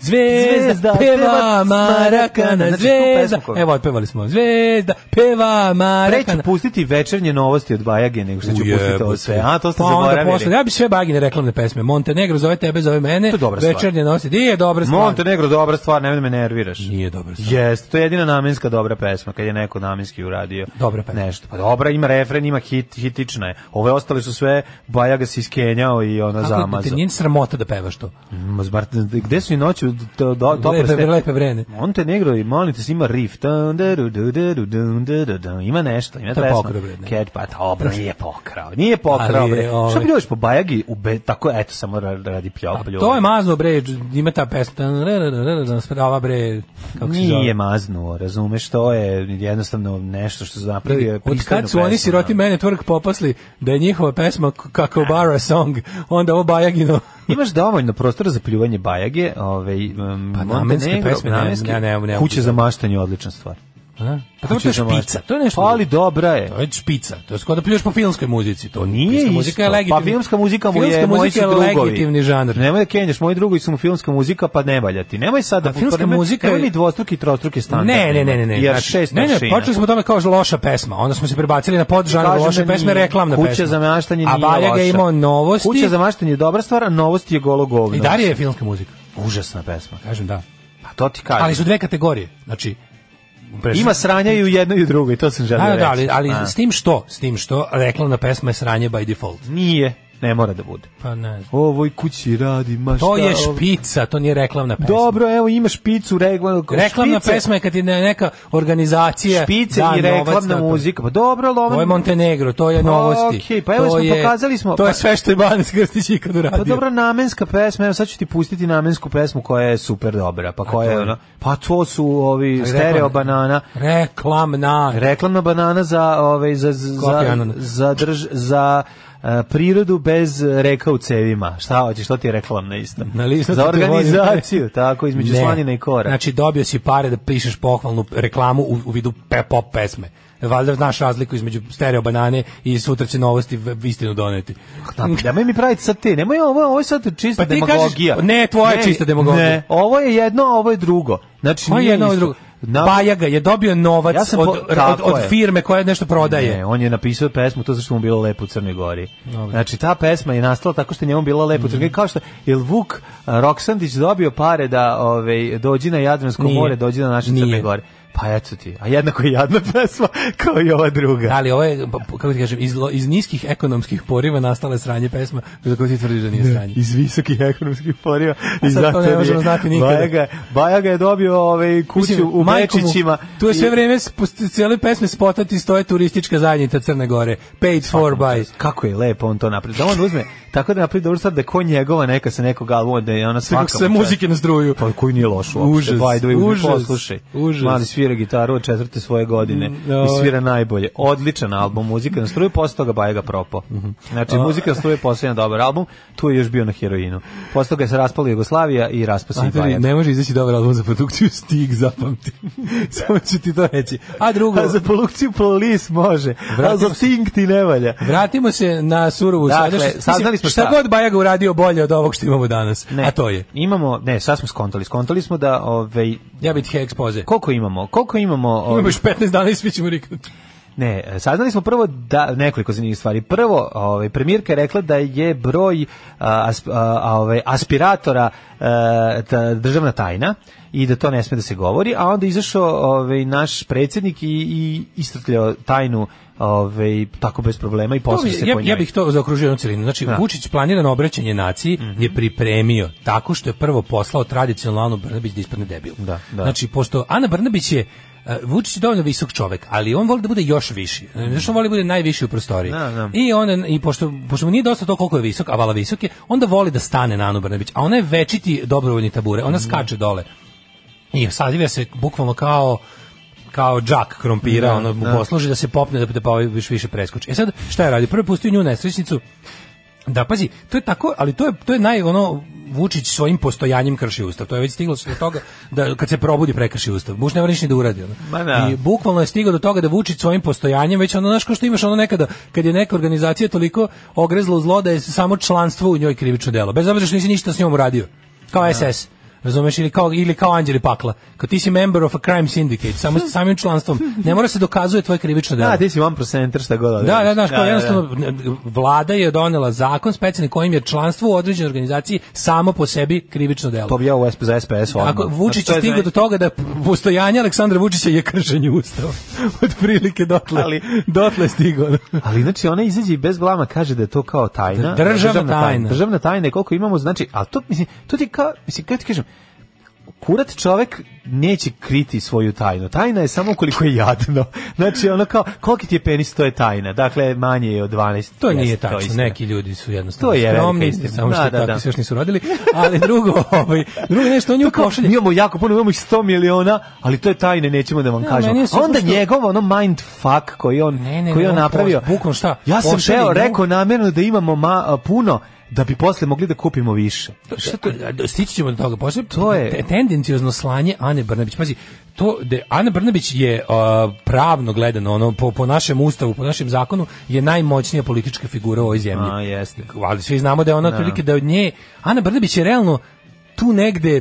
G: Zvezda peva Marakana,
F: Znači, tu pesmu
G: zvezda.
F: koju-
G: Evo, otpevali smo. Zvezda peva
F: Pre ću
G: Marakana.
F: pustiti večernje novosti od Bajage nego što ću pustiti ovo
G: Ujebote.
F: sve. A, to ste
G: Pa onda posle,
F: zaboravili.
G: Ja bi sve bagine reklamne pesme. Montenegro zove tebe, zove mene.
F: To je dobra stvar.
G: Večernje nosi. Di je dobra stvar?
F: Montenegro, dobra stvar, nemoj da me nerviraš.
G: Nije dobra stvar.
F: Jeste, to je jedina namenska dobra pesma, kad je neko namenski uradio.
G: Dobra pesma.
F: Nešto. Pa dobra, ima refren, ima hit, hitična je. Ove ostale su sve, Bajaga se iskenjao i ona
G: Kako te
F: zamazao.
G: nije sramota da pevaš to?
F: Ma, zbar- Gde su i noću to, do, dobro
G: Lepe,
F: ste-
G: lepe vrene.
F: Montenegro i molim te se, ima riff. Dun, da, du, du, du, du, dun, du, du, dun. Ima nešto, ima
G: To je
F: pesma.
G: pokrao, bre, ne?
F: Cat, pa dobro, nije pokrao. Nije pokrao,
G: Ali je,
F: bre.
G: ovaj-
F: Šta bi još po Bajagi? U be, tako, eto, samo ra- radi pljoplju.
G: To je mazno bre, ima ta pesma. Ova bre, kako se zove?
F: Nije maznuo, razumeš, to je jednostavno nešto što su napravili.
G: Od kad su oni siroti mene tvrk popasli da je njihova pesma k- kako bara song, onda ovo Bajagino.
F: Imaš dovoljno prostora za pljuvanje Bajage, ovaj, um,
G: Pa namenske
F: Montenegro,
G: pesme, ne,
F: namenske.
G: ne, ne, ne,
F: Kuće
G: ne.
F: za maštanje je odlična stvar.
G: A? Pa to je
F: Kuće za
G: špica,
F: maštanje.
G: to je nešto.
F: Pa, Ali dobra je.
G: To je špica, to je skoro da pljuješ po filmskoj muzici. To
F: Nije
G: filmska
F: isto.
G: muzika je
F: Pa
G: legitimni.
F: filmska muzika mu
G: filmska
F: je, moji
G: muzika
F: su
G: je
F: drugovi.
G: legitimni žanr.
F: Nemoj da kenješ, moji drugovi su mu filmska muzika, pa ne valja ti. Nemoj sad da...
G: A filmska
F: nemoj-
G: muzika
F: Nemoj
G: je-
F: ni dvostruki, i trostruki standard.
G: Ne, ne, ne, ne, ne.
F: Jer
G: znači,
F: šest
G: ne, ne,
F: mašina.
G: počeli smo o tome kao loša pesma. Onda smo se prebacili na podžanr
F: Kažem
G: loše
F: da
G: pesme,
F: nije.
G: reklamna
F: Kuća
G: pesma.
F: za maštanje
G: A
F: nije
G: Baljaga je
F: loša.
G: imao novosti.
F: Kuća za maštanje je dobra stvar, a novosti je golo govno.
G: I Darija je filmska muzika.
F: Užasna pesma.
G: Kažem da.
F: Pa to ti kažem.
G: Ali su dve kategorije. Znači,
F: Ima sranja i u jednoj i u drugoj, to sam želeo
G: Da,
F: reći.
G: da, ali, ali
F: A.
G: s tim što, s tim što, reklamna pesma je sranje by default.
F: Nije, ne mora da bude.
G: Pa ne znam.
F: Ovoj kući radi, ma šta...
G: To je
F: ovo-
G: špica, to nije reklamna pesma.
F: Dobro, evo imaš picu, regla,
G: Reklamna
F: špice-
G: pesma je kad ti ne- neka organizacija
F: špice
G: da
F: i
G: novac na
F: reklamna
G: to.
F: muzika. Pa dobro, ali ovo...
G: To je Montenegro, to je novosti.
F: Okej, pa evo
G: To
F: smo
G: je-
F: pokazali smo-
G: To
F: pa-
G: je sve što je Banes Krstić ikad uradio.
F: Pa dobro, namenska pesma, evo sad ću ti pustiti namensku pesmu koja je super dobra, pa koja
G: to
F: je
G: je?
F: ono, pa to su ovi
G: Ali
F: stereo
G: reklamna-
F: banana,
G: Reklamna.
F: reklamna banana za, ovaj, za, za,
G: Kofi
F: za,
G: Annan.
F: drž- za e, prirodu bez reka u cevima. Šta hoćeš, to ti je reklamna isto.
G: Na listu
F: za
G: ti volim.
F: organizaciju, tako, između
G: Ne.
F: slanina i kora.
G: Znači, dobio si pare da pišeš pohvalnu reklamu u, u vidu pe- pop pesme. Valjda znaš razliku između stereo banane i sutra će novosti v- istinu doneti.
F: Da, nemoj mi praviti sad ti, nemoj ovo, ovo je sad čista
G: Pa ti
F: demagogija.
G: kažeš- ne, tvoja je čista demagogija.
F: Ne, ovo je jedno, a ovo je drugo. Znači,
G: Pa
F: nije
G: jedno od
F: isto.
G: drugo. Pa
F: Na-
G: Bajaga je dobio novac
F: Ja sam
G: od,
F: po-
G: od,
F: tako
G: od
F: je.
G: firme koja nešto prodaje.
F: Ne, on je napisao pesmu to zašto mu bilo lepo u Crnoj Gori. Znači ta pesma je nastala tako što je njemu bilo lepo u Crnoj Gori
G: Mhm.
F: kao što jel Vuk a, Roksandić dobio pare da ovaj dođi na Jadransko
G: Nije.
F: more, dođi na naše Crne
G: Nije.
F: Gore. Pa eto ti. A jednako je jadna pesma kao i ova druga.
G: Ali ovo je, pa, kako ti kažem, iz, lo- iz niskih ekonomskih poriva nastala je sranje pesma, za koju ti tvrdiš da nije sranje.
F: iz visokih ekonomskih poriva i
G: sad to
F: zato
G: ne
F: nije.
G: možemo znati nikada.
F: Bajaga, je- Bajaga je dobio ovaj kuću u
G: majku mu,
F: Mečićima.
G: Tu je sve
F: i-
G: vreme, sp- cijele pesme spotati stoje turistička zajednica Crne Gore. Paid for by.
F: kako je lepo on to napravi. Da on uzme, tako da napravi dobro sad da ko njegova neka sa nekog albuma da je ona svaka.
G: Kako se muzike na struju.
F: Pa koji nije loš uopšte,
G: Užas,
F: by the way,
G: užas,
F: poslušaj.
G: užas. Mm, ovaj.
F: Mali svira gitaru od četvrte svoje godine
G: da,
F: i svira najbolje. Odličan album, muzika na struju, posle toga Bajega propo.
G: Mhm.
F: Znači, muzika na struju je posljedan dobar album, tu je još bio na heroinu. Posle toga se raspala Jugoslavija i raspao se i
G: Matori,
F: Bajega.
G: ne može izaći dobar album za produkciju Stig, zapamti. Samo ću ti to reći. A drugo,
F: A za polukciju polis može, a za
G: Vratimo se-
F: Sting ti ne valja.
G: vratimo se na surovu
F: Dakle,
G: sadašnjost. Mislim,
F: saznali smo
G: šta
F: šta.
G: god Bajaga uradio bolje od ovog što imamo danas. A to je.
F: Imamo, ne, sad smo skontali. Skontali smo da, ovaj,
G: Ja bih ti ekspoze.
F: koliko imamo? Koliko imamo? ovaj,
G: Imamo još 15 dana i svi ćemo riknuti.
F: Ne, e, saznali smo prvo da nekoliko zanimljivih stvari. Prvo, ovaj premijerka je rekla da je broj a, asp- a, a, ovaj aspiratora e, ta- državna tajna i da to ne sme da se govori, a onda je izašao ovaj naš predsjednik i, i istrtljao tajnu ovaj tako bez problema i posle
G: To
F: se
G: bi- ja,
F: po njoj.
G: ja bih to zaokružio u celinu. Znači,
F: Da. Mhm.
G: Vučić planirano obraćanje naciji je pripremio tako što je prvo poslao tradicionalnu Anu Brnabić da ispadne debil.
F: Da, da.
G: Znači, pošto Ana Brnabić je e, Vučić je dovoljno visok čovek, ali on voli da bude još viši. Znači, on voli da bude najviši u prostoriji.
F: Mhm. Da, da.
G: I on i pošto pošto mu nije dosta to koliko je visok, a vala visok je, onda voli da stane na Anu Brnabić, a ona je večiti dobrovoljni tabure. Ona
F: Mhm.
G: skače dole. I sadivja se bukvalno kao kao džak krompira,
F: Da,
G: ono mu
F: da.
G: posluži da se popne da, da pa ovaj više, više preskoči. E sad, šta je radi? Prvo je pustio nju u nesrećnicu, da, pazi, to je tako, ali to je, to je naj, ono, Vučić svojim postojanjem krši ustav. To je već stiglo do toga da kad se probudi prekrši ustav. Buš ne mora ništa ni da uradi. Ono.
F: Ma da.
G: I bukvalno je stigao do toga da Vučić svojim postojanjem, već ono, znaš, kao što imaš ono nekada, kad je neka organizacija toliko ogrezla u zlo da je samo članstvo u njoj krivično delo. Bez obzira što nisi ništa s njom uradio. kao SS. Razumeš ili kao ili kao anđeli pakla. Kao ti si member of a crime syndicate, samo samim članstvom. Ne mora se dokazuje tvoje krivično delo.
F: Da, ti si one percenter, šta god.
G: Da, da, znaš, kao jednostavno vlada je donela zakon specijalni kojim je članstvo u određenoj organizaciji samo po sebi krivično delo.
F: To bi ja u SP, za SPS odmah.
G: Ako Vučić
F: Znači, to
G: je
F: je
G: stigao
F: za-
G: do toga da postojanje Aleksandra Vučića je kršenje ustava. Od prilike dotle.
F: Ali-
G: dotle je stigao.
F: Ali znači ona izađe i bez blama kaže da je to kao tajna.
G: Državna tajna.
F: Državna tajna je koliko imamo, znači, a to mislim, to ti kao, mislim, kako ti kažem, kurat čovek neće kriti svoju tajnu. Tajna je samo koliko je jadno. Znači, ono kao, koliki ti je penis, to je tajna. Dakle, manje je od 12.
G: To
F: Jeste,
G: nije
F: je
G: tačno,
F: istina.
G: neki ljudi su jednostavno
F: To je velika
G: skromni,
F: istina.
G: samo što
F: Da, da,
G: tako
F: da.
G: se još nisu rodili, ali drugo, ovaj, drugo nešto, on nju
F: Kao,
G: pošalje,
F: mi imamo jako puno, imamo ih 100 miliona, ali to je tajne, nećemo da vam
G: Ne,
F: kažemo.
G: meni je
F: A onda
G: super što-
F: njegov ono mind fuck koji on
G: Ne, ne,
F: koji
G: ne,
F: on
G: on
F: napravio.
G: post- bukvalno šta?
F: Ja sam
G: Pošalje
F: teo
G: nju-
F: rekao namerno da imamo ma, a, puno da bi posle mogli da kupimo više.
G: Pa Šta to, stići ćemo do toga. Posle
F: To je-
G: te- tendenciozno slanje Ane Brnabić. Pazi, to da Ana Brnabić je a, pravno gledano ono po, po našem ustavu, po našem zakonu je najmoćnija politička figura u ovoj zemlji.
F: A, jeste.
G: Ali svi znamo da je ona otprilike da od nje Ana Brnabić je realno tu negde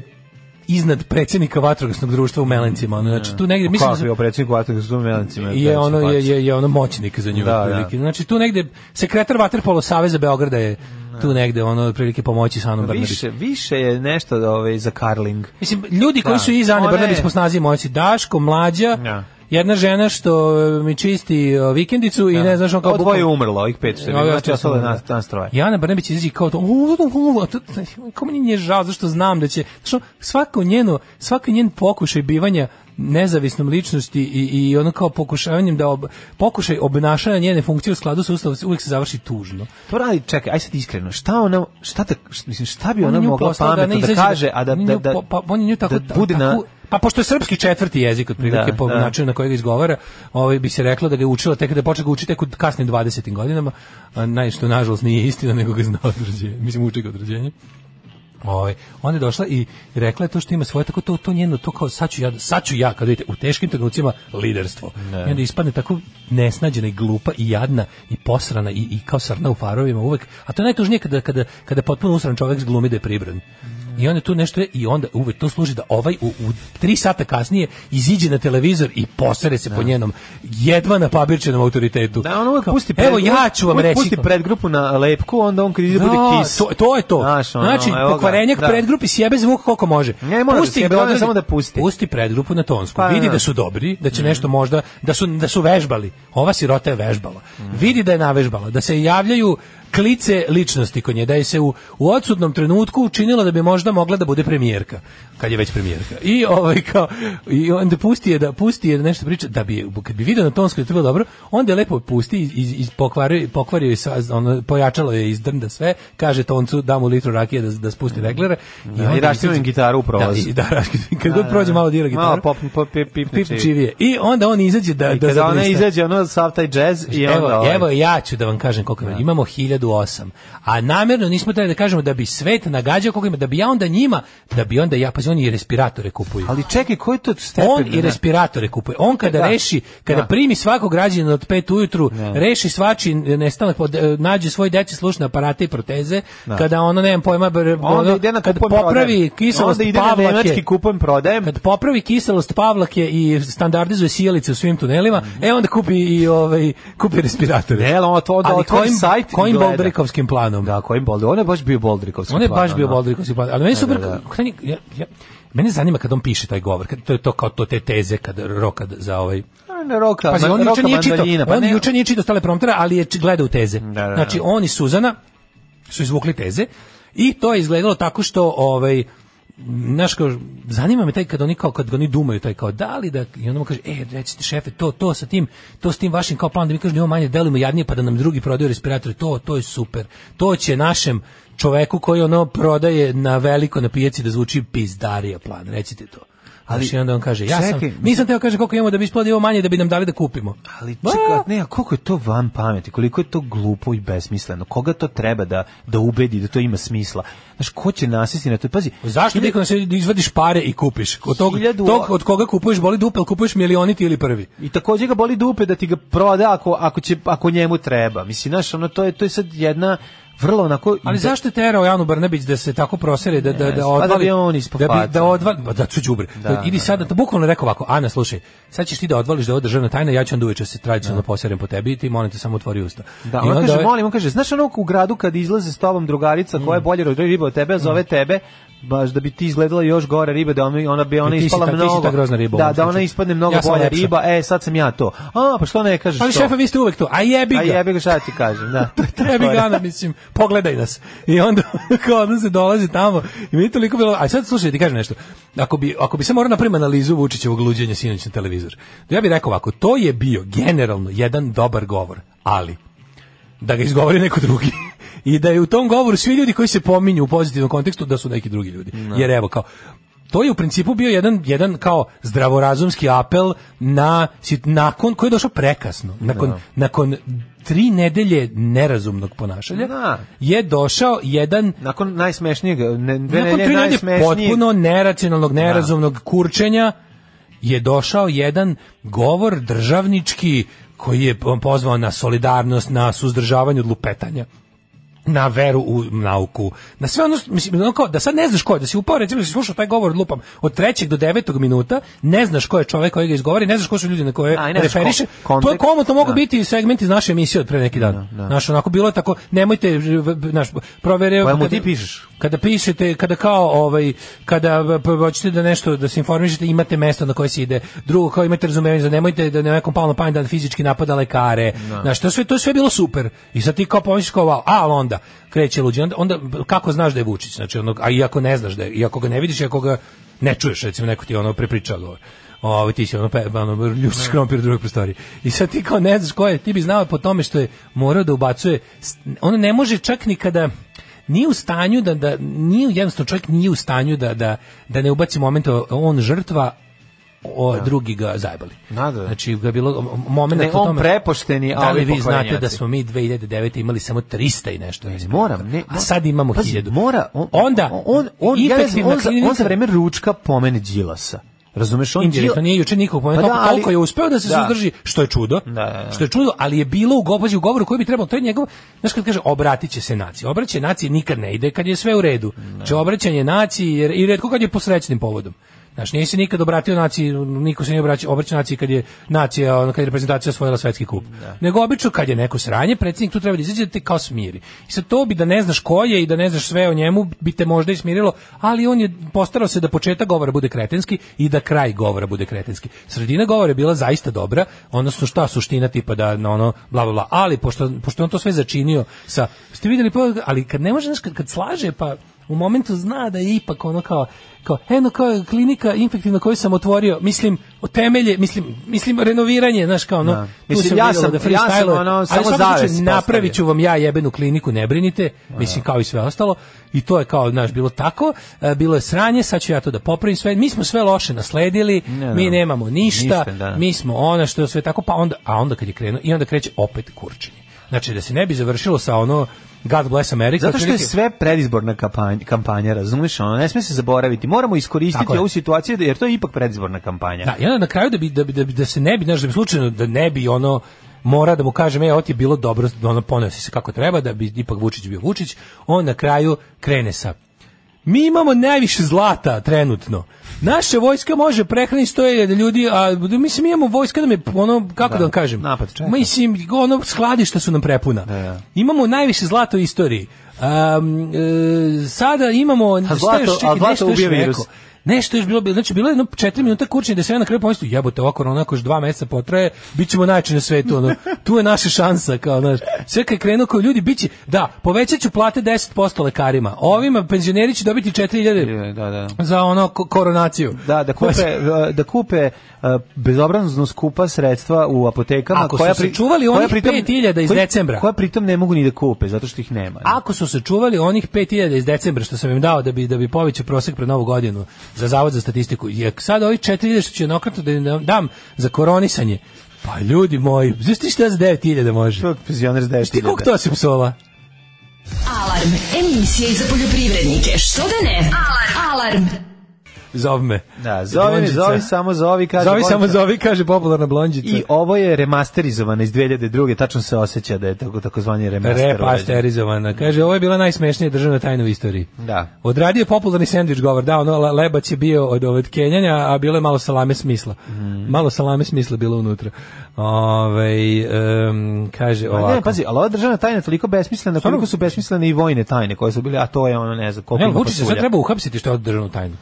G: iznad predsjednika vatrogasnog društva u Melencima. Ono, znači tu negde
F: Pa
G: mislim da
F: Kako
G: su-
F: je o predsjedniku Vatrogasnog Melancima?
G: je ono je je je ono moćnik za nju
F: Da,
G: otprilike. Znači tu negde sekretar vaterpolo saveza Beograda je tu negde ono otprilike pomoći sa Anom Brnabić.
F: Više, više je nešto da, ove, za Karling.
G: Mislim, ljudi koji
F: Da.
G: su iz Ane
F: Ona je-
G: Brnabić po snazi moći, Daško, mlađa,
F: Da.
G: jedna žena što e, mi čisti e, vikendicu i ne znaš on kao...
F: Ovo dvoje je umrlo, ovih pet što je bilo,
G: Ovi
F: znači
G: ostali su
F: ostalo je
G: umrli.
F: nas, nas troje.
G: I Ana Brnabić izađe kao to, "U, u, u", a to- kao meni nije žao, zašto znam da će, što svako njeno, svaki njen pokušaj bivanja nezavisnom ličnosti i, i ono kao pokušavanjem da ob, pokušaj obnašanja njene funkcije u skladu sa ustavom uvijek se završi tužno.
F: To radi, čekaj, aj sad iskreno, šta ona, šta, ta, šta, mislim, šta bi
G: On
F: ona
G: je nju
F: mogla
G: poslao
F: pametno da,
G: izađe
F: kaže, a da,
G: on je
F: da,
G: nju
F: da,
G: po- pa, on je nju tako,
F: da bude na...
G: tako- Pa pošto je srpski četvrti jezik od prilike
F: Da,
G: po
F: da.
G: načinu na kojeg ga izgovara, ovaj bi se reklo da ga je učila tek da je počeo ga učiti tek u kasnim 20. godinama, a naj što nažalost nije istina nego ga zna od rođenja. Mislim uči ga od rođenja. Ovaj, onda je došla i rekla je to što ima svoje, tako to, to njeno, to kao sad ću ja, sad ću ja, kada vidite, u teškim trenucima liderstvo. I onda ispadne tako nesnađena i glupa i jadna i posrana i, i kao srna u farovima uvek. A to je najtužnije kada, kada, kada potpuno usran čovjek zglumi da je pribran. I onda tu nešto je, i onda uvek to služi da ovaj u, u tri sata kasnije iziđe na televizor i posere se po njenom jedva na pabirčenom autoritetu.
F: Da, on uvek
G: Kao,
F: pusti
G: Evo ja ću vam
F: uvek
G: reći.
F: Pusti
G: kao-
F: predgrupu na lepku, onda on kad ide bude
G: da,
F: kis.
G: To, to je to.
F: Znaš, ono,
G: znači,
F: evo ga,
G: pokvarenjak
F: da.
G: predgrupi sjebe zvuk koliko može.
F: Ne mora da sjebe, ona
G: Beograd-
F: samo da pusti.
G: Pusti predgrupu na tonsku.
F: Pa,
G: vidi
F: da. Mm.
G: da su dobri, da će nešto možda, da su, da su vežbali. Ova sirota je vežbala.
F: Mm.
G: Vidi da je navežbala, da se javljaju klice ličnosti kod nje, da je se u, u odsudnom trenutku učinilo da bi možda mogla da bude premijerka, kad je već premijerka. I ovaj kao, i onda pusti je da, pusti je da nešto priča, da bi, je- kad bi video na tonsku da je to bilo dobro, onda je lepo pusti, iz, iz, iz pokvario, pokvario je sva, ono, pojačalo je iz drnda sve, kaže toncu, da mu litru rakije da, da spusti reglere.
F: i
G: onda
F: raskinuo im
G: izađe-
F: gitaru u prolazu.
G: Da, i- da, raskinuo- kad god prođe malo dira gitaru.
F: Malo pop, pop, pip, pip,
G: Pip čivije. I onda on izađe da
F: I
G: da
F: kada ona
G: zablista.
F: izađe, ono sav taj jazz i onda...
G: Evo,
F: ovaj,
G: evo ja ću da vam kažem koliko ima. Imamo 1008. A namjerno nismo trebali da kažemo da bi svet nagađao koliko ima, da bi ja onda njima, da bi onda ja, pazi, oni i respiratore kupuju.
F: Ali čekaj, koji to stepen?
G: On i
F: ne?
G: respiratore kupuje. On kada
F: Da.
G: reši, kada
F: Da.
G: primi svakog građanina od pet ujutru, reši svači nestanak, pod- e, nađe svoj deci slušne aparate i proteze, kada ono, nemam pojma, br-
F: Onda
G: ono,
F: ide na
G: kad
F: kupujem
G: popravi
F: prodajem.
G: kiselost
F: Onda ide na
G: Pavlake-
F: nemački kupujem prodajem.
G: kad popravi kiselost Pavlake i standardizuje sijalice u svim tunelima, e onda kupi i ovaj kupi respiratore.
F: Ne, ali ono to onda
G: ali
F: otvori
G: kojim,
F: sajt i
G: kojim
F: gleda.
G: Boldrikovskim planom?
F: Da, kojim Boldri? On je baš bio Boldrikovski.
G: On je baš
F: plan,
G: bio
F: ono.
G: Boldrikovski plan. Ali meni super,
F: da, da.
G: kada ni- ja, ja, mene zanima kad on piše taj govor, kad to je to kao to te teze kad roka za ovaj
F: On je roka,
G: Pazi, on
F: roka
G: juče nije čitao,
F: mandoljina, pa
G: on
F: ne-
G: juče nije čitao stale promptera, ali je či- gledao teze.
F: Da, da,
G: Znači,
F: da.
G: on i Suzana su izvukli teze i to je izgledalo tako što, ovaj, znaš, kao, zanima me taj kad oni kao kad ga oni dumaju taj kao da li da i onda mu kaže e recite šefe to to sa tim to s tim vašim kao planom da mi kažu imamo manje delimo jadnije pa da nam drugi prodaju respiratore to to je super to će našem čoveku koji ono prodaje na veliko na pijaci da zvuči pizdarija plan recite to ali i onda on kaže ja
F: čekaj,
G: sam nisam teo kaže koliko imamo da bi isplodi ovo manje da bi nam dali da kupimo.
F: Ali
G: Ma,
F: čekaj, ne, a koliko je to van pameti, koliko je to glupo i besmisleno, koga to treba da, da ubedi da to ima smisla? Znaš, ko će nasjesti na to? Pazi,
G: Pa Zašto
F: ide-
G: ti se izvadiš pare i kupiš? Od tog,
F: Hiljadu-
G: tog od koga kupuješ boli dupel, kupuješ milioniti ili prvi.
F: I takođe ga boli dupe da ti ga proda ako, ako, će, ako njemu treba. Mislim, znaš, ono, to je, to je sad jedna vrlo onako...
G: Ali
F: ide-
G: zašto je terao Janu Brnabić da se tako prosere da da
F: Ne
G: da
F: znam, pa da
G: odvali
F: bi on ispod
G: da bi-
F: faca.
G: da odvali pa da ću đubre.
F: Da,
G: Da, idi
F: da,
G: sada to bukvalno je rekao ovako Ana slušaj sad ćeš ti da odvališ da je ovo državna tajna ja ću onda uveče se tradicionalno poserem po tebi i ti molim te samo otvori usta.
F: Da,
G: I
F: on
G: onda
F: kaže,
G: ovaj-
F: molim, on kaže, znaš ono u gradu kad izlaze s tobom drugarica koja je
G: Mm.
F: bolje rodila riba od tebe, a zove tebe, baš da bi ti izgledala još gore riba, da ona, ona bi ona
G: I ti si
F: ispala
G: ta- ti si
F: mnogo.
G: ta grozna riba u
F: da,
G: ovom
F: da ona
G: slučaju.
F: ispadne mnogo
G: Ja sam
F: bolja
G: lepša.
F: riba, e, sad sam ja to. A, pa što ne kažeš
G: Ali
F: to?
G: šefe, vi ste uvek to. A jebi ga.
F: A jebi ga šta ti kažem, da. to je tako,
G: Trebi
F: da.
G: gana, mislim, pogledaj nas. I onda, kao onda se dolazi tamo i mi je toliko bilo, a sad slušaj, ti kažem nešto. Ako bi, ako bi sam morao napraviti analizu Vučićevog luđenja sinoć na televizor, ja bih rekao ovako, to je bio generalno jedan dobar govor, ali da ga izgovori neko drugi. I da je u tom govoru svi ljudi koji se pominju u pozitivnom kontekstu da su neki drugi ljudi. Jer evo kao to je u principu bio jedan jedan kao zdravorazumski apel na sit- nakon koji je došao prekasno. Nakon nakon tri nedelje nerazumnog ponašanja
F: Da.
G: je došao jedan
F: Nakon najsmešnijeg, ne, dve
G: nakon
F: nelje
G: tri nedelje
F: najsmešnijeg.
G: potpuno neracionalnog, nerazumnog kurčenja je došao jedan govor državnički koji je pozvao na solidarnost, na suzdržavanje od lupetanja na veru u nauku. Na sve ono, mislim, ono kao, da sad ne znaš ko je, da si upao, recimo, da si slušao taj govor lupam od trećeg do devetog minuta, ne znaš ko je čovek koji ga izgovori, ne znaš ko su ljudi na koje
F: A, i ne znaš ko-
G: referiše. to je
F: kontekst,
G: komotno mogu
F: da.
G: biti segment iz naše emisije od pre neki dan. Znaš, onako, bilo je tako, nemojte, naš, provere...
F: Kojemu
G: kada-
F: Pa ti pišeš?
G: kada pišete, kada kao ovaj kada p- hoćete da nešto da se informišete, imate mesto na koje se ide. Drugo, kao imate razumevanje za nemojte da na nekom palno pamet da fizički napada lekare. Znaš, to sve to je sve bilo super. I sad ti kao pomisliš kao wow, a ali onda kreće luđi. Onda, onda kako znaš da je Vučić? Znači onog, a iako ne znaš da je, iako ga ne vidiš, iako ga ne čuješ, recimo neko ti ono prepriča govor. Ovo ti si ono, pe, ono ljušiš krompir u drugoj prostoriji. I sad ti kao ne znaš ko je, ti bi znao po tome što je morao da ubacuje. s- Ono ne može čak ni kada nije u stanju da, da nije jednostavno čovjek nije u stanju da, da, da ne ubaci moment o- on žrtva o, drugi ga zajbali.
F: Da, da.
G: Znači ga je bilo moment
F: Ne, on prepošteni,
G: Da li
F: ali
G: vi znate
F: pokvarenjaci.
G: da smo mi 2009. imali samo 300 i nešto? respiratora?
F: moram, ne,
G: a sad imamo
F: Pazi,
G: 1000.
F: Mora, on,
G: onda,
F: on, on, ja ne znam,
G: infektivna
F: on, za, on
G: klinika-
F: za vreme ručka pomene Đilasa. Razumeš, on
G: indirektno
F: Đil-
G: nije juče nikog
F: Pa
G: pomenuo,
F: da,
G: toliko,
F: ali-
G: toliko je uspeo da se
F: da.
G: suzdrži, što je čudo.
F: Da, da, da.
G: Što je čudo, ali je bilo u govoru, u govoru koji bi trebalo, to je njegov, znaš kad kaže obratit će se naciji. Obraćanje naciji nikad ne ide kad je sve u redu. Znači obraćanje naciji jer i retko kad je po srećnim povodom. Znaš, nije se nikad obratio naciji, niko se nije obraćao, obraćao naciji kad je nacija, ono, kad je reprezentacija osvojila svetski kup. Nego obično kad je neko sranje, predsjednik tu treba da izađe da te kao smiri. I sad to bi da ne znaš ko je i da ne znaš sve o njemu, bi te možda i smirilo, ali on je postarao se da početak govora bude kretenski i da kraj govora bude kretenski. Sredina govora je bila zaista dobra, odnosno šta suština tipa da na ono bla bla bla, ali pošto, pošto je on to sve začinio sa, ste vidjeli, pa- ali kad ne može, znaš, kad, kad slaže pa u momentu zna da je ipak ono kao kao eno kao je klinika infektivna koju sam otvorio mislim o temelje mislim mislim renoviranje znaš kao ono
F: Da.
G: tu
F: Mislim,
G: sam
F: ja
G: vidjela
F: sam-
G: da
F: ja
G: freestyle
F: sam, ono,
G: ali
F: samo
G: u svakom slučaju,
F: zaves postavio.
G: napravit ću vam ja jebenu kliniku ne brinite mislim kao i sve ostalo i to je kao znaš bilo tako e, bilo je sranje sad ću ja to da popravim sve mi smo sve loše nasledili
F: Ne,
G: mi
F: da.
G: nemamo ništa,
F: Ništa, da.
G: mi smo ono što je sve tako pa onda a onda kad je krenuo i onda kreće opet kurčenje znači da se ne bi završilo sa ono God bless America
F: Zato što je
G: otprilike-
F: sve predizborna kampanja, kampanja razumeš, ono, ne sme se zaboraviti. Moramo iskoristiti
G: Tako je.
F: ovu situaciju, jer to je ipak predizborna kampanja.
G: Da, i onda na kraju da bi da bi da, bi, da se ne bi znaš, da bi slučajno da ne bi ono mora da mu kažem ej, ovo ti je bilo dobro, ono poneo si se kako treba da bi ipak Vučić bio Vučić, on na kraju krene sa Mi imamo najviše zlata trenutno. Naša vojska može prehraniti 100.000 ljudi, a mislim mi imamo vojska da me ono kako da, vam kažem.
F: napad čeka.
G: Mislim ono skladišta su nam prepuna.
F: da.
G: Imamo najviše zlata u istoriji. Um, e, sada imamo šta
F: zlato-
G: još, čekaj,
F: a zlato
G: nešto još
F: ubija virus.
G: rekao. Nešto je još bilo, bilo- znači bilo je jedno 4 minuta kurčenje da se ja na kraju pomislim, jebote, ova korona ako još 2 meseca potraje, bićemo najjači na svetu, ono. Tu je naša šansa, kao, znaš. Sve kad je krenuo kao ljudi biće, da, povećaću plate 10% lekarima. Ovima penzioneri će dobiti 4000
F: Je, Da, da.
G: za ono ko- koronaciju.
F: Da, da kupe, e, da kupe e, bezobrazno skupa sredstva u apotekama
G: Ako su sačuvali
F: koja
G: onih
F: pritom-
G: 5.000 iz
F: koji-
G: decembra.
F: Koja pritom ne mogu ni da kupe, zato što ih nema.
G: Ako su se čuvali onih 5000 iz decembra što sam im dao da bi da bi povećao prosek pred novu godinu za Zavod za statistiku, je sad ovih 4000 što ću jednokratno da im dam za koronisanje. Pa ljudi moji, znaš ti šta za 9000 može?
F: Čovjek penzioner s 10.000.
G: Ti koliko to si psovala?
E: Alarm, emisija i za poljoprivrednike. Što da ne? Alarm. Alarm.
G: Zov me.
F: Da, zovi, me, zovi samo zovi, kaže.
G: Zovi
F: volim
G: samo
F: te.
G: zovi, kaže popularna blondjica.
F: I ovo je remasterizovano iz 2002. Tačno se osjeća da je tako takozvani remaster.
G: pa
F: urađen.
G: Repasterizovana. Kaže, ovo je bila najsmešnija državna tajna u istoriji.
F: Da.
G: Odradio je popularni sandvič govor, da, ono, le- lebac je bio od ovog kenjanja, a bilo je malo salame smisla.
F: Mm.
G: Malo salame smisla bilo unutra. Ovaj em, kaže
F: Pa
G: ovako.
F: Ne, pazi, ali ova državna tajna je toliko besmislena, koliko su besmislene i vojne tajne koje su bile, a to je ono, ne znam, koliko
G: Ne,
F: ima
G: Vučić se sad
F: pasulja.
G: treba uhapsiti što je od državnu tajnu.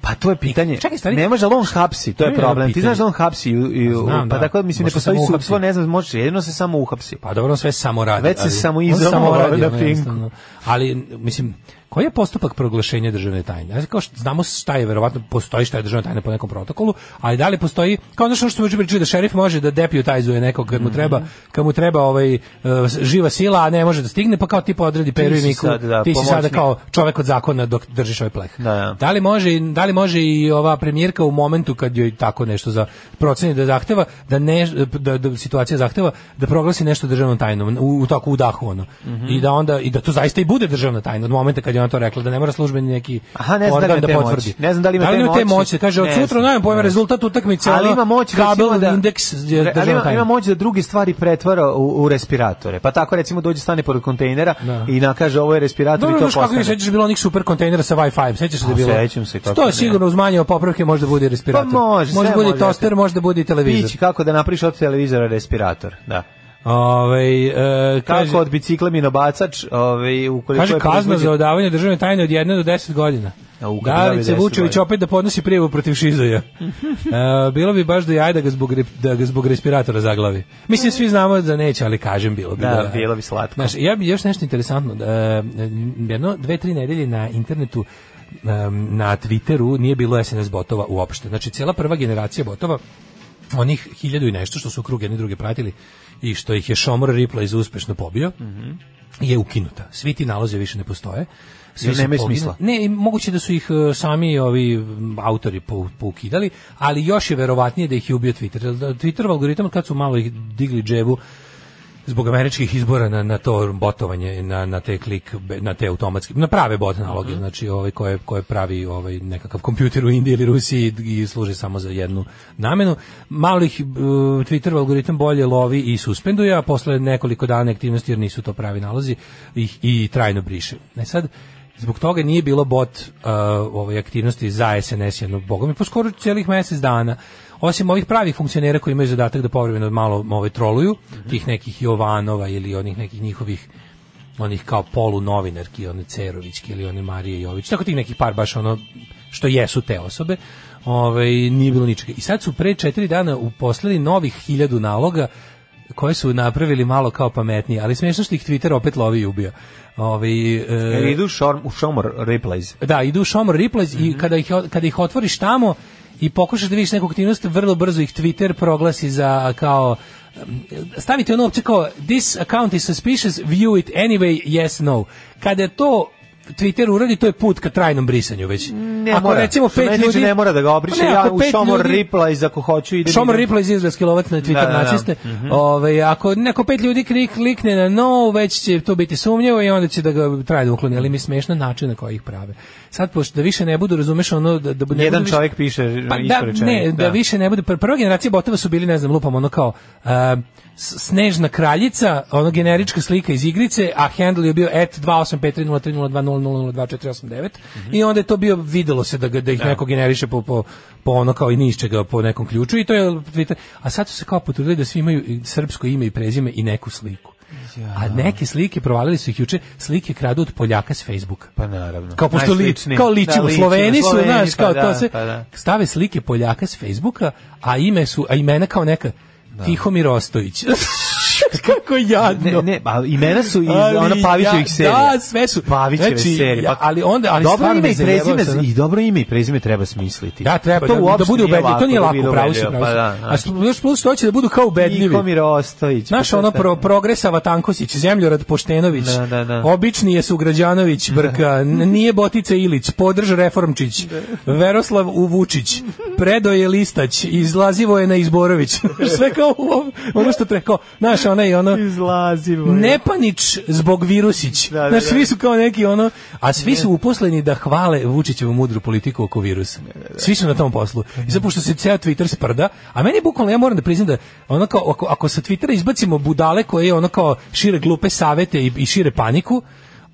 F: Pa to je pitanje.
G: Čekaj, stari.
F: Ne može ali on hapsi, to
G: To je
F: je
G: jedno
F: problem. Ti
G: pitanje.
F: znaš da on hapsi i, i
G: Znam,
F: pa
G: da.
F: tako mislim ne
G: Može
F: postoji
G: samo uhapsi.
F: sudstvo, ne znam, može jedino se samo uhapsi.
G: Pa dobro, on sve samo radi.
F: Već se
G: ali-
F: samo
G: on
F: izomovao
G: radi,
F: na
G: ono,
F: Pinku.
G: jednostavno. Ali, mislim, koji je postupak proglašenja državne tajne? Znači, kao što znamo šta je, verovatno postoji šta je državna tajna po nekom protokolu, ali da li postoji, kao ono što smo juče pričali, da šerif može da deputajzuje nekog
F: Mhm.
G: kad mu treba, kad mu treba ovaj, eh, živa sila, a ne može da stigne, pa kao tipa odredi Peru i
F: si
G: Miku,
F: sad, da,
G: ti si sada
F: pomoćnik.
G: kao čovek od zakona dok držiš ovaj pleh.
F: Da, da.
G: Da li može da li može i ova premijerka u momentu kad joj tako nešto za proceni da zahteva da ne da, da situacija zahteva da proglasi nešto državnom tajnom u, u tako u dahu ono.
F: Mhm.
G: I da onda i da to zaista i bude državna tajna od momenta kad je ona to rekla da ne mora službeni neki
F: Aha, ne znam da li
G: organ
F: ima
G: da,
F: te moći.
G: potvrdi.
F: Ne znam da li ima te
G: ima te
F: moći.
G: moći? Kaže od
F: Ne
G: sutra
F: znam.
G: nemam pojma
F: Ne.
G: rezultat utakmice.
F: ali
G: ono,
F: ima moć
G: kabel
F: recimo, da,
G: indeks je
F: Re- ali
G: državna
F: ima,
G: tajna.
F: ima moć da druge stvari pretvara u, u respiratore. Pa tako recimo dođe stane pored kontejnera
G: Da.
F: i nakaže ovo je respirator
G: Dobro,
F: i to
G: znaš kako je,
F: postane.
G: sećaš bilo onih super kontejnera sa Wi-Fi, sećaš se da je
F: A,
G: bilo?
F: sećam se, kako
G: To
F: ne.
G: je sigurno uz manje popravke može da bude
F: Pa
G: respirator.
F: može,
G: može
F: sve
G: bude
F: može.
G: toster, može da bude i televizor.
F: Ići kako da napriš od televizora respirator. Da.
G: Ovaj e,
F: Kako
G: kaže,
F: od bicikla minobacač, ovaj ukoliko
G: kaže
F: je
G: kazna
F: proizvođač-
G: za odavanje državne tajne od 1 do 10 godina.
F: A, u, kad bi dali
G: Darice
F: 10
G: Vučević
F: godina.
G: opet da podnosi prijavu protiv Šizoja. E, bilo bi baš do jaja da ga zbog, rep- da ga zbog respiratora zaglavi. Mislim, svi znamo da neće, ali kažem, bilo bi.
F: Da,
G: do jaja.
F: bilo bi slatko.
G: Znaš, ja bi još nešto interesantno. E, jedno, dve, tri nedelje na internetu em, na Twitteru nije bilo SNS botova uopšte. Znači, cijela prva generacija botova onih hiljadu i nešto što su krug jedni druge pratili i što ih je Šomor Replays uspešno pobio je ukinuta. Svi ti nalozi više ne postoje. Svi
F: Jer
G: su
F: nemaju
G: poginuti.
F: smisla.
G: Ne, i moguće da su ih e, sami ovi m, autori pou- poukidali, ali još je verovatnije da ih je ubio Twitter. Jer da Twitterov algoritam kad su malo ih digli dževu zbog američkih izbora na, na to botovanje na, na te klik be- na te automatske na prave bot naloge znači ovaj koje koje pravi ovaj nekakav kompjuter u Indiji ili Rusiji i služi samo za jednu namenu malo ih e, Twitterov algoritam bolje lovi i suspenduje a posle nekoliko dana aktivnosti jer nisu to pravi nalozi ih i trajno briše ne sad Zbog toga nije bilo bot uh, ove aktivnosti za SNS jednog bogom i po skoro celih mjesec dana. Osim ovih pravih funkcionera koji imaju zadatak da povremeno malo ove troluju, tih nekih Jovanova ili onih nekih njihovih onih kao polu novinarki, one Cerovićki ili one Marije Jović, tako tih nekih par baš ono što jesu te osobe, ovaj, nije bilo ničega. I sad su pre četiri dana uposlili novih hiljadu naloga koje su napravili malo kao pametnije, ali smiješno što ih Twitter opet lovi i ubija. Ovaj, e,
F: Jer idu šorm, u šomor replays.
G: da, idu u Šomor Replays
F: Mhm.
G: i kada ih, kada ih otvoriš tamo i pokušaš da vidiš neku aktivnost, vrlo brzo ih Twitter proglasi za kao um, stavite ono opće kao this account is suspicious, view it anyway, yes, no. Kada to Twitter uradi, to je put ka trajnom brisanju već.
F: Ne mora. Što meni tiče, ne mora da ga obriše.
G: Pa ne,
F: ja
G: ako
F: u
G: pet
F: šomor
G: ljudi-
F: replays ako hoću idem.
G: Šomor
F: idem-
G: Ripley iz izraelski lovac na Twitter
F: Da, Mhm. da, da.
G: naciste. Ovaj, ako neko pet ljudi klik, klikne na no, već će to biti sumnjivo i onda će da ga traje da ukloni. Ali mi je smiješno način na koji ih prave. Sad, pošto da više ne budu, razumeš, ono, da, da ne
F: Jedan
G: budu više-
F: čovjek piše
G: pa,
F: isto
G: da,
F: rečenje,
G: ne, da.
F: da.
G: više ne bude. Pr- Prva generacija botova su bili, ne znam, lupam, ono kao uh, s- snežna kraljica, ono generička slika iz igrice, a handle je bio et 28530302002489 i onda je to bio, videlo se da, ga- Mhm. da ih neko generiše po, po, po ono kao i ni iz čega po nekom ključu i to je Twitter. A sad su se kao potrudili da svi imaju i srpsko ime i prezime i neku sliku. A neke slike, provalili su ih juče, slike kradu od Poljaka s Facebooka
F: Pa naravno.
G: kao pošto li,
F: Najsličniji.
G: kao ličimo,
F: Da,
G: Sloveni su,
F: Sloveni,
G: znaš,
F: pa
G: kao
F: da,
G: to sve.
F: pa da.
G: Stave slike Poljaka s Facebooka, a ime su, a imena kao neka Tihomir Ostojić. Kako jadno.
F: Ne, ne, pa imena su iz
G: Ali
F: ona Pavićevih
G: ja-
F: serija.
G: da, sve su.
F: Pavićeve
G: Znači,
F: serije. pa
G: ja- ali onda- ali
F: dobro
G: stvarno
F: ime
G: me
F: i prezime
G: zajebao sam.
F: i dobro ime i prezime treba smisliti.
G: Da, treba,
F: to
G: da, da
F: uopšte
G: bude ubedljivo, to nije
F: da
G: lako,
F: bude
G: pravo si,
F: ubedljivo,
G: pravo si.
F: Pa da,
G: A s- još plus što hoće da budu kao ubedljivi.
F: Nikomir Ostojić. pa
G: Znaš,
F: to
G: ono
F: je-
G: pro, progresava Tankosić, Zemljorad Poštenović,
F: Da, da, da.
G: obični je Sugrađanović, Brka, n- nije Botica Ilić, podrž Reformčić, Veroslav Uvučić, predo je Listać, izlazivo je na Izborović. Sve kao u ovom- ono što treba, kao, znaš, znaš, ona je ono...
F: Izlazimo.
G: Ne panič zbog virusić.
F: Ovaj- Da, da,
G: znaš, svi
F: da.
G: su kao neki ono, a svi su uposleni da hvale Vučićevu mudru politiku oko virusa. Svi su na tom poslu. I zato što se ceo Twitter sprda, a meni je bukvalno, ja moram da priznam da ono kao, ako, ako sa Twittera izbacimo budale koje ono kao šire glupe savete i, i šire paniku,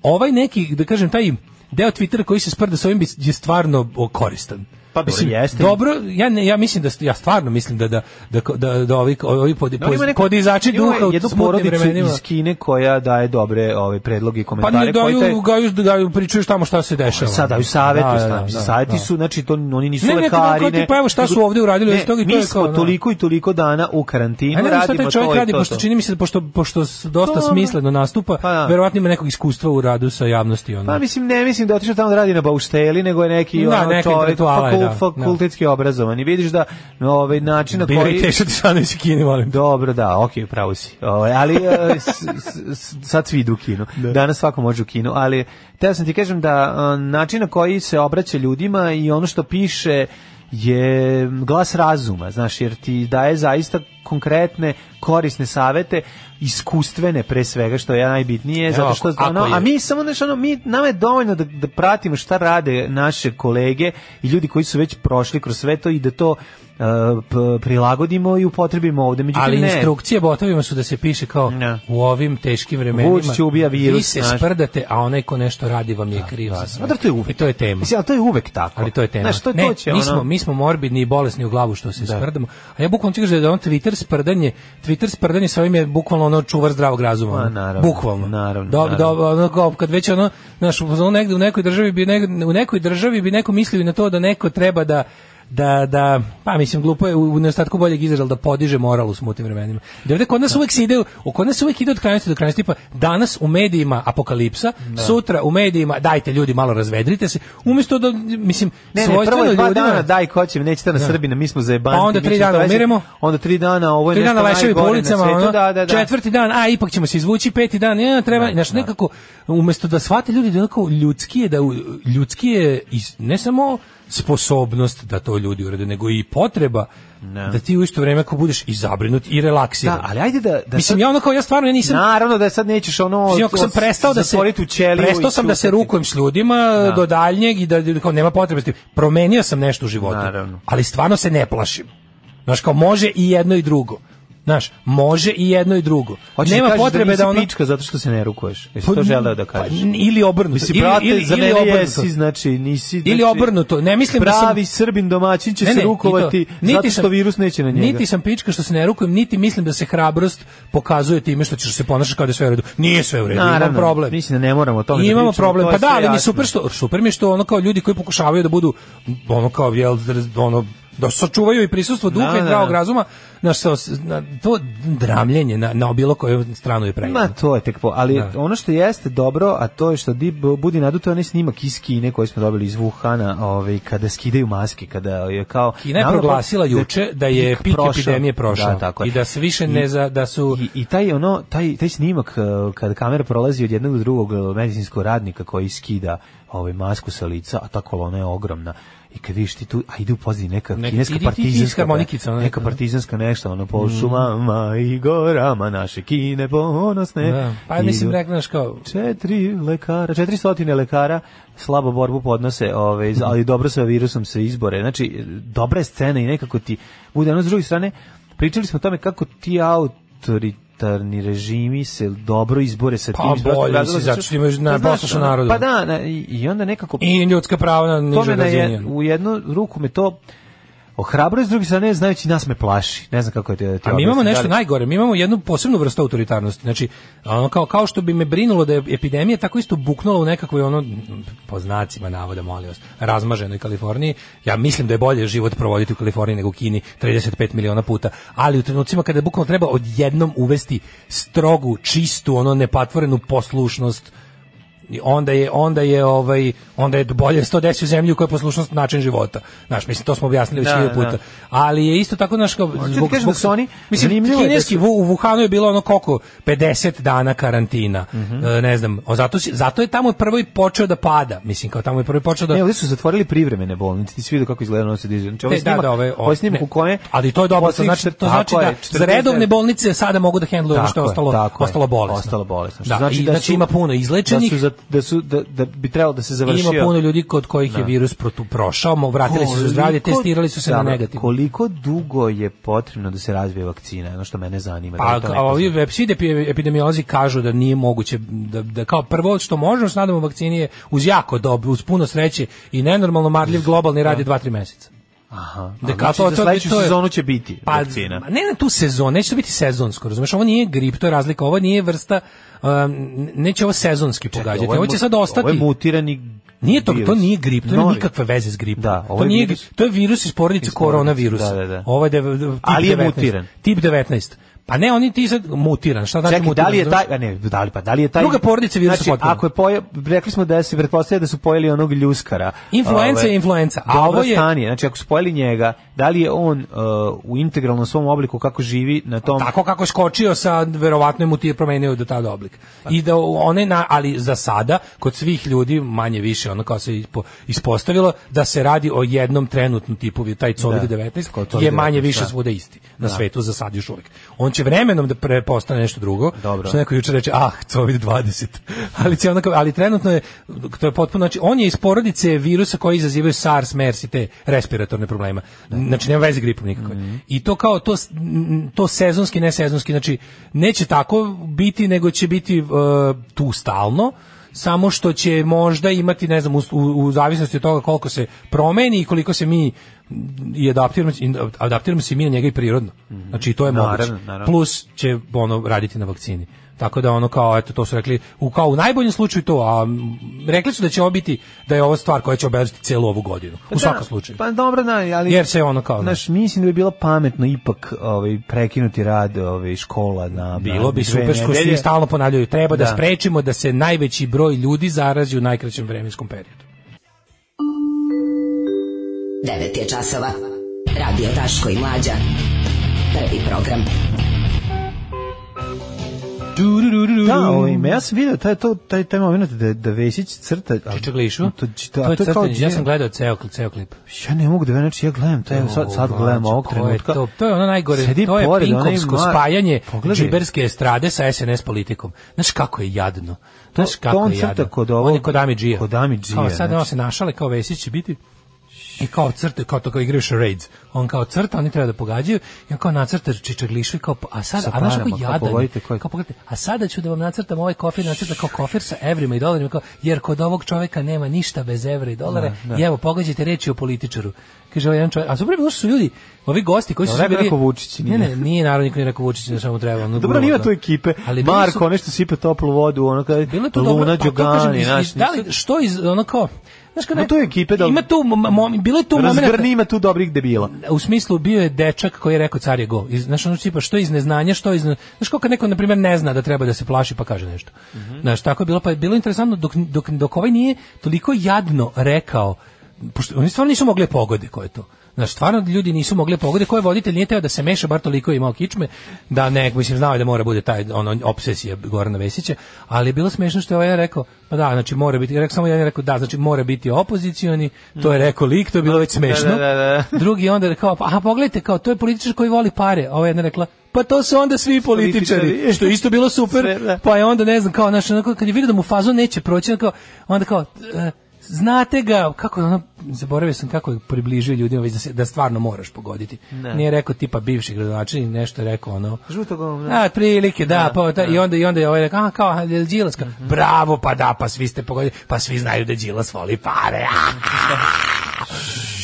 G: ovaj neki, da kažem, taj deo Twittera koji se sprda s ovim bi- je stvarno o, koristan.
F: Pa dobro, jeste.
G: Dobro, ja ne, ja mislim da st- ja stvarno mislim da da da da, da ovi ovi pod,
F: Da, on ima
G: pod,
F: neko-
G: podizači
F: ima
G: duha u
F: jednu
G: smutnim
F: porodicu
G: vremenima.
F: iz Kine koja daje dobre ove predloge i
G: Pa
F: komentare
G: ne
F: koji te-
G: daju, gaju, gaju, pričaju tamo šta se dešava.
F: E, Sad daju savetu,
G: Da,
F: da,
G: da, da,
F: saveti
G: da.
F: su, znači to oni nisu
G: Ne, ne,
F: lekari,
G: kao ti, pa evo šta su ovde uradili od
F: Ne,
G: toga i to
F: mi
G: je
F: smo
G: kao, da.
F: toliko i toliko dana u karantinu,
G: A ne znam šta
F: radimo
G: taj
F: to
G: čovjek
F: i
G: radi,
F: to,
G: pošto
F: to.
G: čini mi se da pošto, pošto s- dosta
F: Dobro.
G: smisleno nastupa,
F: Pa da.
G: verovatno ima nekog iskustva u radu sa javnosti. Ono.
F: Pa mislim, ne mislim da je otišao tamo da radi na baušteli, nego je neki
G: Da,
F: ono,
G: neka
F: čovjek
G: intelektuala je,
F: fakul-
G: da,
F: fakultetski obrazovan. I vidiš da no, ovaj način na
G: Biraj
F: koji...
G: Teša Tišanović i Kini, molim. te.
F: Dobro, da, okej, pravo si. Ovaj, ali e, s- s- s- sad svi idu u kino. Danas svako može u kino, ali teo sam ti kažem da a, način na koji se obraća ljudima i ono što piše je glas razuma, znaš, jer ti daje zaista konkretne, korisne savete, iskustvene pre svega, što je najbitnije, zato što,
G: ako- ako
F: ono,
G: je-
F: a mi samo, znaš, ono, mi, nama je dovoljno da, da pratimo šta rade naše kolege i ljudi koji su već prošli kroz sve to i da to e, p- prilagodimo i upotrebimo ovde. Međutim,
G: Ali
F: ne.
G: instrukcije botovima su da se piše kao
F: Ne.
G: u ovim teškim vremenima
F: Vučić ubija
G: vi
F: virus,
G: se
F: znaš.
G: sprdate, a onaj ko nešto radi vam je kriv. za sve.
F: Ma da, to je uvek.
G: I to je tema.
F: Mislim, ali to je uvek tako.
G: Ali to je tema.
F: Znaš, to,
G: ne,
F: to će,
G: mi,
F: ono,
G: smo, mi smo morbidni i bolesni u glavu što se sprdamo. A ja bukvalno čekaš da je on Twitter sprdanje, Twitter sprdanje sa ovim je bukvalno ono čuvar zdravog razuma.
F: Ma,
G: ono.
F: naravno,
G: bukvalno.
F: naravno,
G: Do,
F: naravno.
G: do- ono kao kad već ono, znaš, u fazonu negde u nekoj državi bi negde, u nekoj državi bi neko mislio i na to da neko treba da da da pa mislim glupo je u, u nedostatku boljeg izraza da podiže moral u smutnim vremenima. Da ovde kod nas uvek se ide u kod nas uvek ide od krajnosti do krajnosti tipa danas u medijima apokalipsa, sutra u medijima dajte ljudi malo razvedrite se. Umesto da mislim
F: Ne, ne,
G: svojstveno
F: prvo je dva
G: ljudima-
F: dana, daj, ko će, nećete na Srbina, mi smo zajebani.
G: Pa onda
F: mi
G: tri
F: ćemo
G: dana
F: tražiti-
G: umiremo.
F: Onda tri dana, ovo je
G: Tri
F: nešto
G: dana leševi po
F: najgore na
G: ulicama,
F: svetu,
G: ono,
F: da, da, da.
G: četvrti dan, a ipak ćemo se izvući, peti dan, ja, treba, znaš, nekako, umesto da shvate ljudi da onako ljudski je, da u- ljudski je iz- ne samo sposobnost da to ljudi urade, nego i potreba da ti u isto vreme ako budeš i zabrinut i relaksiran.
F: Da, ali ajde da... da
G: Mislim,
F: sad-
G: ja ono kao, ja stvarno, ja nisam,
F: Naravno da sad nećeš ono...
G: Mislim, ako sam
F: od-
G: prestao da se
F: zatvoriti u ćeliju
G: prestao
F: i
G: sam da se
F: ćutati.
G: rukujem s ljudima do daljnjeg i da da kao nema potrebe s tim. Promenio sam nešto u životu.
F: Naravno.
G: Ali stvarno se ne plašim. Znaš, kao može i jedno i drugo. Znaš, može i jedno i drugo.
F: Hoćeš
G: nema
F: da kažeš
G: potrebe
F: da,
G: da,
F: nisi
G: ono
F: pička zato što se ne rukuješ. Jesi
G: Pa,
F: to želeo da kažeš?
G: pa, ili obrnuto.
F: Mislim,
G: ili-
F: brate,
G: ili,
F: za
G: ili
F: mene
G: obrnuto.
F: jesi, znači, nisi... Znači,
G: Ili obrnuto. Ne mislim da sam-
F: Pravi srbin domaćin će
G: Ne,
F: se
G: ne, i to.
F: rukovati
G: Niti
F: zato što
G: sam-
F: virus neće na njega.
G: Niti sam pička što se ne rukujem, niti mislim da se hrabrost pokazuje time što ćeš se ponašati kao da je sve u redu. Nije sve u redu, imam
F: Naravno,
G: problem.
F: mislim da ne moramo o tome da
G: Imamo
F: pričamo,
G: problem.
F: to je
G: Pa da,
F: sve
G: ali mi je
F: jasno.
G: super što super mi je što ono kao ljudi koji pokušavaju da budu ono kao jel ono da sačuvaju i prisustvo duha
F: Da,
G: i
F: da,
G: zdravog
F: da.
G: razuma, na što na to dramljenje na na bilo koju stranu je prejedno.
F: Ma to je tek po, ali ono što jeste dobro, a to je što di, budi naduto onaj snimak iz Kine koji smo dobili iz Wuhana, ovaj, kada skidaju maske, kada je kao...
G: Kina je
F: naravno, pa,
G: proglasila juče da je pik
F: prošao.
G: epidemije prošao
F: Da, tako je.
G: i da se više ne za da su
F: I, i taj ono taj taj snimak eh, kad kamera prolazi od jednog do drugog eh, medicinskog radnika koji skida ovaj masku sa lica, a ta kolona je ogromna. I kad vidiš ti tu, a ide u pozadini neka
G: Nek-
F: kineska
G: idi ti iz
F: partizanska,
G: harmonikica, ona
F: neka
G: neka, Mm. da.
F: partizanska nešto, ono po šumama i gorama naše Kine ponosne.
G: Da. Pa mislim
F: Idu-
G: rekla znaš, kao
F: Četiri lekara, četiri stotine lekara slabo borbu podnose, ovaj, za- ali dobro sa virusom se izbore. Znači, dobra je scena i nekako ti bude. Ono, s druge strane, pričali smo o tome kako ti autoritarni režimi se dobro izbore sa
G: Pa
F: tim. iz prostog
G: bolje,
F: razloga
G: mislim, zato što imaju na-
F: Pa znaš,
G: poslušan
F: ono,
G: narod.
F: Pa da, na- i, i onda nekako...
G: i ljudska prava na
F: to me
G: nižoj
F: na je-
G: razini. ono.
F: u jednu ruku me to ohrabruje, s druge strane, znajući nas me plaši. Ne znam kako je te, te
G: A mi imamo
F: objasnim, da
G: nešto
F: li-
G: najgore, mi imamo jednu posebnu vrstu autoritarnosti. Znači, ono kao kao što bi me brinulo da je epidemija tako isto buknula u nekakvoj ono po znacima navoda, molim vas, razmaženoj Kaliforniji. Ja mislim da je bolje život provoditi u Kaliforniji nego u Kini 35 miliona puta, ali u trenucima kada bukvalno treba odjednom uvesti strogu, čistu, ono nepatvorenu poslušnost I onda je onda je ovaj onda je bolje 110 u zemlji u kojoj je poslušnost način života. Znaš, mislim to smo objasnili već
F: Da,
G: hiljadu
F: da.
G: puta. Ali je isto tako naš kao
F: ti Pa kažem da su oni-
G: mislim
F: zanimljivo je da
G: kineski
F: su-
G: Vu- u Wuhanu je bilo ono koliko 50 dana karantina.
F: Mhm.
G: E, ne znam, o, zato si- zato je tamo prvo i počeo da pada. Mislim kao tamo je prvo i počeo da
F: Ne, ovdje su zatvorili privremene bolnice. Ti si vidio kako izgleda ono se diže. Znači, ovo
G: E,
F: je snimak, ovo je snimak
G: ne.
F: u kome...
G: Ali to je dobro, to
F: poslednjih
G: znači, to
F: čet-
G: znači
F: tako
G: da
F: je,
G: za redovne
F: 49
G: bolnice sada mogu da hendluju ono što je
F: Tako je,
G: ostalo,
F: tako je.
G: ostalo bolesno.
F: Ostalo bolesno. Što
G: Da, znači, i, da znači
F: su-
G: ima puno izlečenih,
F: Da, su za, da, su, da, da bi trebalo da se
G: ima
F: završio...
G: puno ljudi kod kojih je virus protu prošao, mo- vratili su se u zdravlje,
F: Koliko-
G: testirali su se na
F: Dobro,
G: negativno.
F: Koliko dugo je potrebno da se razvije vakcina? Ono što mene zanima. da
G: Pa,
F: li to
G: a
F: neko
G: ovi
F: zna?
G: web- svi depi- epidemiolozi kažu da nije moguće, da, da kao prvo što možemo s nadamo vakcini je uz jako dobro, uz puno sreće i nenormalno marljiv globalni rad je 2-3 meseca.
F: Aha.
G: Da
F: A,
G: kao
F: znači,
G: to-
F: za
G: to-
F: sledeću
G: to je-
F: sezonu će biti
G: Pa,
F: vakcina.
G: ma ne na tu sezon, neće to biti sezonsko, razumeš, ovo nije grip, to je razlika, ovo nije vrsta, um, neće ovo sezonski pogađati, ovo,
F: je
G: će
F: mu-
G: sad ostati.
F: Ovo je mutirani
G: Nije to, to
F: virus.
G: nije grip, to
F: Novi.
G: nema nikakve veze s gripom.
F: Da, ovo
G: to
F: je
G: nije,
F: virus-
G: to je virus iz porodice
F: Iz porodice,
G: koronavirusa.
F: da, da, da.
G: Ovo je de- de- tip
F: Ali je
G: 19.
F: mutiran.
G: Tip 19. Pa ne, oni ti sad mutiran, šta znači
F: Čekaj,
G: mutiran?
F: da li je
G: razumeš?
F: taj, a ne, da li pa, da li je taj...
G: Druga porodica virusa
F: znači,
G: potpuno.
F: ako je poje, rekli smo da se pretpostavlja da su pojeli onog ljuskara.
G: Influenza
F: Ove,
G: je influenza, a
F: dobro
G: ovo je-
F: Stanje. Znači, ako su pojeli njega, da li je on e, u integralnom svom obliku kako živi na tom...
G: Tako kako je skočio sa verovatno je mu ti je promenio do tada oblik. I da one na, ali za sada kod svih ljudi manje više ono kao se ispo- ispostavilo da se radi o jednom trenutnom tipu vi- taj
F: kao
G: COVID-19
F: COVID-19,
G: je manje više
F: da.
G: svuda isti na svetu za sad još uvijek. On će vremenom da pre- postane nešto drugo.
F: Dobro.
G: Što neko juče reče ah COVID-20. ali će onako, ali trenutno je to je potpuno znači on je iz porodice virusa koji izazivaju SARS, MERS i te respiratorne probleme. Znači nema veze s gripom nikakve.
F: Mhm.
G: I to kao to s- m, to sezonski, ne sezonski, znači neće tako biti nego će biti e, tu stalno samo što će možda imati ne znam u, u, u zavisnosti od toga koliko se promeni i koliko se mi i adaptiramo, i adaptiramo se i mi na njega i prirodno. Znači to je
F: Mhm. Naravno,
G: moguće.
F: naravno.
G: Plus će ono raditi na vakcini. Tako da ono kao eto to su rekli u kao u najboljem slučaju to, a m, rekli su da će ovo biti da je ovo stvar koja će obeležiti celu ovu godinu. U
F: Da,
G: svakom slučaju.
F: Pa dobro, da, ali...
G: Jer se ono kao
F: Znaš, mislim da bi bilo pametno ipak ovaj, prekinuti rad ovaj, škola na...
G: Bilo bi super što svi
F: je
G: stalno ponavljaju. Treba da.
F: Da.
G: sprečimo da se najveći broj ljudi zarazi u najkraćem vremenskom periodu.
H: 9 je časova. Radio Daško i Mlađa. Prvi program.
F: Da, ovaj, ma ja sam vidio taj, to, taj, taj moment da, da Vesić crta... a-
G: Čičaglišu?
F: To, čita-
G: To
F: a
G: je
F: to je kao
G: crtanje. Ja sam
F: dje-
G: gledao ceo, ceo klip.
F: Ja ne mogu da verujem, znači ja gledam, to je sad, sad
G: O,
F: gledam
G: mlađe,
F: ovog
G: to je
F: trenutka.
G: To, to je ono najgore,
F: Sedi
G: to je
F: pored, onaj
G: Pinkovsko
F: mlad-
G: spajanje
F: Pogledaj.
G: džiberske estrade sa SNS politikom. Znaš kako je jadno. Znaš
F: To- to
G: kako
F: on
G: je
F: crta
G: jadno.
F: kod ovog-
G: on je kod Amidžija.
F: kod Amidžija,
G: Kao sad ono
F: znači.
G: se našale kao Vesić će biti i kao crte, kao to kao igraju charades. On kao crta, oni treba da pogađaju i on kao nacrta čičaglišu i kao, a sad,
F: Sa
G: a znaš kako
F: parama, kao
G: jadan, je?
F: pogodite koji-
G: kao pogledajte, a sada ću da vam nacrtam ovaj kofir, nacrta kao kofir sa evrima i dolarima, kao, jer kod ovog čoveka nema ništa bez evra i dolara, i evo, pogađajte reći o političaru. Kaže ovaj jedan čovjek, a super bilo što su ljudi, ovi gosti koji su
F: Jel
G: sve
F: rekao
G: bili...
F: neko Vučić,
G: Ne,
F: nije?
G: ne, nije naravno niko nije rekao Vučić, ne samo treba. ono,
F: Dobro, nije
G: glupo,
F: tu ekipe.
G: Ali bili
F: Marko,
G: su-
F: nešto sipe toplu vodu, ono kada
G: bilo
F: Luna
G: je to dobro, pa to kažem,
F: Đogani,
G: iz-
F: znaš.
G: iz- da li, što iz, ono kao, znaš kada...
F: Ma tu je ekipe da-
G: Ima tu, mo- mo- bilo je tu moment...
F: Razgrni ima tu dobrih debila.
G: u smislu bio je dečak koji je rekao car je go. Iz, znaš, ono tipa što iz neznanja, što iz... Znaš, kako kad neko, na primjer, ne zna da treba da se plaši pa kaže nešto. Znaš, tako je bilo, pa je bilo interesantno dok, dok, dok ovaj nije toliko jadno rekao, pošto oni stvarno nisu mogli pogode koje je to. Znaš, stvarno ljudi nisu mogli pogode koje voditelj nije teo da se meša, bar toliko je imao kičme, da ne, mislim, znao je da mora bude taj ono, obsesija Gorana Vesića, ali je bilo smešno što je ovaj rekao, pa da, znači mora biti, rekao samo jedan je rekao da, znači mora biti opozicioni, to je rekao lik, to je bilo već smešno.
F: Mhm. da, da, da.
G: Drugi je onda rekao, pa, aha, pogledajte, kao, to je političar koji voli pare. A ova jedna rekla, pa to su onda svi političari,
F: Političari.
G: što je isto bilo super.
F: Sve, da.
G: Pa je onda, ne znam, kao, znaš, onako, kad je vidio da mu fazo neće proći, onda kao, onda kao, e, znate ga, kako je ono, zaboravio sam kako je približio ljudima, već da, se, da stvarno moraš pogoditi. Nije rekao tipa bivši gradonačelnik, nešto je rekao ono,
F: Žuto govno.
G: a, prilike, da, pa, da, i onda, i onda je ovaj rekao, a, kao, a, je li Đilas? Kao, Bravo, pa da, pa svi ste pogodili, pa svi znaju da Đilas voli pare.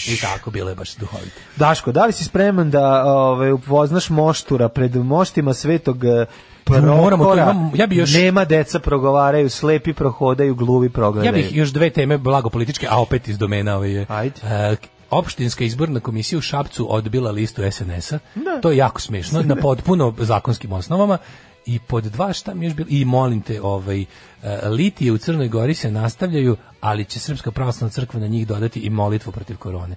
G: I tako, bilo je baš duhovito.
F: Daško, da li si spreman da ovaj, upoznaš moštura pred moštima svetog eh,
G: Pa moramo, to
F: Prokora?
G: imam- ja bi još-
F: Nema deca progovaraju, slepi prohodaju, gluvi
G: Ja
F: progledaju.
G: bih još dve teme blago političke, a opet iz domena ove je.
F: Ajde.
G: E, opštinska izborna komisija u Šapcu odbila listu SNS-a. To je jako smiješno, na potpuno zakonskim osnovama. I pod dva šta mi je još bilo? I molim te, ovaj, e, litije u Crnoj Gori se nastavljaju, ali će Srpska pravoslavna crkva na njih dodati i molitvu protiv korone.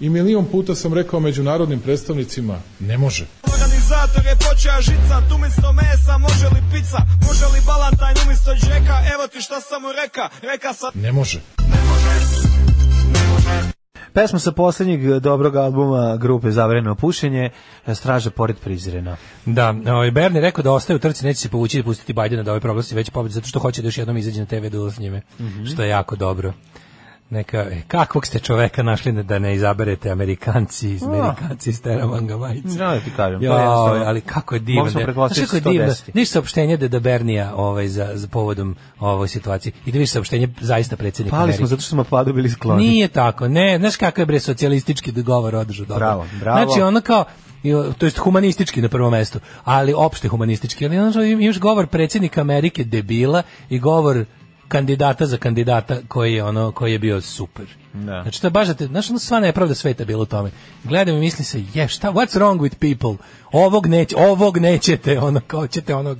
J: I milion puta sam rekao međunarodnim predstavnicima, ne može.
K: Organizator je počeo žica, tu umjesto mesa može li pizza, može li balantajn umjesto džeka, evo ti šta sam mu reka, reka sam...
J: Ne može.
F: Pesma sa poslednjeg dobrog albuma grupe Zavreno pušenje, Straže pored Prizrena.
G: Da, ovaj Berni rekao da ostaje u trci, neće se povući i pustiti Bajdena da ovaj proglasi već pobedu zato što hoće da još jednom izađe na TV duel s njime,
F: Mhm.
G: što je jako dobro. Neka, e, kakvog ste čoveka našli ne- da ne izaberete Amerikanci iz Amerikanci iz Teramanga majice?
F: Želim da ti kažem, to je
G: Joj,
F: jednostavno-
G: ali kako je
F: Mogli
G: divno.
F: smo
G: da-
F: pretpostaviti
G: Znaš kako je divno?
F: 110.
G: Vidiš saopštenje Deda Bernija ovaj, za, za povodom ovoj situaciji i da vidiš saopštenje zaista predsjednika
F: Pali
G: Amerike.
F: smo zato što smo padu bili skloni.
G: Nije tako, ne, znaš kakav je bre socijalistički dogovor održao dobro.
F: Bravo, bravo.
G: Znači ono kao i, o, to jest humanistički na prvom mestu, ali opšte humanistički. Ali znači, imaš govor predsjednika Amerike debila i govor kandidata za kandidata koji je ono koji je bio super.
F: Da.
G: Znači to je baš da te, znaš, ono sva nepravda sveta bila u tome. Gledam i mislim se, je, šta, what's wrong with people? Ovog neće, ovog nećete, ono, kao ćete onog,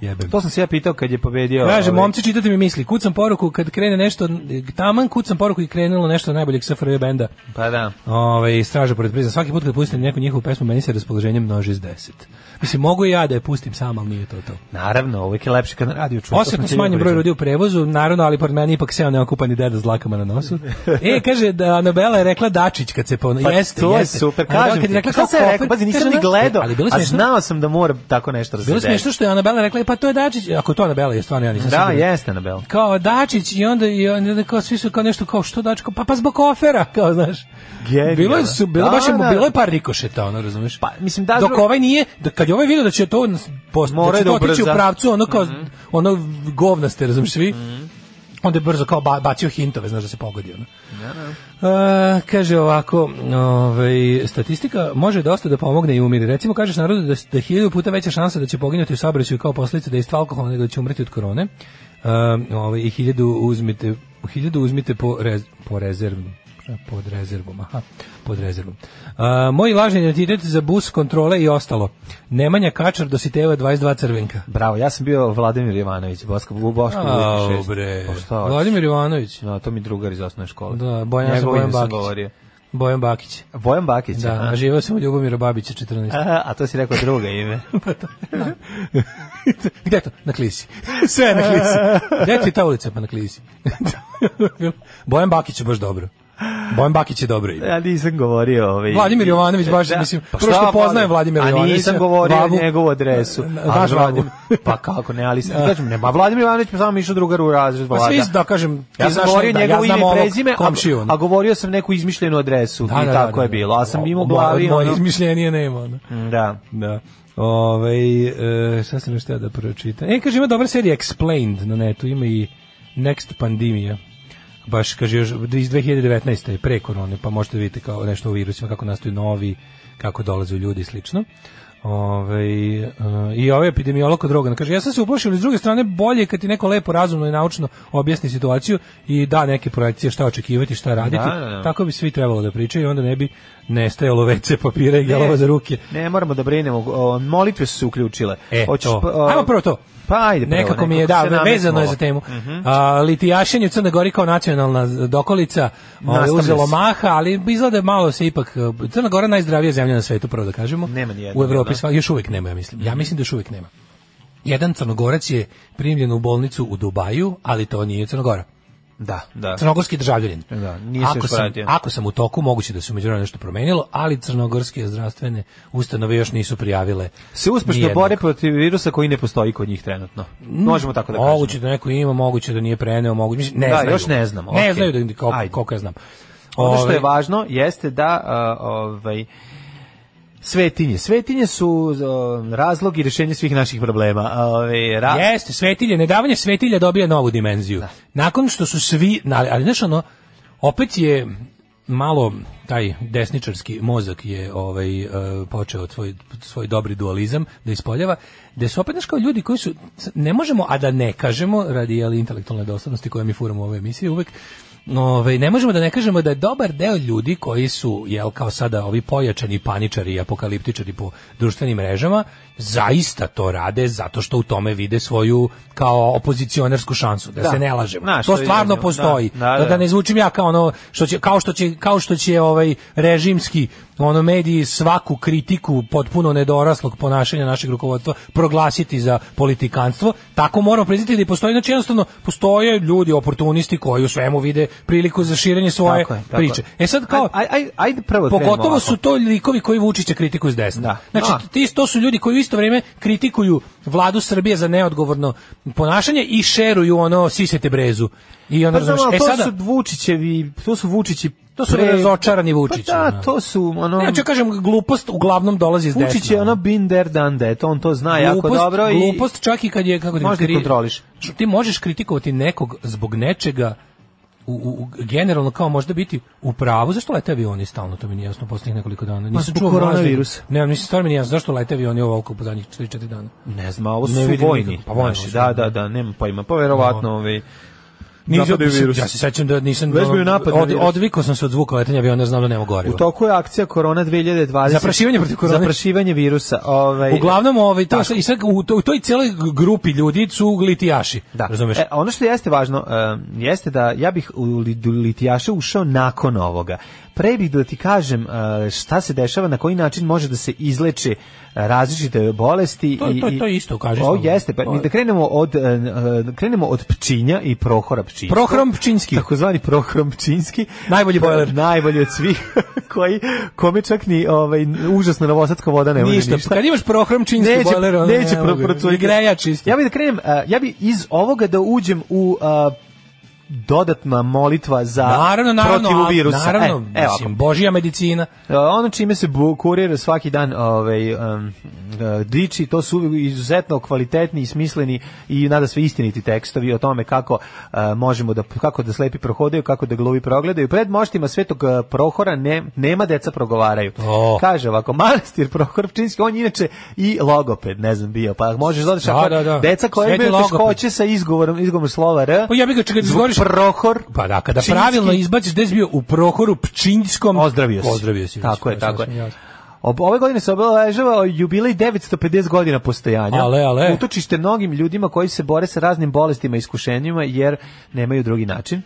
G: jebem.
F: To sam se ja pitao kad je pobedio.
G: Kaže,
F: ovaj,
G: momci, čitate mi misli. Kucam poruku kad krene nešto, taman kucam poruku i krenulo nešto od najboljeg SFRJ E benda.
F: Pa da.
G: Ove, Ovaj, straža pored prizna. Svaki put kad pustim neku njihovu pesmu, meni se raspoloženje množi s deset. Mislim, mogu i ja da je pustim sam, ali nije to to.
F: Naravno, uvijek je lepše kad na radiju čujem.
G: Osjetno smanjen broj ljudi u prevozu, naravno, ali pored mene ipak seo neokupani deda s dlakama na nosu. E, kaže da Anabela je rekla Dačić kad se pon...
F: Pa
G: jeste,
F: to je
G: jeste.
F: super,
G: Anabela
F: kažem
G: kad
F: ti.
G: je rekla
F: Šta
G: kao
F: sam ja rekao?
G: kofer,
F: Pazi, nisam
G: kaže,
F: ni gledao,
G: ali bilo je
F: a
G: smiješno.
F: znao sam da mora tako nešto da se
G: Bilo je
F: desi.
G: smiješno što je Anabela rekla, e, pa to je Dačić, ako je to Anabela je stvarno ja nisam
F: Da,
G: siguran.
F: jeste, Anabel.
G: kao Dačić i onda i onda kao svi su kao nešto kao što Dačko pa pa zbog ofera kao znaš
F: Genijalno.
G: bilo je su bilo
F: Da,
G: baš je
F: da.
G: bilo je par rikošeta ono razumeš
F: Pa, mislim, da-
G: dok ovaj nije da kad je ovaj video da će to post,
F: Morao
G: da
F: je
G: će
F: da Mhm.
G: to otići u
F: ubrza.
G: pravcu ono kao ono govnaste razumeš svi
F: Mhm.
G: onda je brzo kao ba, bacio hintove, znaš da se pogodi ono. E, kaže ovako, ovaj, statistika može dosta da pomogne i umiri. Recimo, kažeš narodu da, da je hiljadu puta veća šansa da će poginuti u saobraćaju kao posljedica da istva alkohola nego da će umreti od korone. E, ovaj, I hiljadu uzmite, hiljadu uzmite po, rez, po rezervnu pod rezervom, aha, pod rezervom. E, moj lažni identitet za bus, kontrole i ostalo. Nemanja Kačar do Siteva 22 crvenka.
F: Bravo, ja sam bio Vladimir Jovanović, Boško Boško.
G: Au,
F: 6.
G: bre.
F: Pa šta hoćeš?
G: Vladimir Jovanović.
F: No, to mi drugar iz osnovne škole.
G: Da, Bojan, ja sam
F: Njegovo
G: Bojan
F: ime sam
G: Bakić.
F: govorio.
G: Bojan Bakić.
F: Bojan Bakić.
G: Da,
F: aha.
G: a živeo sam u Ljubomira Babića 14.
F: Aha, a to si rekao druga ime.
G: Gde to? Na klisi. Sve je na klisi. Gde ti ta ulica? Pa na klisi. Bojan Bakić je baš dobro. Bojan Bakić je dobro ime.
F: Ja nisam govorio ovaj. pa
G: Vladimir Jovanović baš, mislim, prvo što
F: šta
G: poznajem
F: Vlad-
G: Vladimira
F: A
G: Jovanovića,
F: nisam govorio
G: Vavu-
F: njegovu adresu.
G: Naš
F: Ali
G: Vavu.
F: Vladim- pa kako ne, ali sam, kažem, ne, ma Vladimir Jovanović mi samo išao drugar u razred
G: Pa
F: vlada.
G: svi, da kažem, ti
F: Ja sam
G: znaš
F: govorio
G: da,
F: njegovo
G: ja
F: ime
G: znam
F: i
G: ovog
F: prezime, a,
G: komšiju, ono.
F: a govorio sam neku izmišljenu adresu
G: Da,
F: i
G: da, da,
F: tako
G: da,
F: je
G: da.
F: bilo. A sam imao u
G: Moje-
F: glavi
G: Moje
F: ono- mm,
G: izmišljenije nema, ono.
F: Da.
G: Da. Ovaj e, šta sam još teo da pročitam? E, kaže, ima dobra serija Explained na netu, ima i Next Pandemija. Baš, kaže, još iz 2019. je pre korone, pa možete vidjeti kao nešto o virusima, kako nastaju novi, kako dolaze ljudi i slično. Ove, I ovaj epidemiolog kod Rogana kaže, ja sam se uplašio, ali s druge strane bolje je kad ti neko lepo, razumno i naučno objasni situaciju i da neke projekcije šta očekivati, šta raditi.
F: Da, da, da.
G: Tako bi svi trebalo da pričaju i onda ne bi nestajalo WC papira i gelova za ruke.
F: Ne, moramo da brinemo. o, Molitve su se uključile.
G: E,
F: Hoćeš
G: to.
F: pa, o,
G: Ajmo prvo to.
F: Pa ajde prvo,
G: Nekako mi je,
F: nekako
G: da,
F: se nametnulo. Mhm.
G: vezano je za temu. A, litijašenje u Crne Gori kao nacionalna z- dokolica ovaj,
F: Nastavlja
G: uzelo
F: se.
G: maha, ali izgleda malo se ipak... eh, Crna Gora je najzdravija zemlja na svetu, prvo da kažemo.
F: Nema nijedna,
G: U Evropi
F: jel da? Mhm.
G: sva, još uvijek nema, ja mislim. Ja mislim da još uvijek nema. Jedan crnogorac je primljen u bolnicu u Dubaju, ali to nije Crnogora.
F: Da, da.
G: Crnogorski državljanin.
F: Da, nije se
G: ako
F: još
G: sam,
F: vratio.
G: ako sam u toku, moguće da se umeđu nešto promenilo, ali crnogorske zdravstvene ustanove još nisu prijavile
F: Se uspešno
G: nijednog.
F: bore protiv virusa koji ne postoji kod njih trenutno. Možemo tako da kažemo.
G: Moguće da neko ima, moguće da nije preneo, moguće, mislim, ne
F: Da,
G: znaju.
F: još ne znamo,
G: Ne
F: okej.
G: znaju da, koliko,
F: Ajde.
G: koliko ja znam.
F: Ono što
G: Ovaj,
F: je važno jeste da a, ovaj svetinje. Svetinje su o, razlog i rješenje svih naših problema. A, Ovaj ra-
G: Jeste, svetilje, nedavanje svetilja dobija novu dimenziju. Nakon što su svi, ali, ali znaš ono, opet je malo taj desničarski mozak je ovaj e, počeo svoj svoj dobri dualizam da ispoljava da su opet znaš, kao ljudi koji su ne možemo a da ne kažemo radi ali intelektualne doslednosti koje mi furamo u ovoj emisiji uvek Ove, Ovaj, ne možemo da ne kažemo da je dobar deo ljudi koji su, jel, kao sada ovi pojačani paničari i apokaliptičari po društvenim mrežama, zaista to rade zato što u tome vide svoju kao opozicionarsku šansu, da,
F: Da.
G: se ne lažemo.
F: Znaš,
G: to
F: to je
G: stvarno
F: jedno,
G: postoji.
F: da, da,
G: da,
F: da.
G: ne zvučim ja kao ono što će kao što će kao što će ovaj režimski ono mediji svaku kritiku potpuno nedoraslog ponašanja našeg rukovodstva proglasiti za politikanstvo, tako moramo priznati da i postoji znači jednostavno postoje ljudi oportunisti koji u svemu vide priliku za širenje svoje
F: Tako je, tako
G: priče.
F: je.
G: E sad kao
F: Aj- aj- ajde prvo krenemo
G: Pogotovo
F: ovako.
G: su to likovi koji Vučića kritikuju s desna.
F: Da.
G: Znači ti to su ljudi koji u isto vrijeme kritikuju vladu Srbije za neodgovorno ponašanje i šeruju ono sisete brezu. I ono
F: Pa znam,
G: razumeš,
F: ali
G: e
F: to
G: sada
F: su Vučićevi, to su Vučići
G: To su razočarani Vučići,
F: Pa da,
G: ono.
F: to su ono...
G: Ne, hoću kažem, glupost uglavnom dolazi iz desna.
F: Vučić je ono been there, done that, on to zna jako
G: Glupost-
F: dobro i...
G: Glupost čak i kad je, kako ti
F: Možeš da kontroliš.
G: Ti možeš kritikovati nekog zbog nečega, u, u, u- generalno kao možda biti u pravu. Zašto lete avioni stalno? To mi nije jasno poslednjih nekoliko dana. Nisam
F: Pa zbog
G: čuo mlađe.
F: koronavirusa.
G: Ne, mislim, stvarno mi nije jasno. Zašto lete avioni ovo oko po zadnjih 3-4 dana?
F: Ne znam, a ovo
G: Ne
F: su
G: vidim
F: vojni.
G: nikako. Pa vojni
F: znaš,
G: su, Ono.
F: da,
G: da.
F: da, da, nema pojma. Pa verovatno, ovaj...
G: Nisam,
F: napadaju virus.
G: ja se sećam da nisam... ono-
F: Već bio napad na
G: od,
F: virus.
G: odvikao sam se od zvuka letenja aviona, znam da nema goriva.
F: U toku je akcija Korona 2020.
G: Zaprašivanje protiv korone.
F: Zaprašivanje virusa. Ovaj,
G: Uglavnom, ovaj, to, i sad, u, to, u toj cijeloj grupi ljudi su glitijaši.
F: Da.
G: Razumeš?
F: E, ono što jeste važno em, jeste da ja bih u li- u litijaše ušao nakon ovoga. Pre bih da ti kažem e, šta se dešava, na koji način može da se izleče e, različite bolesti.
G: To-
F: i-
G: to-
F: i-
G: to isto, kaži
F: O,
G: slobodno. Ovaj,
F: jeste, pa
G: To je-
F: da krenemo od, e, e, krenemo od pčinja i prohora pčinja.
G: Prohrom Pčinski.
F: Takozvani prohrom pčinski.
G: Najbolji bojler.
F: Najbolji od svih koji, kome čak ni ovaj, užasna novosadska voda ne može
G: ništa.
F: ništa.
G: Kad imaš prohrom činski
F: Neće-
G: bojler, ono,
F: neće
G: ne mogu.
F: pro- procuriti.
G: Igrejač isto.
F: Ja bih da krenem, a, ja bih iz ovoga da uđem u a, dodatna molitva za
G: Naravno, naravno,
F: protiv
G: ali-
F: virusa.
G: naravno,
F: E, evo,
G: mislim, božija medicina.
F: E, ono čime se bu- kurir svaki dan ovaj, um, e, diči, to su izuzetno kvalitetni i smisleni i nada sve istiniti tekstovi o tome kako e, možemo da, kako da slepi prohodaju, kako da gluvi progledaju. Pred moštima svetog e, prohora ne, nema deca progovaraju.
G: O.
F: Kaže ovako, manastir prohor Pčinjski, on je inače i logoped, ne znam, bio, pa možeš da odeš,
G: Da,
F: ako-
G: da, da.
F: deca koja
G: Sveti
F: imaju
G: logoped.
F: teškoće sa izgovorom, izgovorom slova R,
G: Pa ja bih ga čekaj da
F: zbog
G: izgovoriš-
F: prohor
G: Pa da, kada
F: Pčinjski-
G: pravilno izbaciš gde si bio u prohoru pčinjskom...
F: Ozdravio si.
G: Ozdravio si.
F: Tako
G: već,
F: je, tako
G: sasvim
F: je.
G: jasno.
F: Ob, ove godine se obeležava jubilej 950 godina postojanja.
G: Ale, ale.
F: Utočište mnogim ljudima koji se bore sa raznim bolestima i iskušenjima jer nemaju drugi način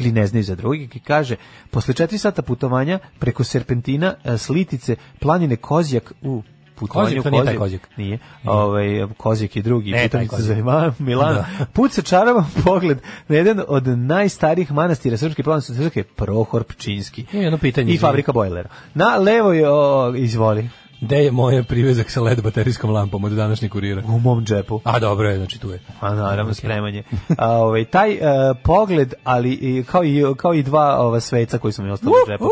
F: ili ne znaju za drugi, i kaže, posle četiri sata putovanja preko Serpentina, e, Slitice, planine Kozjak u putovanju
G: Kozjak, to nije taj Kozjak.
F: Nije. Ovaj, Kozjak je drugi,
G: Ne, taj
F: putovnica za
G: Kozjak.
F: Milano. Milano. Put sa čaravan pogled na jedan od najstarijih manastira Srpske pravoslavne crkve, Prohor Pčinski.
G: Imam E, jedno pitanje,
F: I
G: izvini.
F: fabrika bojlera. Na levoj, o, izvoli,
G: Gde je moj privezak sa led baterijskom lampom od današnjeg kurira?
F: u mom džepu.
G: A dobro je, znači tu je.
F: A naravno spremanje. A, ovaj, taj e, pogled, ali i, kao, i, kao i dva ova sveca koji su mi ostali u džepu.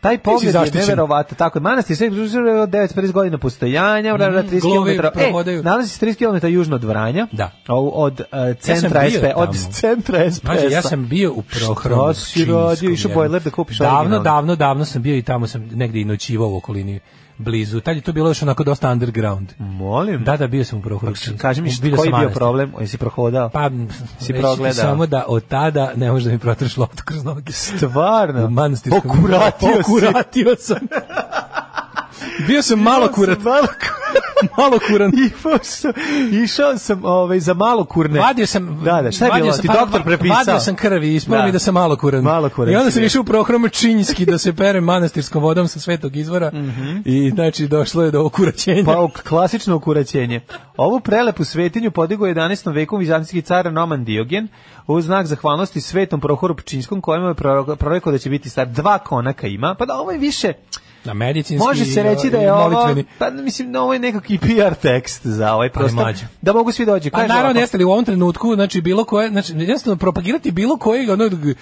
F: Taj pogled je
G: zaštićen.
F: neverovatan. Tako, je. manastir Svetog Đurđeva je od 950 godina postojanja, mm, 30
G: glovi
F: km. E,
G: prohodaju.
F: nalazi se 30 km južno od Vranja.
G: Da.
F: O, od e,
G: sam
F: centra
G: bio
F: SP, od
G: tamo.
F: centra SP.
G: Znači, ja sam bio u prohromu.
F: E, Šta si radio? Išao bojler da kupiš
G: Davno,
F: originalni.
G: davno, davno sam bio i tamo sam negde i noćivao u okolini blizu. Tad je to bilo još onako dosta underground.
F: Molim.
G: Da, da, bio sam u prohromu.
F: Mm. Kaži mi, koji
G: Bio sam
F: je bio
G: manastir.
F: problem? Jesi prohodao?
G: Pa,
F: Si
G: si
F: progledao.
G: progledao. Samo da od tada ne može da mi protreš loptu kroz noge.
F: Stvarno.
G: U manastirskom.
F: Okuratio si.
G: Okuratio sam. Bio sam malo kurat.
F: Malo
G: Malo kuran.
F: Išao sam, išao sam ovaj, za malo kurne.
G: Vadio sam,
F: Da, da, šta je
G: vadio
F: bilo?
G: sam-
F: Ti
G: pa,
F: doktor
G: va-
F: prepisao?
G: Vadio sam krvi, ispalo
F: Da.
G: mi da sam malo kuran.
F: Malo kuran
G: I onda
F: si
G: sam
F: bio.
G: išao u prohrom činjski da se perem manastirskom vodom sa svetog izvora. I znači došlo je do okuraćenja.
F: Mhm. Pa o- klasično okuraćenje. Ovu prelepu svetinju podigao je 11. veku vizantijski car Noman Diogen u znak zahvalnosti svetom Prohoru Pčinskom kojemu je proro- prorekao da će biti star dva konaka ima. Pa da ovo je više,
G: Na medicinski.
F: može se reći
G: i
F: da je ovo,
G: molitveni. Pa
F: pa mislim da ovo je nekakvi PR tekst za ovaj prostor.
G: mlađe.
F: Da mogu svi dođe.
G: Pa naravno jeste li u ovom trenutku, znači bilo koje, znači jednostavno propagirati bilo koje ono g-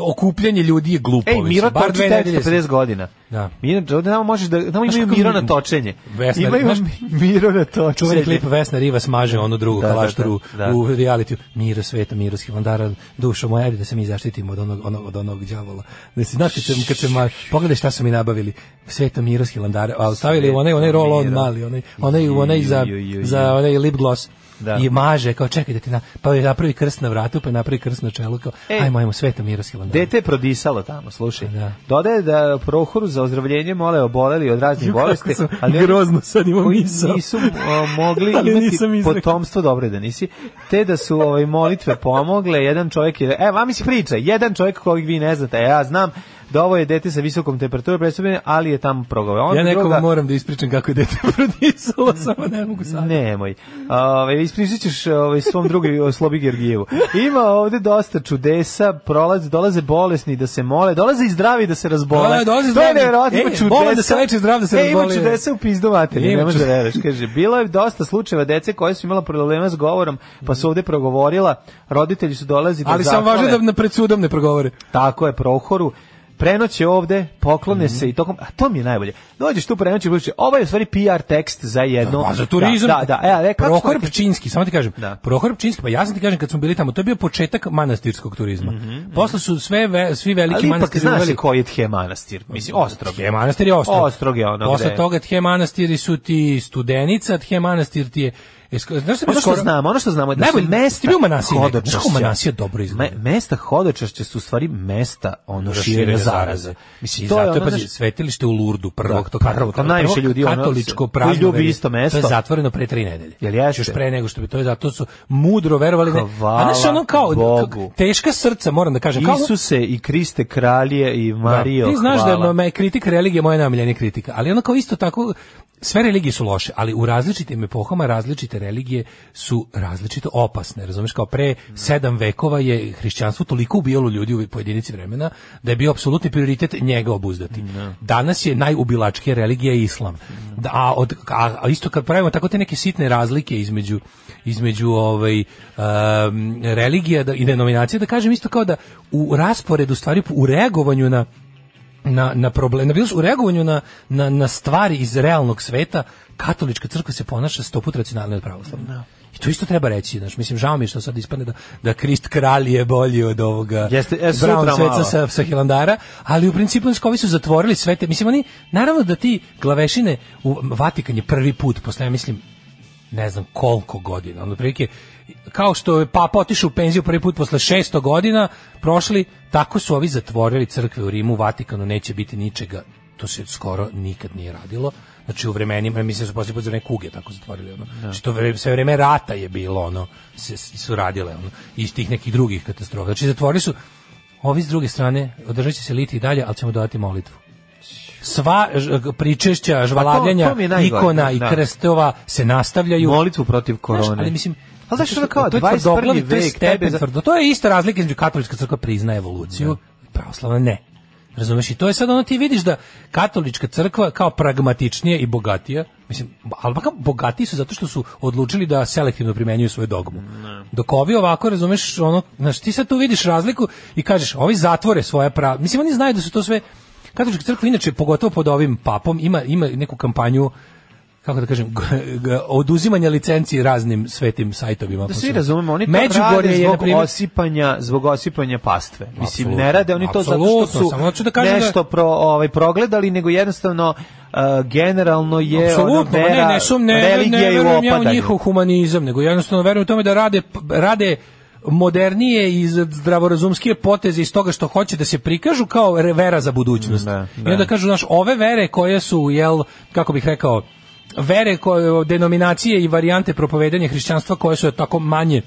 G: okupljanje ljudi je glupo.
F: Ej,
G: mislim.
F: Miro
G: Bar
F: toči
G: dve nedelje se-
F: 950 godina.
G: Da.
F: Miro, ovde tamo možeš da, tamo
G: Znaš
F: imaju
G: kako
F: Miro
G: mi-
F: na točenje.
G: Vesna-
F: imaju
G: znaš-
F: Miro na točenje.
G: Čuveni klip Vesna Riva smaže onu drugu
F: Da, da,
G: kalašturu
F: da, da.
G: u realitiju. Miro sveta, Miro Skivandara, dušo ono, moja, ajde da se mi zaštitimo od onog, onog, od onog đavola. Da se, znaš, kad se, kad se ma, pogledaj šta su mi nabavili. Svetomirski hilandare, a stavili onaj onaj roll on
F: Svetomiro.
G: mali, onaj onaj onaj za
F: Ju, ju, ju, ju.
G: za onaj lip gloss.
F: Da.
G: I maže, kao čekaj da ti na, pa je napravi krst na vratu, pa je napravi krst na čelu, kao
F: E.
G: ajmo, ajmo, Svetomirski hilandare.
F: Dete je prodisalo tamo, slušaj. Dodaje da prohoru za ozdravljenje mole oboleli od raznih
G: Kako
F: bolesti,
G: sam
F: ali oni
G: grozno sad imam
F: koji
G: misao.
F: nisu o, mogli
G: Ali
F: imati
G: nisam izrekao.
F: potomstvo, dobro je da nisi, te da su ovaj, molitve pomogle, jedan čovjek je, e, vami se priča, jedan čovjek kojeg vi ne znate, e, ja znam da ovo je dete sa visokom temperaturom predstavljene, ali je tamo progovao. Onda
G: Ja nekom
F: druga-
G: moram da ispričam kako je dete prodisalo, samo ne mogu sad.
F: Nemoj. Ove, ispričat ćeš ove, svom drugu Slobi Georgijevu. Ima ovde dosta čudesa, prolaze, dolaze bolesni da se mole, dolaze i zdravi da se razbole.
G: Da, dolaze
F: to je
G: zdravi.
F: nevjerojatno,
G: E,
F: ima čudesa.
G: bolan da se leči, zdrav da se
F: e, ima
G: razboli.
F: čudesa u pizdu materine,
G: Ima
F: ne možeš da
G: čude-
F: veruješ. Kaže, bilo je dosta slučajeva dece koja su imala problema s govorom, pa su ovde progovorila, roditelji su dolazi da
G: Ali sam
F: zahvale.
G: važno da na pred sudom ne progovore.
F: Tako je, Prohoru. Prenoće ovde, poklone
G: Mhm.
F: se i tokom... A to mi je najbolje. Dođeš tu prenoće i buduće, ovo je u stvari PR tekst za jedno...
G: A Pa, za turizam.
F: Da, da. da. E, a, e, kako smo
G: Prohor
F: rekli?
G: Pčinski, samo ti kažem. Prohor Pčinski, pa ja sam ti kažem kad smo bili tamo, to je bio početak manastirskog turizma. Posle su sve ve- svi veliki
F: Mhm, Ali ipak
G: manastiri
F: znaš i
G: uveli-
F: koji je Tje manastir. Mislim, Ostrog.
G: Tje manastir je ostrog.
F: Ostrog je ono
G: Posle
F: gde-
G: toga Tje manastiri su ti Studenica, Tje manastir ti je Esko- Znaš šta bi
F: Ono što
G: skoro-
F: znamo, ono što znamo je da
G: Najbolje,
F: su mesta
G: ti bio u Manasiji nekad? Znaš kako
F: hodočašća.
G: Manasija dobro izgleda?
F: Me- mesta hodočašća su u stvari mesta ono širenja zaraze.
G: Mislim,
F: Mislim,
G: I
F: to je
G: zato
F: ono,
G: je, pazi,
F: znaš,
G: svetilište u Lurdu, prvog, to
F: prvo,
G: prvo,
F: kad najviše ljudi, ono,
G: katoličko
F: koji
G: prazno.
F: ljubi
G: velje.
F: isto mesto.
G: To je zatvoreno pre tri nedelje. Znači,
F: Jel jeste?
G: Još pre nego što bi to je zato su mudro verovali. Ne,
F: Hvala
G: a znaš, ono kao,
F: Bogu.
G: teška srca, moram da kažem. Kao,
F: Isuse i Kriste kralje i
G: Da.
F: Mario,
G: Ti znaš
F: hvala.
G: da Ono, me je kritika religije moja najomiljenija kritika, ali ono kao isto tako sve religije su loše, ali u različitim epohama različite religije su različito opasne, razumeš, kao pre sedam vekova je hrišćanstvo toliko ubijalo ljudi u pojedinici vremena da je bio apsolutni prioritet njega obuzdati. Danas je najubilačkija religija islam. Da, a, od, a, a isto kad pravimo tako te neke sitne razlike između između ovaj em, religija da, i denominacije, da kažem isto kao da u rasporedu stvari u reagovanju na na, na problem, na bilo u reagovanju na, na, na stvari iz realnog sveta, katolička crkva se ponaša sto put racionalno od pravoslavne. I to isto treba reći, znaš, mislim, žao mi je što sad ispadne da, da Krist kralj je bolji od ovoga
F: Jeste, e, sutra
G: Brown sveca
F: malo.
G: sa, sa Hilandara, ali u principu znaš, kao ovi su zatvorili sve te, mislim, oni, naravno da ti glavešine u Vatikan je prvi put, posle, ja mislim, ne znam koliko godina, ono prilike, kao što je papa otišao u penziju prvi put posle 600 godina prošli, tako su ovi zatvorili crkve u Rimu, u Vatikanu neće biti ničega, to se skoro nikad nije radilo, znači u vremenima, mislim da su poslije put za neke kuge tako zatvorili, ono. znači to vre- sve vreme rata je bilo, ono, se, su radile, ono, iz tih nekih drugih katastrofa, znači zatvorili su, ovi s druge strane, održat će se liti i dalje, ali ćemo dodati molitvu sva ž- pričešća, žvalavljanja,
F: Pa to mi je najgore,
G: ikona i
F: da.
G: krstova se nastavljaju.
F: molitvu protiv korone.
G: Znaš, ali mislim,
F: ali znaš što je kao
G: to je
F: 21.
G: tvrdoglavi, to je
F: vek,
G: stepen
F: tebe za-
G: tvrdo. To je ista razlika između katolička crkva priznaje evoluciju, pravoslavna ne. Razumeš, i to je sad ono ti vidiš da katolička crkva kao pragmatičnija i bogatija, mislim, ali makar bogatiji su zato što su odlučili da selektivno primenjuju svoju dogmu. Dok ovi ovako, razumeš, ono, znaš, ti sad tu vidiš razliku i kažeš, ovi zatvore svoja prava, mislim, oni znaju da su to sve, katolička crkva inače, pogotovo pod ovim papom, ima, ima neku kampanju, kako da kažem, g- g- oduzimanja licenci raznim svetim sajtovima.
F: Da
G: po
F: svi
G: svetu.
F: razumemo, oni to
G: Međugorje
F: rade
G: je, na
F: zbog
G: primjer,
F: osipanja, zbog osipanja pastve. Mislim,
G: Apsolutno,
F: ne rade oni to zato što
G: apsolutno,
F: su
G: samo hoću da kažem da-
F: nešto pro, ovaj, progledali, nego jednostavno uh, generalno je ono
G: Apsolutno, ma
F: vera,
G: ne, ne, sum, ne, ne,
F: religija
G: ne
F: i
G: verujem ja u
F: opadanje.
G: njihov humanizam, nego jednostavno verujem u tome da rade, rade modernije i zdravorazumskije poteze iz toga što hoće da se prikažu kao re- vera za budućnost. I onda kažu, znaš, ove vere koje su, jel, kako bih rekao, vere, koje, denominacije i varijante propovedanja hrišćanstva koje su tako manje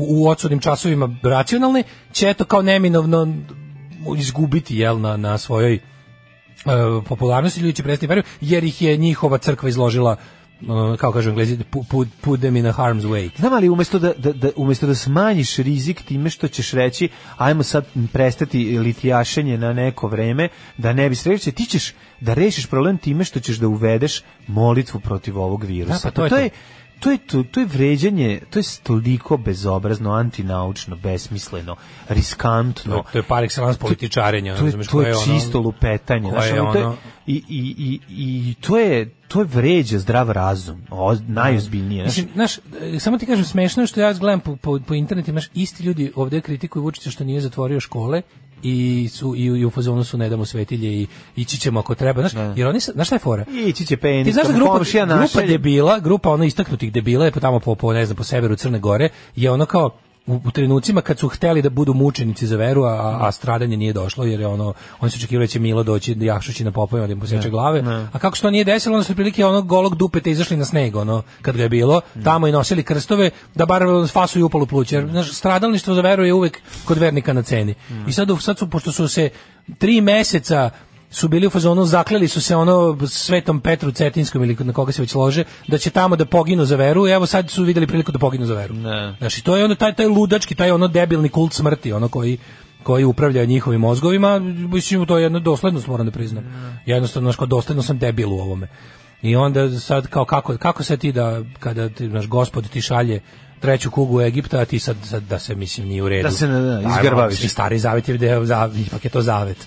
G: u odsudnim časovima racionalni, će eto kao neminovno izgubiti jel, na, na svojoj e, popularnosti ljudi će prestati da veruju, jer ih je njihova crkva izložila ono, kako kažu englezi, put, put, put them in a harm's way.
F: Znam, ali umesto da, da, da, umesto da smanjiš rizik time što ćeš reći ajmo sad prestati litijašenje na neko vreme, da ne bi sreće, ti ćeš da rešiš problem time što ćeš da uvedeš molitvu protiv ovog virusa.
G: Da, pa to je to.
F: je to je to, to je vređanje, to je toliko bezobrazno, antinaučno, besmisleno, riskantno.
G: To, je- to je par excellence političarenja.
F: To je,
G: razumeš,
F: to je
G: koje ono-
F: čisto lupetanje.
G: koje
F: Znaš,
G: je
F: ono, to je-
G: ono-
F: i, i, i, i to je to je vređa zdrav razum, o, najozbiljnije. znaš.
G: Mislim, znaš, e, samo ti kažem, smešno je što ja gledam po, po, po internetu, imaš isti ljudi ovdje kritikuju Vučića što nije zatvorio škole i su i, u- i u fazonu su ne damo svetilje i ići ćemo ako treba, znaš, jer oni sa- znaš šta je fora?
F: Ići će penis.
G: Ti znaš da grupa,
F: komšija
G: grupa
F: našalje.
G: debila, grupa ono istaknutih debila je po tamo po, po ne znam, po severu Crne Gore, je ono kao u, u trenucima kad su hteli da budu mučenici za veru, a- a, a stradanje nije došlo, jer je ono, oni su očekivali da će Milo doći jahšući na popoj, da im poseče glave, a kako se to nije desilo, onda su prilike onog golog dupeta izašli na sneg, ono, kad ga je bilo, tamo i nosili krstove, da bar fasuju upalu pluće, jer znaš, stradalništvo za veru je uvek kod vernika na ceni. I sad, u- sad su, pošto su se tri meseca su bili u fazonu, zakleli su se ono Svetom Petru Cetinskom ili na koga se već lože, da će tamo da poginu za veru i evo sad su vidjeli priliku da poginu za veru.
F: Ne.
G: Znači, to je ono taj, taj ludački, taj ono debilni kult smrti, ono koji koji upravlja njihovim mozgovima, mislim to je jedno doslednost moram da priznam. Jednostavno znači dosledno sam debil u ovome. I onda sad kao kako kako se ti da kada ti naš gospod ti šalje treću kugu Egipta, a ti sad, sad da se mislim nije u redu.
F: Da se, da, da,
G: Ajmo,
F: izgrbaviš.
G: mislim, Stari zavet je, da je zav- ipak je to zavet.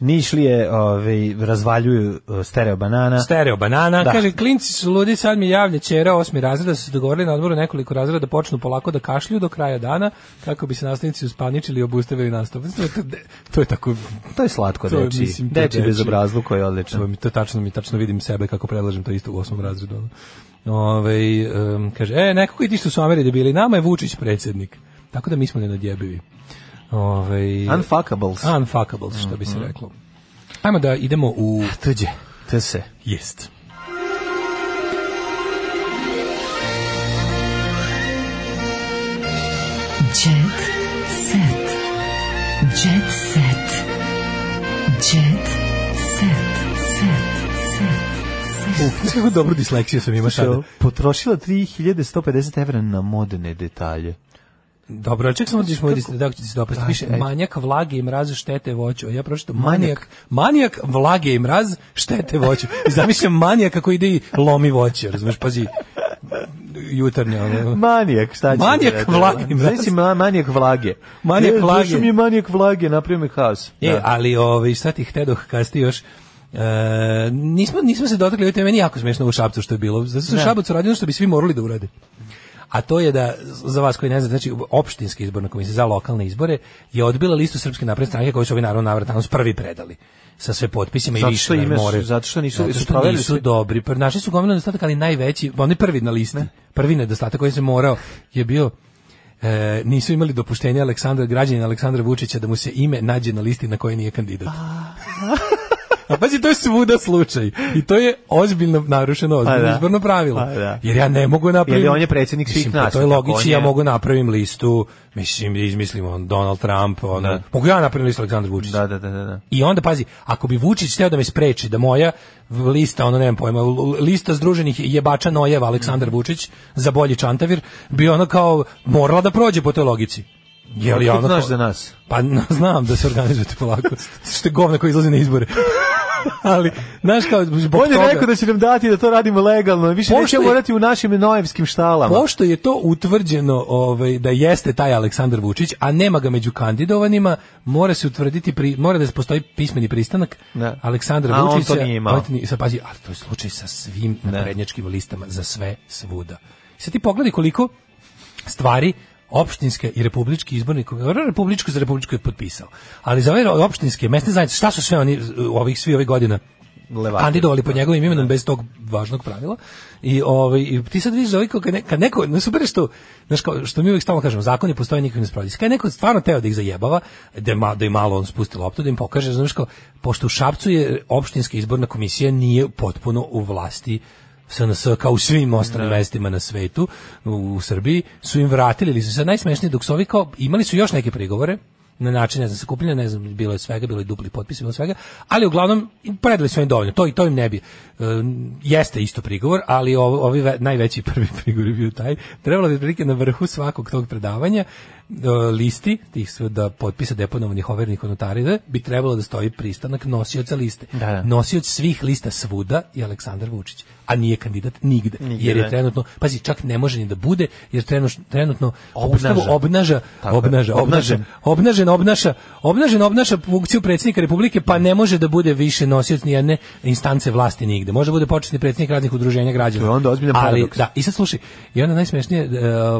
F: Nišlije ovaj, razvaljuju eh, stereo banana.
G: Stereo banana.
F: Da.
G: Kaže, klinci su ludi, sad mi javlja čera osmi razreda, su se dogovorili na odboru nekoliko razreda da počnu polako da kašlju do kraja dana, kako bi se nastavnici uspaničili i obustavili nastavu. To je, to je tako...
F: To je slatko,
G: je,
F: dečiji.
G: mislim, to je
F: Dečiji bezobrazluk koji je odličan.
G: To, mi, to tačno, mi tačno vidim sebe kako predlažem to isto u osmom razredu. ono. Ovaj, em, kaže, e, nekako i ti što su Ameri debili, nama je Vučić predsjednik. Tako da mi smo nenadjebivi. Ovaj,
F: Unfuckables.
G: Unfuckables, što bi se reklo. Ajmo da idemo u...
F: Mhm. Tuđe. Te se.
G: Jest.
E: Jet set. Jet set. Jet set. Set.
G: Uf, kako dobru disleksiju sam imao sada.
F: Potrošila 3150 evra na modne detalje.
G: Dobro, ček samo da ćeš moj disle, da će ti se dopasti.
F: Ajde,
G: Piše,
F: ajde.
G: manjak vlage i mraz štete voću. A ja pročitam
F: Manjak.
G: manijak, manijak vlage i mraz štete voću. I zamišljam manijak kako ide i lomi voće, razumeš, pazi. Jutarnje, ono.
F: Manijak, šta će?
G: Manijak vlage, mraz.
F: Znači ma, manijak vlage.
G: Manijak
F: E,
G: vlage.
F: došao mi je manijak vlage, napravio mi haos.
G: E, ali ovaj, šta ti htedoh kad ste još E, nismo, nismo se dotakli, vidite, meni je jako smiješno u Šabcu što je bilo, zato što je
F: Da.
G: Šabac uradio ono što bi svi morali da urade. A to je da, za vas koji ne znate, znači opštinska izborna komisija za lokalne izbore je odbila listu Srpske napredne stranke koju su ovi naravno navrat prvi predali sa sve potpisima
F: Zato
G: i
F: što
G: više na
F: ime su-
G: more.
F: zato što nisu-
G: zato
F: su
G: što
F: proveli
G: nisu
F: svi-
G: dobri. Pr- Našli su gomilu nedostatak, ali najveći, onaj prvi na listi, prvi nedostatak koji se morao je bio e, nisu imali dopuštenja Aleksandra građanina Aleksandra Vučića da mu se ime nađe na listi na kojoj nije kandidat.
F: Pa.
G: A pazi, to je svuda slučaj. I to je ozbiljno narušeno ozbiljno
F: Pa da.
G: izborno pravilo.
F: Pa da.
G: Jer ja ne mogu napraviti...
F: Jer je on je predsjednik svih
G: Pa mislim, pa po
F: nas,
G: toj
F: tako
G: logici
F: on
G: ja
F: je-
G: mogu napravim listu, mislim, izmislim on Donald Trump, on,
F: Da.
G: mogu ja napravim listu Aleksandar Vučić.
F: Da, da, da, da. da.
G: I onda, pazi, ako bi Vučić hteo da me spreči, da moja lista, ono nemam pojma, l- l- lista združenih jebača Nojeva Aleksandar Vučić za bolji čantavir, bi ono kao morala da prođe po toj logici. Jel je
F: Otkud
G: ono
F: znaš
G: kao-
F: za nas?
G: pa n- znam da se organizujete polako. Što je govna koji izlazi na izbore. Ali, znaš kao, zbog
F: On je
G: toga-
F: rekao da će nam dati da to radimo legalno, više
G: Pošto
F: nećemo
G: je-
F: morati u našim nojevskim štalama.
G: Pošto je to utvrđeno ovaj, da jeste taj Aleksandar Vučić, a nema ga među kandidovanima, mora se utvrditi, pri, mora da postoji pismeni pristanak
F: Da.
G: Aleksandra
F: A on
G: Vučića.
F: to nije imao.
G: on to nije- sad pazi, ali to je slučaj sa svim naprednjačkim listama, za sve svuda. Sad ti pogledaj koliko stvari opštinske i republički izborni komisije, republičko za republičko je potpisao, ali za ove opštinske, mesne zajednice, šta su sve oni uh, ovih, svi ovih godina
F: Levaki.
G: kandidovali pod njegovim imenom bez tog važnog pravila. I ovaj i ti sad vidiš da ovaj kao kad, ne, kad neko ne super je što znaš kao što mi uvijek stalno kažemo zakoni postoje nikakvi ne sprovodi. Kad je neko stvarno teo da ih zajebava, da je ma, da je malo on spusti loptu da im pokaže, znaš kao pošto u Šapcu je opštinska izborna komisija nije potpuno u vlasti SNS kao u svim ostalim mestima na svetu u, u Srbiji su im vratili ili su sad najsmešniji dok su ovi kao imali su još neke prigovore na način, ne znam, sakupljanja, ne znam, bilo je svega, bilo je dupli potpis, bilo je svega, ali uglavnom predali su oni dovoljno, to i to im ne bi. E, jeste isto prigovor, ali ovo- ovi ve- najveći prvi prigovor je bio taj. Trebalo bi otprilike na vrhu svakog tog predavanja e, listi, tih sve da potpisa deponovanih overnih notarida, bi trebalo da stoji pristanak nosioca liste. Nosioc svih lista svuda je Aleksandar Vučić, a nije kandidat nigde,
F: Nigde,
G: jer
F: ne.
G: je trenutno, pazi, čak ne može ni da bude, jer trenutno, trenutno po Ustavu
F: Obnaža.
G: obnaža,
F: Tako je.
G: obnaža, obnaža,
F: Obnažen.
G: obnažen obnaša obnažen obnaša funkciju predsjednika republike pa ne može da bude više nosioc ni jedne instance vlasti nigde može da bude početni predsjednik raznih udruženja građana
F: To je onda ozbiljan
G: ali
F: paradoks.
G: da i sad slušaj i onda najsmešnije e,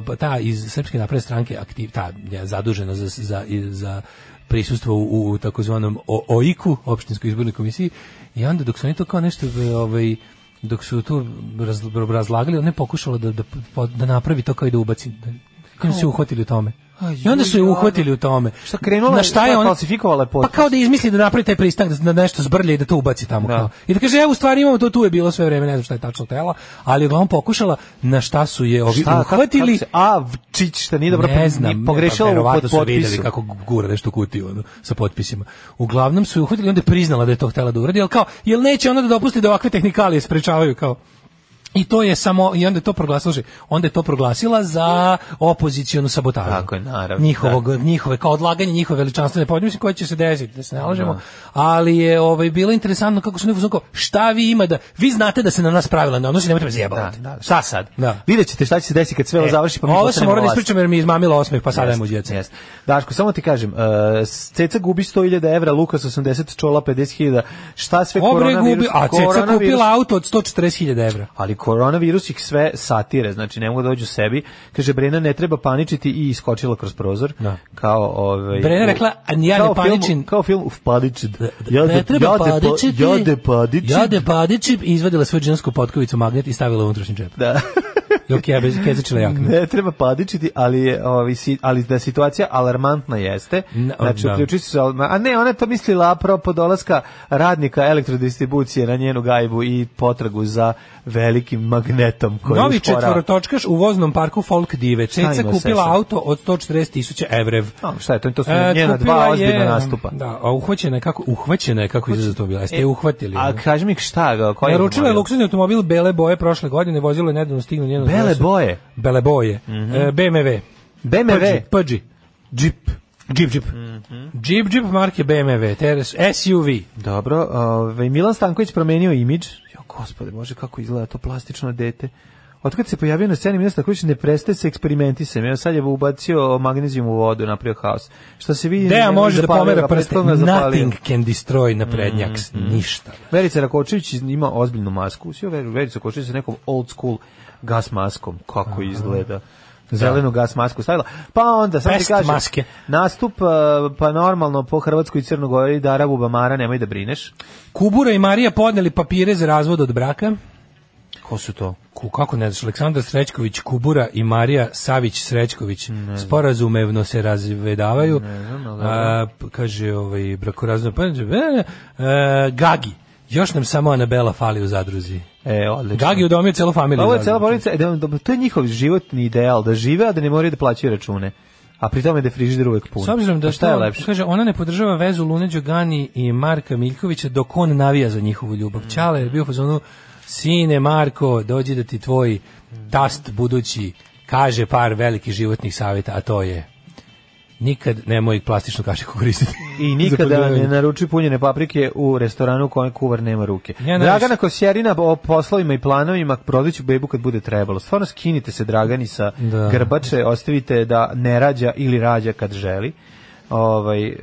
G: pa ta iz srpske napredne stranke aktiv ta je zadužena za za i za prisustvo u, u takozvanom O- OIK-u, opštinskoj izbornoj komisiji, i onda dok su oni to kao nešto, e, ovaj, dok su to raz- razlagali, ona je pokušala da, da, da napravi to kao i da ubaci. Da, kao se uhvatili u tome. I onda su je uhvatili u tome. Šta
F: krenula
G: Na
F: je-
G: šta je
F: šta,
G: ona
F: falsifikovala je potpis?
G: Pa kao da izmisli da napravi taj pristanak da nešto zbrlja i da to ubaci tamo kao. I da kaže evo u stvari imamo to tu je bilo sve vreme, ne znam šta je tačno tela, ali je uglavnom pokušala na šta su je ovi
F: Šta, kako- kako
G: uhvatili.
F: se- a, Včić, šta nije dobro,
G: ne znam,
F: ni pogrešila
G: ne,
F: u
G: pa verovatno su
F: potpisu.
G: videli kako gura nešto u kutiju ono, sa potpisima. Uglavnom su je uhvatili, onda je priznala da je to htela da uradi, ali kao, jel neće ona da dopusti da ovakve tehnikalije sprečavaju kao. I to je samo i onda je to proglasila, slušaj, onda je to proglasila za opozicionu sabotažu.
F: Tako je, naravno,
G: Njihovog, njihove kao odlaganje njihove veličanstvene podnje, mislim koje će se desiti, da se ne lažemo. Ali je ovaj bilo interesantno kako su neko zvukao, šta vi ima da vi znate da se na nas pravila ne odnosi, nemojte me zajebavati.
F: Da, da, da.
G: Šta sad? Da.
F: Vidjet ćete šta će se desiti kad sve ovo
G: E,
F: završi, pa mi
G: Ovo sam
F: postanemo
G: morao da
F: vlast.
G: ispričam jer mi je izmamila osmeh, pa sada
F: Jeste,
G: ajmo u djece.
F: jeste. Daško, samo ti kažem, uh, Ceca gubi 100.000 evra, Lukas 80, Čola 50.000, šta sve
G: Obre
F: koronavirus...
G: gubi, a Ceca
F: koronavirus-
G: kupila auto od 140.000 evra.
F: Ali koronavirus ih sve satire, znači ne mogu da dođu sebi. Kaže, Brena ne treba paničiti i iskočila kroz prozor. Kao, ovaj,
G: Brena rekla, "A ja ne
F: kao film-
G: paničim."
F: kao film, uf, paničit.
G: ne treba
F: jade, pa-
G: padičiti.
F: Jade padičit.
G: Jade padičit i izvadila svoju džinsku potkovicu magnet i stavila u unutrašnji džep.
F: Da.
G: Dok je bez kezičila jakne.
F: Ne treba padičiti, ali je ovaj si- ali da je situacija alarmantna jeste. Znači
G: da.
F: uključiti se al- a ne, ona je to mislila apropo dolaska radnika elektrodistribucije na njenu gajbu i potragu za velikim magnetom koji
G: Novi
F: uspora-
G: četvorotočkaš u voznom parku Folk Dive.
F: Šta ima
G: Ceca kupila
F: Sesa?
G: auto od 140.000 evrev.
F: A, šta je to? To su
G: E,
F: njena
G: kupila
F: dva
G: je-
F: ozbiljna nastupa. E,
G: Da, a uhvaćena je kako, uhvaćena je kako izgleda to bila. Jeste je uhvatili.
F: A
G: ono?
F: kaži mi šta, koji
G: Naručila je luksuzni automobil bele boje prošle godine, vozilo je nedavno stignu njenu
F: Bele
G: adresu.
F: boje?
G: Bele boje.
F: Mhm.
G: E, BMW.
F: BMW?
G: Pudgy.
F: Jeep.
G: Jeep, Jeep.
F: Mhm.
G: Jeep, Jeep marke BMW. Teres, SUV.
F: Dobro, ovaj Milan Stanković promenio imidž. Jo, gospode, bože kako izgleda to plastično dete. Otkad se pojavio na sceni Milan Stanković ne prestaje se eksperimentisem. Evo sad je ubacio magnezijum u vodu, napravio haos. Što se vidi...
G: Deja
F: ne
G: može da
F: zapalio
G: pomera
F: ga,
G: prste.
F: prethodno je zapalio. Mhm,
G: Nothing can destroy naprednjak. Ništa.
F: Verica Rakočević ima ozbiljnu masku. Svi veru, Verica Rakočević sa nekom old school gas maskom. Kako izgleda. Zelenu gas masku stavila. Pa onda, sad ti
G: Pest
F: kažem,
G: maske.
F: nastup eh, pa normalno po Hrvatskoj i Crnogori Dara Bubamara, nemoj da brineš.
G: Kubura i Marija podneli papire za razvod od braka.
F: Ko su to?
G: Ku, kako ne znaš, Aleksandar Srećković, Kubura i Marija Savić Srećković sporazumevno se razvedavaju. A, p- kaže ovaj brakorazno pa e, Gagi. Još nam samo Anabela fali u zadruzi.
F: E, odlično.
G: Gagi udomio celu familiju.
F: Ovo je
G: u
F: cela
G: zadruzi.
F: porodica, e, da, da, to je njihov životni ideal, da žive, a da ne moraju da plaćaju račune. A pri tome da je frižider uvek pun.
G: S obzirom da
F: Pa šta je
G: to-
F: lepše?
G: Kaže, ona ne podržava vezu Lune Đogani i Marka Miljkovića dok on navija za njihovu ljubav.
F: Mm.
G: Ćale je bio u fazonu, sine Marko, dođi da ti tvoj
F: Mm.
G: tast budući kaže par velikih životnih savjeta, a to je nikad nemoj plastičnu kašiku koristiti.
F: I
G: Za
F: nikada ne
G: podgrevanje.
F: naruči punjene paprike u restoranu u kojem kuvar nema ruke.
G: Ja ne
F: Dragana
G: znam.
F: Kosjerina o poslovima i planovima prodaću bebu kad bude trebalo. Stvarno skinite se Dragani sa
G: Da.
F: grbače, ostavite da ne rađa ili rađa kad želi. Ovaj, e,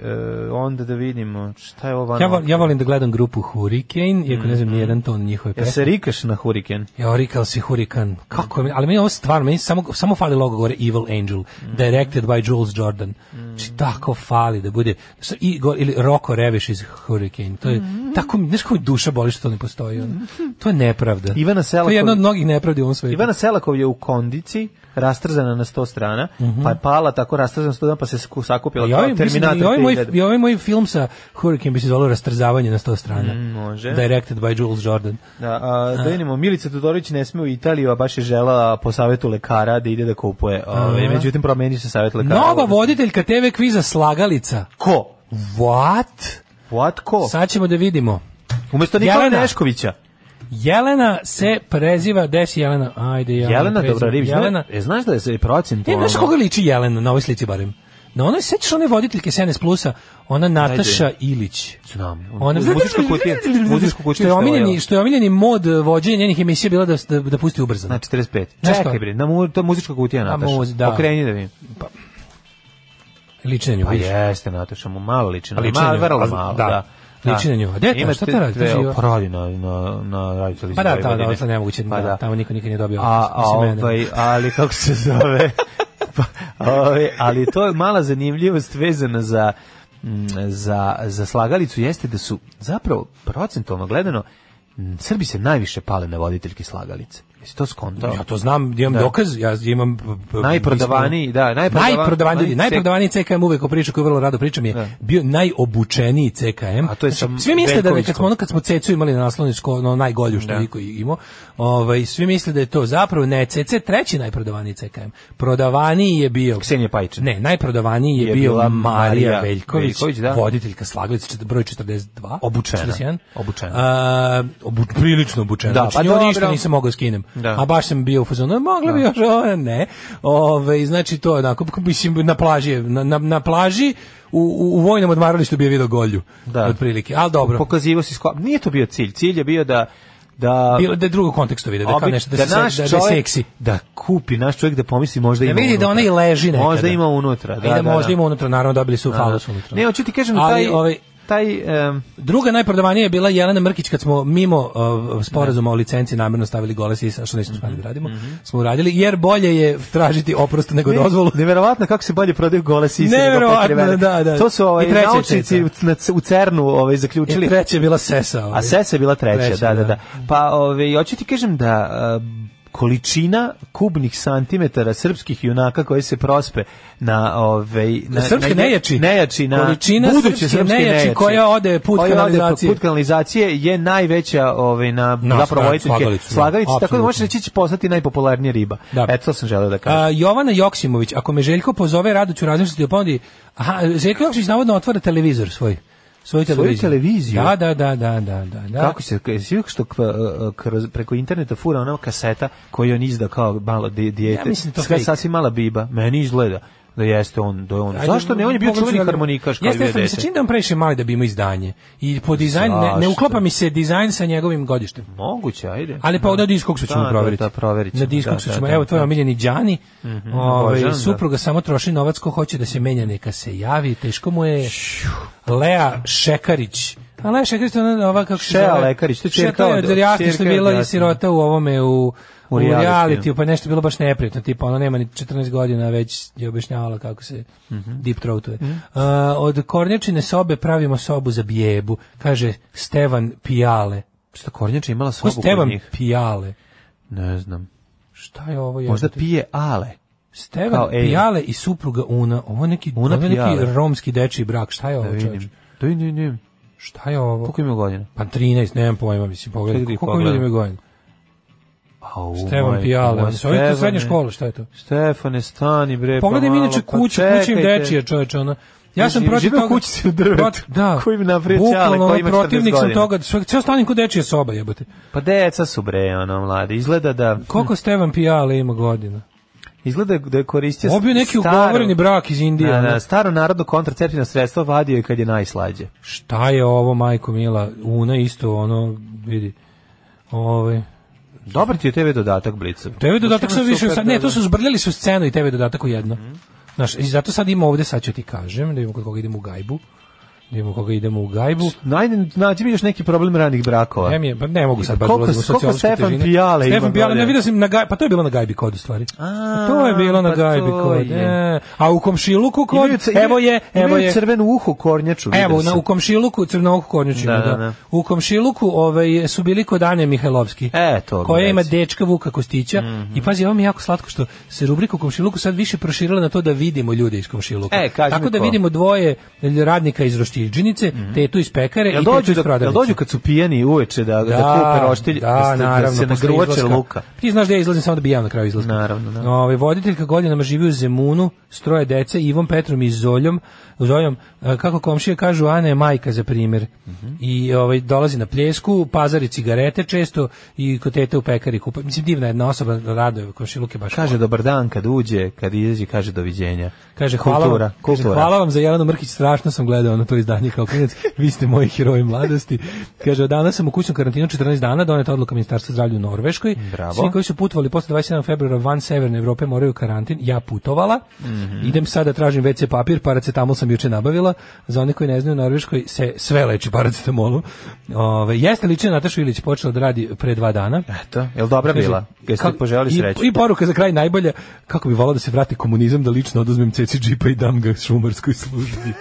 F: onda da vidimo šta je ovo.
G: Ja, vol- ja volim da gledam grupu Hurricane, iako ne znam
F: Mm-hmm.
G: nijedan ton njihove
F: Jel
G: pesme.
F: se rikaš na huriken?
G: Ja, orikal si hurikan. Kako je, meni- ali meni ovo stvarno, meni samo, samo fali logo gore Evil Angel, directed by Jules Jordan. Znači, tako fali da bude, sa- i, go- ili Rocco Reviš iz Hurricane. To je, tako, mi- znaš kako mi duša boli što to ne postoji. ono. To je nepravda.
F: Ivana
G: To je jedna
F: Selaković.
G: od mnogih nepravdi u ovom svijetu.
F: Ivana Selakov je u kondici, rastrzana na 100 strana, pa je pala tako rastrzana na 100 strana, pa se sku- sakupila
G: I ovaj,
F: kao
G: Mhm. mislim, i ovaj
F: Terminator
G: moj,
F: 3000.
G: I ovaj moj film sa Hurricane bi se zvalo Rastrzavanje na 100 strana.
F: Mm, može.
G: Directed by Jules Jordan.
F: Da, a, da vidimo, Milica Todorović ne sme u Italiju, a baš je žela po savetu lekara da ide da kupuje. Ove,
G: Aha.
F: međutim, promenio se savet lekara.
G: Nova voditeljka TV kviza Slagalica.
F: Ko?
G: What?
F: What ko?
G: Sad ćemo da vidimo.
F: Umesto Nikola Neškovića.
G: Jelena se preziva, gde si Jelena? Ajde, Jelena.
F: Jelena
G: preziva.
F: Dobrarivić.
G: Jelena.
F: Jelena, e, znaš da je ono se
G: E,
F: procentualno...
G: znaš koga liči Jelena na ovoj slici barem? Na onoj, sećaš one voditeljke SNS Plusa, ona Nataša Ilić.
F: Znam.
G: Ona
F: Uz muzičku kutiju. Muzičku kutiju
G: što
F: što
G: je
F: je
G: omiljeni
F: ovo.
G: što je omiljeni mod eh, vođenja njenih emisija bila da da, da pusti ubrzano.
F: Na 45.
G: Znaš
F: Čekaj
G: ko?
F: bre, na mu, to je muzička kutija
G: A,
F: Nataša.
G: muz- da.
F: Okreni da vidim.
G: Liči na nju.
F: Pa
G: vidiš?
F: jeste Nataša, mu malo liči na
G: A liči na
F: malo,
G: nju,
F: vrlo
G: a-
F: malo,
G: da.
F: da.
G: Liči na nju. A gde to,
F: Ima
G: šta to
F: te-
G: radi, to
F: te-
G: živa?
F: Prodi na, na, na radio televiziji
G: Pa da, da, da,
F: Vojvodine.
G: to je nemoguće.
F: Pa
G: da,
F: da.
G: Tamo niko nikad nije dobio.
F: A, a
G: osim mene.
F: ovaj, ali kako se zove? Pa, ovaj, ali to je mala zanimljivost vezana za mm, za, za slagalicu jeste da su zapravo procentualno gledano mm, Srbi se najviše pale na voditeljke slagalice. Jesi to skontao?
G: Ja to znam, imam
F: Da.
G: dokaz, ja imam... p- p-
F: Najprodavaniji, da, najprodavaniji-
G: najprodavaniji, ljudi,
F: naj-
G: najprodavaniji CKM uvek o priču koju vrlo rado pričam je bio najobučeniji CKM.
F: A to je sa
G: Znači, svi misle da kad
F: Veljkovićkom.
G: smo ono kad smo Cecu imali na naslovničko, ono najgolju što
F: Da.
G: niko imao, ovaj, svi misle da je to zapravo ne CC treći najprodavaniji CKM. Prodavaniji je bio...
F: Ksenija Pajičan.
G: Ne, najprodavaniji je,
F: Je
G: bio
F: bila
G: Marija
F: Marija
G: Veljković,
F: Veljković, da.
G: voditeljka Slaglica, čet- broj 42.
F: Obučena.
G: 41.
F: Obučena.
G: A, obu, prilično obučena.
F: Da,
G: znači,
F: pa
G: nju
F: dobro.
G: ništa nisam mogao skinem.
F: Da.
G: A baš sam bio u fazonu, "E, mogla bi još ovo, ne. Ove, znači to je onako, mislim, na plaži, je, na, na, na plaži, u, u, u vojnom odmaralištu bi je video golju,
F: Da.
G: otprilike, ali dobro.
F: Pokazivo si sko... Nije to bio cilj. Cilj je bio da da
G: Bilo da je drugo kontekstu vide, da, je kao
F: obi-
G: nešto, da, se,
F: naš
G: da, da je
F: čovjek-
G: seksi.
F: Da kupi naš čovjek da pomisli možda
G: Da
F: ima.
G: vidi da
F: unutra.
G: ona i leži nekada.
F: Možda ima unutra,
G: I
F: da. da,
G: možda
F: da.
G: ima unutra, naravno dobili su
F: Da,
G: falus
F: da.
G: unutra.
F: Ne, hoću ti kažem
G: Ali,
F: taj
G: ovaj,
F: taj em,
G: Druga najprodavanija je bila Jelena Mrkić kad smo mimo uh, sporazuma o licenci namjerno stavili gole sisa, što nismo smeli da radimo, smo uradili, jer bolje je tražiti oprost nego dozvolu.
F: Mhm. Ne- Neverovatno kako se bolje prodaju gole sise. nego
G: Neverovatno,
F: pokrivene.
G: da, da.
F: To su ovaj,
G: I treća je
F: naučnici u,
G: treća.
F: na, u CERNu ovaj, zaključili.
G: I treća E, je bila Sesa. Ovaj.
F: A Sesa je bila treća,
G: Treća,
F: da, da,
G: da.
F: da, Pa, ove, hoću ti kažem da em, količina kubnih santimetara srpskih junaka koji se prospe na ove na
G: Srpske
F: na-
G: nejači.
F: nejači na
G: Količina
F: buduće
G: srpske
F: srpske
G: nejači koja ode put
F: Koja ode
G: kanalizacije.
F: put kanalizacije je najveća ovaj na,
G: Na,
F: zapravo
G: da,
F: vojiteljke
G: slagalicu, da.
F: slagalice, tako da
G: Apsolutno.
F: možeš reći će postati najpopularnija riba.
G: Da.
F: Eto to sam želeo da kažem.
G: A, Jovana Joksimović, ako me Željko pozove, rado ću razmišljati o ponudi. Aha, Željko Joksimović navodno otvara televizor svoj. Svoju
F: Svoju
G: televiziju.
F: televiziju?
G: Da, da, da, da, da, da, da.
F: Kako se jesi vidio što k- e, kroz, preko interneta fura ona kaseta koju on izda kao malo di- dijete.
G: Ja mislim da to
F: Sve
G: fake.
F: sasvim mala biba. Meni izgleda da jeste on, da je on.
G: Ajde,
F: Zašto ne? On je bio
G: pogledat ću
F: čuveni
G: da li-
F: harmonikaš kao
G: Jeste,
F: bio
G: jeste, mi se
F: dete.
G: čini da on previše mali da bi imao izdanje. I po dizajnu, ne, ne
F: Zašto?
G: uklapa mi se dizajn sa njegovim godištem.
F: Moguće, ajde.
G: Ali pa na diskoksu ćemo
F: Da,
G: proveriti.
F: Da, da, proverit ćemo.
G: Na diskoksu
F: Da,
G: ćemo.
F: da,
G: Evo tvoj
F: da. Mhm,
G: omiljeni Đani. ovaj,
F: Božan, da.
G: supruga samo troši novac ko hoće da se menja, neka se javi. Teško mu je Lea Šekarić. A Lea Šekarić, to je ona ova kako se
F: Šea
G: zove?
F: Lekarić, to je
G: Šea,
F: ćerka
G: to je
F: od-
G: od Jasne što je
F: ćerka
G: bila
F: od
G: i
F: Jasne.
G: sirota u ovome u u
F: U realitiju.
G: realitiju, pa nešto je bilo baš neprijatno, tipa ona nema ni 14 godina, već je objašnjavala kako se
F: Mhm.
G: deep throatuje. A, od kornjačine sobe pravimo sobu za bijebu, kaže Stevan Pijale.
F: Šta Kornjača imala
G: Ko je
F: sobu kod
G: Stevan
F: njih?
G: Pijale?
F: Ne znam.
G: Šta je ovo?
F: Možda
G: jebote?
F: pije ale.
G: Stevan
F: kao ej.
G: Pijale i supruga Una. Ovo je neki,
F: Una
G: ovo je neki
F: Pijale.
G: romski dečiji brak. Šta je
F: Da
G: ovo, čovječ?
F: vidim. Da vidim, vidim, vidim.
G: Šta je ovo?
F: Koliko ima godina?
G: Pa 13, nemam pojma, mislim, pogledaj.
F: Čekaj da ih
G: Koliko ljudi
F: pogledam.
G: mi godina?
F: Au,
G: Stevan
F: majko
G: Pijale.
F: moja,
G: Mislim, Ovo je to
F: Stevane.
G: srednja škola, šta je to?
F: Stefane, stani bre. pa
G: Pogledaj mi
F: malo,
G: inače
F: pa
G: kuću, kuća im
F: čekajte.
G: dečija, čovječ, ona. Ja sam
F: Živ-
G: protiv
F: žive u
G: toga.
F: kući sa drvetom,
G: Prot- Da.
F: koji im napravio ćale,
G: Bukvalno,
F: koji
G: ono,
F: ima 14
G: protivnik sam
F: godina.
G: toga. Sve, sve stanim kod dečije soba, jebote.
F: Pa deca su bre, ono, mladi. Izgleda da...
G: Koliko Stevan Pijale ima godina?
F: Izgleda da je koristio
G: Ovo je bio neki
F: staro-
G: ugovoreni brak iz Indije.
F: Da,
G: ono.
F: da, staro narodno kontraceptivno sredstvo vadio je kad je najslađe.
G: Šta je ovo, majko mila? Una isto, ono, vidi. Ovaj.
F: Dobar ti je TV dodatak, Blicu.
G: TV dodatak sam
F: Stvarno
G: više,
F: super,
G: sad, ne,
F: da,
G: to
F: da.
G: su zbrljali su scenu i TV dodatak u jedno. Znaš, i zato sad ima ovde, sad ću ti kažem, da imam kod koga idem u gajbu. Da imamo koga idemo u gajbu.
F: Najde, nađi mi još neki problem ranih brakova.
G: Ne, mi je, pa ne mogu sad baš
F: Koliko-
G: ulazim u
F: koliko
G: sociološke
F: Stefan
G: težine.
F: Pijale ima
G: Stefan Pijale,
F: dalje?
G: ne vidio sam na gaj, pa to je bilo na gajbi kod u stvari. A, to je bilo na
F: pa
G: gajbi
F: to
G: kod.
F: je.
G: e. A u komšiluku kod,
F: Imaju ce-
G: evo je,
F: imaju
G: evo je.
F: crvenu uhu kornjaču.
G: Evo,
F: vidio
G: na,
F: sam.
G: u komšiluku, crnog kornjaču ima,
F: Da, da,
G: da.
F: da.
G: U komšiluku ovaj, su bili kod Ane Mihajlovski,
F: E, to Mhm.
G: koja
F: mi
G: ima
F: reci.
G: dečka Vuka Kostića. I pazi, ovo mi je jako slatko što se rubrika u komšiluku sad više proširila na to da vidimo ljude iz komšiluka.
F: E, kaži
G: Tako
F: mi
G: da
F: ko. Mhm.
G: vidimo dvoje radnika iz Roštiđinice, tetu iz pekare
F: Jel
G: i tetu
F: dođu,
G: iz
F: da, jel
G: prodavnice.
F: dođu kad su pijeni uveče da, da, kupe roštilj,
G: da,
F: da, se- da
G: naravno,
F: se
G: posle
F: nagruvače
G: izlaska.
F: luka?
G: Ti znaš da ja izlazim samo da bi ja na kraju izlazim.
F: Naravno, da.
G: Ovaj voditeljka godinama živi u Zemunu, s troje dece, Ivom Petrom i Zoljom, Zoljom, e, kako komšije kažu, Ana je majka za primjer.
F: Mhm.
G: I ovaj dolazi na pljesku, pazari cigarete često i kod tete u pekari kupa. Mislim divna jedna osoba, rado je komšiluke baš.
F: Kaže dobar dan kad uđe, kad izađe kaže doviđenja.
G: Kaže hvala,
F: kultura,
G: vam,
F: kultura.
G: Kaže, hvala vam za Jelenu Mrkić, strašno sam gledao na to izdanje kao klinac. Vi ste moji heroji mladosti. Kaže, od danas sam u kućnom karantinu 14 dana, doneta odluka Ministarstva zdravlja u Norveškoj.
F: Bravo.
G: Svi koji su putovali posle 27. februara van Severne Evrope moraju u karantin. Ja putovala.
F: Mhm.
G: Idem sada tražim WC papir, paracetamol sam juče nabavila. Za one koji ne znaju, u Norveškoj se sve leči paracetamolom. Ove, jeste liče Natašu Ilić počela da radi pre dva dana.
F: Eto, jel dobra
G: Kaže,
F: bila? Jeste
G: kako-
F: poželjeli
G: i-
F: sreću?
G: I, poruka za kraj najbolja, kako bi volao da se vrati komunizam, da lično oduzmem ceci džipa i dam ga šumarskoj službi.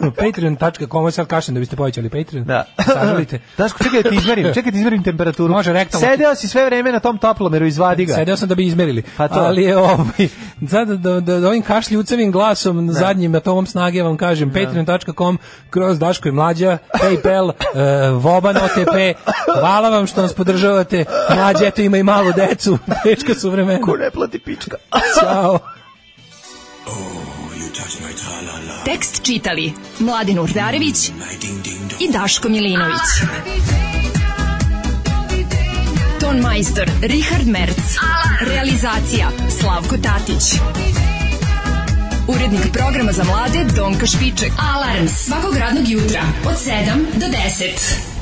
G: Patreon.com, sad kašem da biste povećali Patreon.
F: Da.
G: Sažalite.
F: Daško, čekaj da ti izmerim, čekaj da ti izmerim temperaturu.
G: Može, rektalno.
F: Sedeo si sve vreme na tom toplomeru, izvadi ga.
G: Sedeo sam da bi izmerili.
F: Pa to.
G: Ali je ovaj, sad da, da, da ovim kašljucevim glasom, zadnjim atomom snage vam kažem, patreon.com, kroz Daško i Mlađa, Paypal, uh, Voban OTP, hvala vam što nas podržavate, Mlađa eto ima i malu decu, teška su vremena. Ko
F: ne plati pička.
G: Ćao.
E: Tekst čitali Mladin Urdarević i Daško Milinović. Ton majstor Richard Merc. Realizacija Slavko Tatić. Urednik programa za mlade Donka Špiček. Alarms svakog radnog jutra od 7 do 10.